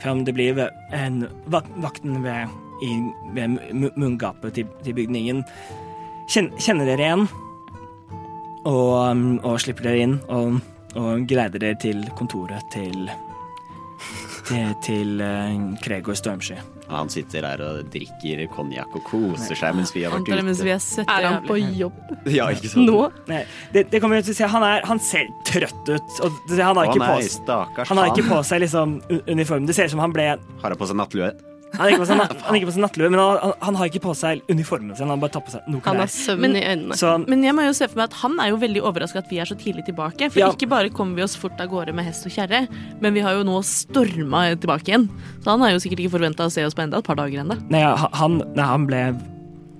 fram det blir ved- en, vak, vakten ved, i, ved mu- munngapet til, til bygningen. Kjen, kjenner dere igjen, og, um, og slipper dere inn, og, og greider dere til kontoret til til, til eh, Kregor Stormsky. Han sitter der og drikker konjakk og koser seg mens vi har vært Antar det mens vi ute. er søtte Er han på jævlig. jobb Ja, ikke sant? nå? Nei, det, det kommer jeg til å si. Han, er, han ser trøtt ut. Og det- han har, Å ikke, nei, på, stakkars han har ikke faen. på seg liksom, u- uniform. Det ser ut som han ble Har han på seg nattlue? Han har ikke på seg, na- han har ikke på seg nattlue, men han, han, han har ikke på seg uniformen sin. Han bare tar på seg noe Han har klær. søvn Men- i øynene. Så Men jeg må jo se for meg at han er jo veldig overraska at vi er så tidlig tilbake. For Ja. ikke bare kommer vi oss fort av gårde med hest og kjerre, men vi har jo nå storma tilbake igjen. Så han er jo sikkert ikke forventa å se oss på enda et par dager ennå. nei, han, nei, han ble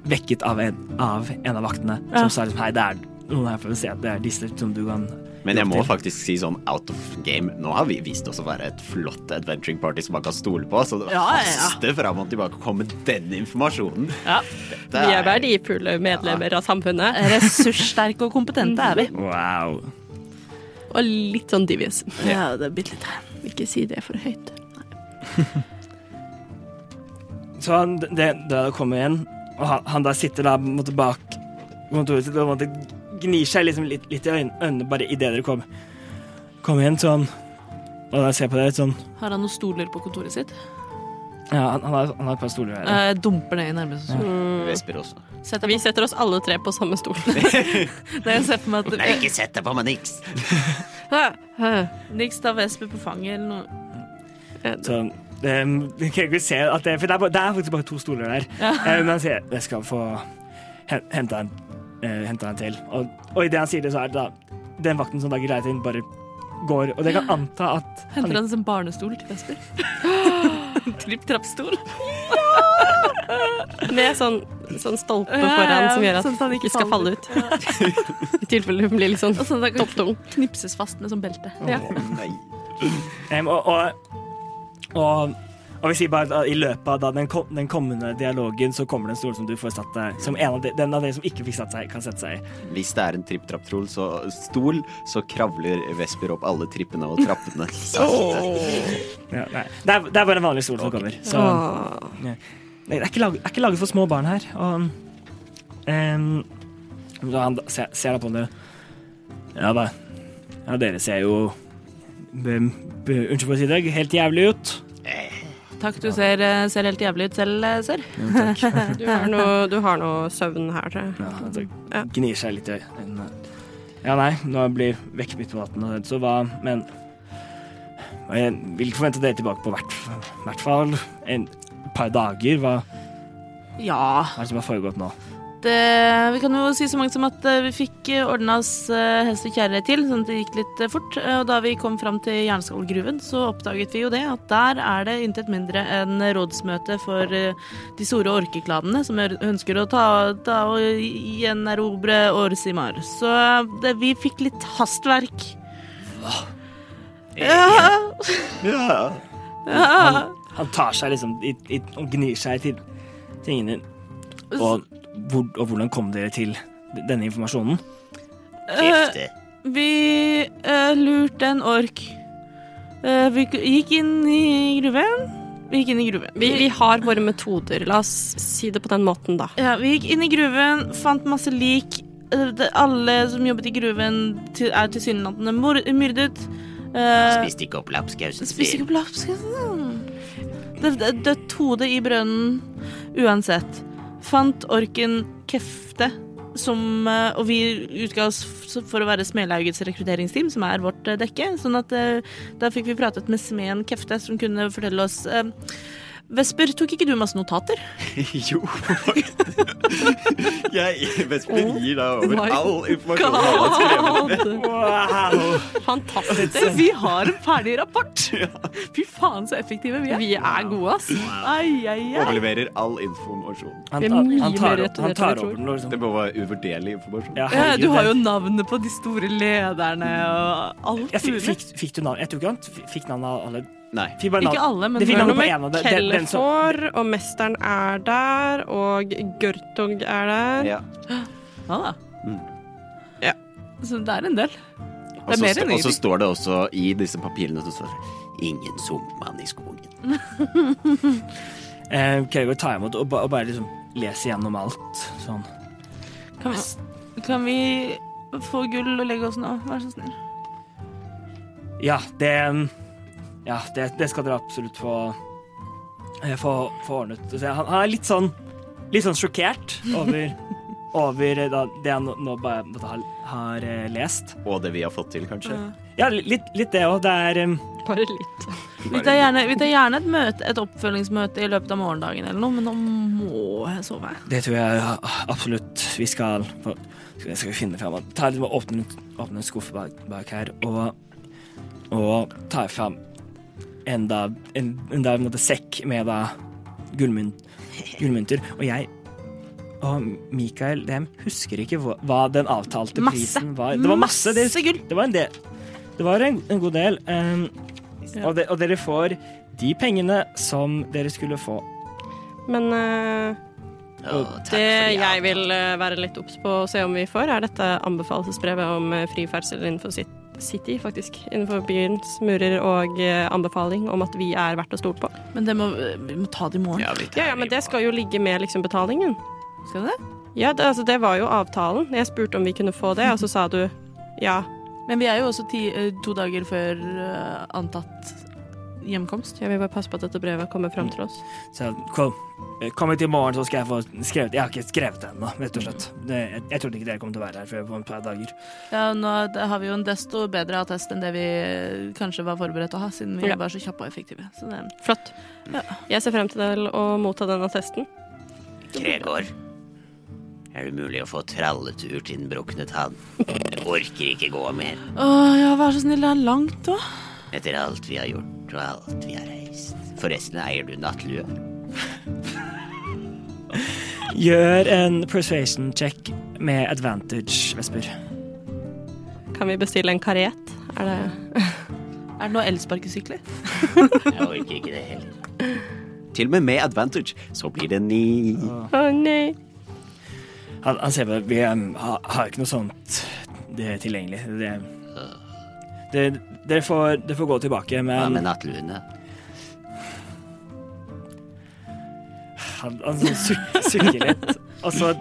vekket av en av, en av vaktene Ja. som sa liksom, hei, det er, noen her for å se at det er disse som du kan Men jeg hjelpe må til. faktisk si sånn out of game. Nå har vi vist oss å være et flott adventuring party som man kan stole på, så det Ja, ja, ja. haster fram og tilbake å komme med den informasjonen. Ja. Det Vi er verdifulle medlemmer av samfunnet. Eh. Ressurssterke og kompetente er vi. Wow. Og litt sånn divies. Ja, det er bitte litt Vil ikke si det for høyt. Så han, det, det er å komme igjen, og han, han der sitter da på en måte bak kontoret sitt og på en måte gnir seg liksom litt, litt i øyn- øynene bare idet dere kom. Kom igjen, sånn. Og da ser jeg på dere sånn Har han noen stoler på kontoret sitt? Ja, han, han, har, han har et par stoler her. Eh, dumper ned i nærmeste stol. Vesper også. Setter Vi på. setter oss alle tre på samme stol. Det jeg ser for meg Nei, at ikke sett deg på meg, Nix! Niks tar Vesper på fanget eller noe. Så um, vi kan ikke se at det For det er, bare, det er faktisk bare to stoler der. Eh, men han sier jeg skal få hen- hente en, eh, hente en til. Og, og idet han sier det, så er det da den vakten som lager leiligheten, bare går. Og det kan anta at han Henter han en barnestol til Vesper? Tripp-trapp-stol? Med sånn, sånn stolpe Ja, ja, foran som ja, gjør at sånn at han ikke ikke skal falle faller. ut. I tilfelle hun blir litt sånn Og sånn at han kan topptung. knipses fast med sånn belte. Nei. Em, ehm, og, og, og, og vi sier bare at i løpet av da den, kom, den kommende dialogen så kommer det en stol som du får satt deg Som en av de, den av dere som ikke fikk satt seg, kan sette seg i. Hvis det er en tripp-trapp-trol, så stol, så kravler Vesper opp alle trippene og trappene. Sakte. Ja, nei. det, er, det er bare en vanlig stol som kommer. Så Nei, det er ikke laget, er ikke laget for små barn her. Og, em, så han da- ser, ser da på det. Ja da. Ja, dere ser jo be, be, Unnskyld for å si det, helt jævlig ut. Takk, du ser, eh, ser helt jævlig ut selv, eh, ser. Du har noe, du har noe søvn her, tror jeg. Ja, han så Ja. gnir seg litt i øynene. Ja, nei, nå blir vekk midt på natten, og så hva Men men jeg vil ikke forvente dere tilbake på hvert, hvert fall en par dager. Hva Ja. er det som har foregått nå? Det, eh, vi kan jo si så mangt som at eh, vi fikk ordna oss eh, hest og kjerre til, sånn at det gikk litt eh, fort. Eh, Og da vi kom fram til Jernskallgruven, så oppdaget vi jo det at der er det intet mindre enn rådsmøte for eh, de store orkeklanene som ø- ønsker å ta, ta og gjenerobre Orsimar. Så eh, det, vi fikk litt hastverk. Ja. Ja. Han, han tar seg liksom i, i, og gnir seg til tingene. Og, hvor, og hvordan kom dere til denne informasjonen? Eh, Kjefte. Vi eh, lurte en ork. Eh, vi k- gikk inn i gruven. Vi gikk inn i gruven. Vi, vi har våre metoder. La oss si det på den måten, da. ja, vi gikk inn i gruven, fant masse lik. Eh, det, alle som jobbet i gruven, til, er tilsynelatende mor- myrdet. Uh, Spiste ikke opp lapskausen Spiste sin. ikke lapskausen. Det det- Dødt hode i brønnen. Uansett. Fant orken Kefte, som eh, Og vi utga oss f- for å være Smelaugets rekrutteringsteam, som er vårt eh, dekke. Sånn at eh, da fikk vi pratet med smeden Kefte, som kunne fortelle oss eh, Vesper, tok ikke du masse notater? Jo, faktisk. Jeg, Vesper gir deg over my all informasjon han har skrevet. Wow! Fantastisk. Vi har en ferdig rapport! Fy faen, så effektive vi er. Vi er gode, ass. Ai, ai, ai. Overleverer all informasjon. Han, Det er han, mye han, tar, mer opp- han rett tar enn jeg over den og Det liksom må være uvurderlig informasjon. ja, Ja, herregud, du har det- jo navnet på de store lederne og alt jeg fikk, mulig. fikk, fikk du navn? Jeg tror ikke han f- fikk navn av alle. Nei. Fikk bare navn. Ikke alle, men det fikk noen navn på en av Nummer dem. Den, den som Kellefår, og mesteren er der, og Gørtog er der. Ja. Ja da. Mm. Ja. Så det er en del. Og Det er så mer st- enn og så ingenting. står det også i disse papirene som står det, Ingen sumpmann i skogen. eh, Kregor tar imot og, ba, og bare liksom leser gjennom alt. Sånn. Kan vi, kan vi få gull og legge oss nå? Vær så snill. Ja, det mm, Ja, det, det skal dere absolutt få eh, Få, få ordnet. Så jeg- han, han er litt sånn Litt sånn sjokkert over, over eh, da, det han nå- nå bare måtte ha, har eh, lest. Og det vi har fått til, kanskje. Ja, li- litt, litt det òg. Det er mm, em, Bare litt. Vi tar gjerne, vi tar gjerne et, møte, et oppfølgingsmøte i løpet av morgendagen eller noe, men nå må jeg sove. Det tror jeg ja, absolutt vi skal få Det skal vi finne fram. Ta litt, åpne, åpne en skuff bak, bak her og, og ta fram en, da, en, en, da, en måte sekk med da gullmynt, gullmynter. Og jeg Og Mikael Dem husker ikke hva, hva den avtalte Masse. prisen var. Det var masse. Det, Masse gull. det var en del. Det var en, en god del. Um, Ja. og, de, og dere får de pengene som dere skulle få. Men eh, Å, takk for det de jeg vil eh, være litt obs på og se om vi får, er dette anbefalesbrevet om eh, fri ferdsel innenfor sit City, faktisk. Innenfor byens murer og eh, anbefaling om at vi er verdt å stole på. Men det må, vi må ta det i morgen. Ja, vi tar Ja, ja, men imot. det skal jo ligge med liksom betalingen. Skal vi det? Ja, det, altså, det var jo avtalen. Jeg spurte om vi kunne få det, og så sa du ja. Men vi er jo også ti, eh, to dager før eh, antatt hjemkomst. Jeg vil bare passe på at dette brevet kommer fram til oss. Så kom, kom hit i morgen, så skal jeg få skrevet Jeg har ikke skrevet det ennå, rett og slett. Det, jeg, jeg trodde ikke dere kom til å være her før på et par dager. Ja, nå har vi jo en desto bedre attest enn det vi eh, kanskje var forberedt å ha, siden vi Ja. var så kjappe og effektive. Så det, Flott. Jeg ser frem til å motta den attesten. Gregor, er det mulig å få tralletur til den brukne tann? Jeg orker ikke gå mer å ja, vær så snill, det er langt òg. etter alt vi har gjort og alt vi har reist. Forresten eier du nattlue. Gjør en persuasion check med advantage, Vesper. Kan vi bestille en karet? Er det Er det noen elsparkesykler? Jeg orker ikke det heller. Til og med med advantage, så blir det ni. Å nei. Han, han ser på det. Vi um, har, har ikke noe sånt det tilgjengelig. Det, det, dere, får, dere får gå tilbake, Hva men med nattluene? han, han sånn suk- sukker litt. Og så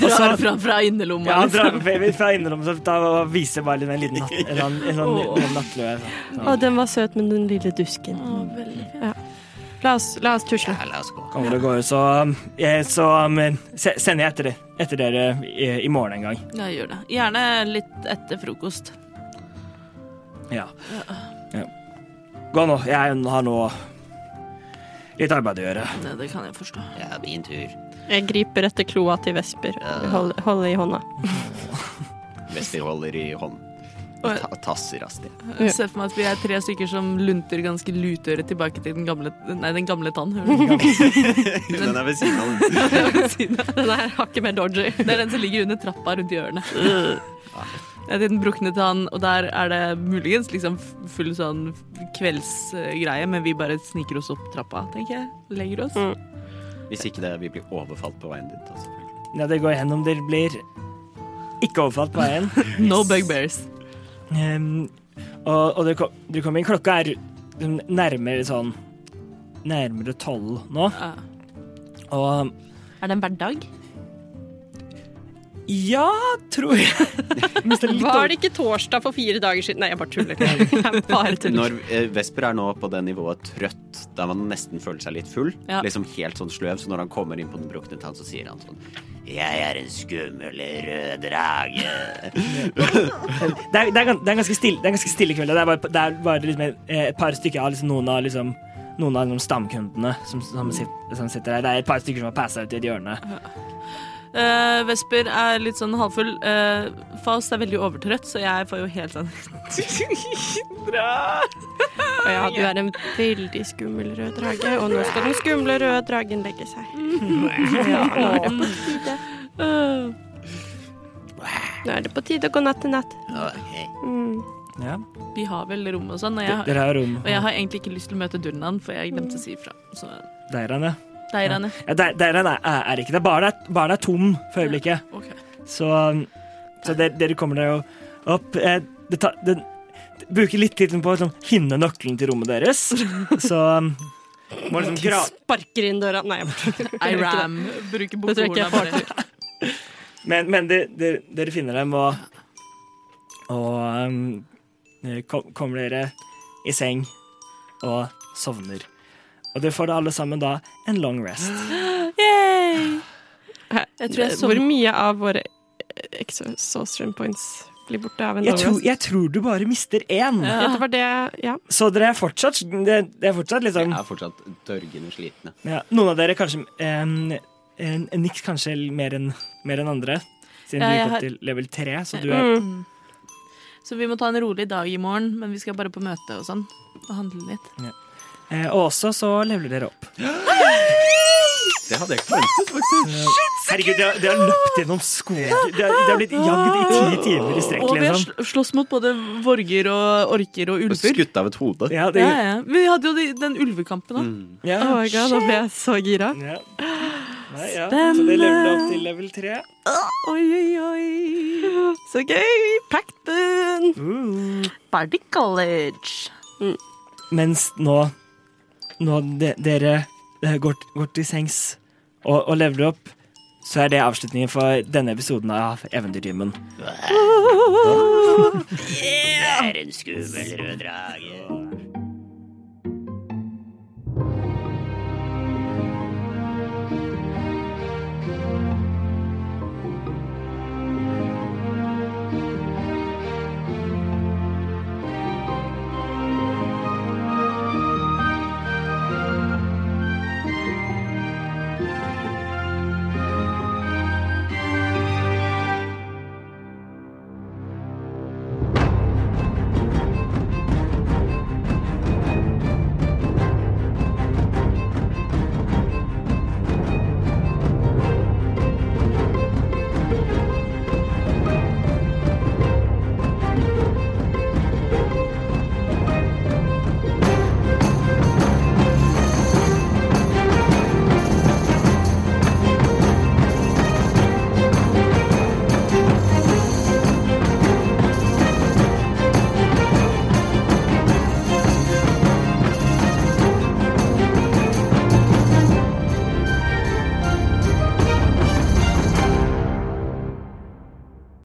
Drar fra, fra innerlomma. ja, han liksom. drar baby fra innerlommet så da viser bare litt en liten natt, en, sånn- en, sånn- en nattløe. sånn. Å, den var søt med den lille dusken. Å, veldig fint. La oss, la oss tusle. Ja, la oss gå. Kommer og går, så, um, jeg, så um, se, sender jeg etter, det- etter dere i, i morgen en gang. Ja, gjør det. Gjerne litt etter frokost. Ja. ja. Gå nå. Jeg har nå litt arbeid å gjøre. Det, det kan jeg forstå. Ja, min tur. Jeg griper etter kloa til Vesper. Hold, hold i hånda. Hvis vi holder i hånd. Og- Ta, tasser av sted. Ja. Jeg ser for meg at vi er tre stykker som lunter ganske lutøre tilbake til den gamle Nei, den gamle tann. hører du? Den er ved siden av den. Den er hakket mer dodgy. Det er den som ligger under trappa rundt hjørnet. Jeg er til den brukne tann, og der er det muligens liksom full sånn kveldsgreie, men vi bare sniker oss opp trappa, tenker jeg. Legger oss. Hvis ikke det, vi blir overfalt på veien dit. Altså. Ja, det går gjennom. Dere blir ikke overfalt på veien. No bugbears. Ehm, og og dere kom, dere kom inn. Klokka er mm, nærmere sånn Nærmere tolv nå. Ja. Og Er det en hverdag? ja, tror jeg Var det ikke torsdag for fire dager siden? Nei, jeg bare tuller. Jeg bare tuller. Når eh, Vesper er nå på det nivået trøtt, da man nesten føler seg litt full, Ja. liksom helt sånn sløv, så når han kommer inn på den brukne tann, så sier han sånn Jeg er en skummel rød drage. Det er, det er, gan- det er en ganske stille, det er en ganske stille kveld. og Det er bare, det er bare liksom et, et par stykker av liksom, noen av liksom noen av liksom, stamkundene som, som, sitter, som sitter der. Det er et par stykker som har passa ut i et hjørne. Eh, Vesper er litt sånn halvfull. Eh, Faust er veldig overtrøtt, så jeg får jo helt sånn Å ja, du er en veldig skummel rød drage, og nå skal den skumle røde dragen legge seg. Ja, nå er det på tide. Eh, Nå er det på tide å gå natt til natt. Ok. Ja. Vi har vel rom og sånn, og jeg, D- har- Dere har rom. og jeg har egentlig ikke lyst til å møte Durnan, for jeg glemte å si ifra. Så Deiran, ja. der er han, ja. ja der, Deiran er, er ikke det. Baren er, baren er tom for øyeblikket. Ok. Så, så dere, dere kommer dere jo opp. Eh, det ta, det, det bruker litt tid på å liksom, finne nøkkelen til rommet deres. Så um, må liksom gra Sparker inn døra. Nei, jeg bare I ram. Bruker Det tror jeg ikke bokhorna jeg får bare. til. Men, men de, de, dere finner dem, og, og um, dere kom, kommer dere i seng og sovner. Og dere får da alle sammen da en long rest. Jeg tror jeg så Eh, Hvor mye av våre eh, exhaustion points blir borte av en Jeg tror, dårlig jeg tror du bare mister én. Ja, det var det Ja. Så dere er fortsatt, det, det er fortsatt Jeg liksom er fortsatt dørgende slitne. Ja, noen av dere kanskje em, en, en Niks kanskje mer enn mer enn andre, siden Ja, du jeg gikk har- Mm. opp til level 3. Så du er Mm. Så vi må ta en rolig dag i morgen, men vi skal bare på møte og sånn. Og handle litt. eh, Og også så leveler dere opp. Det hadde jeg ikke forventet, faktisk. Shit, Herregud, de har, de har løpt gjennom skog. De har, de har blitt jagd i ti timer i strekk, Og vi har liksom. sl- slåss mot både vorger og orker og ulver. Skutt av et hode. Mm. Ja, det, Ja, ja. Vi hadde jo de- den ulvekampen da. ja. Oh my god, da ble jeg så gira. Ja. Nei, ja. Så det levelet opp til level 3. Oi, oi, oi. Så gøy! Pac-Man! Uh. Bardi College. Mens nå, nå de, dere eh, går, går til sengs og, og leveler opp, så er det avslutningen for denne episoden av Eventyrtimen. Det er en skummel rød drage.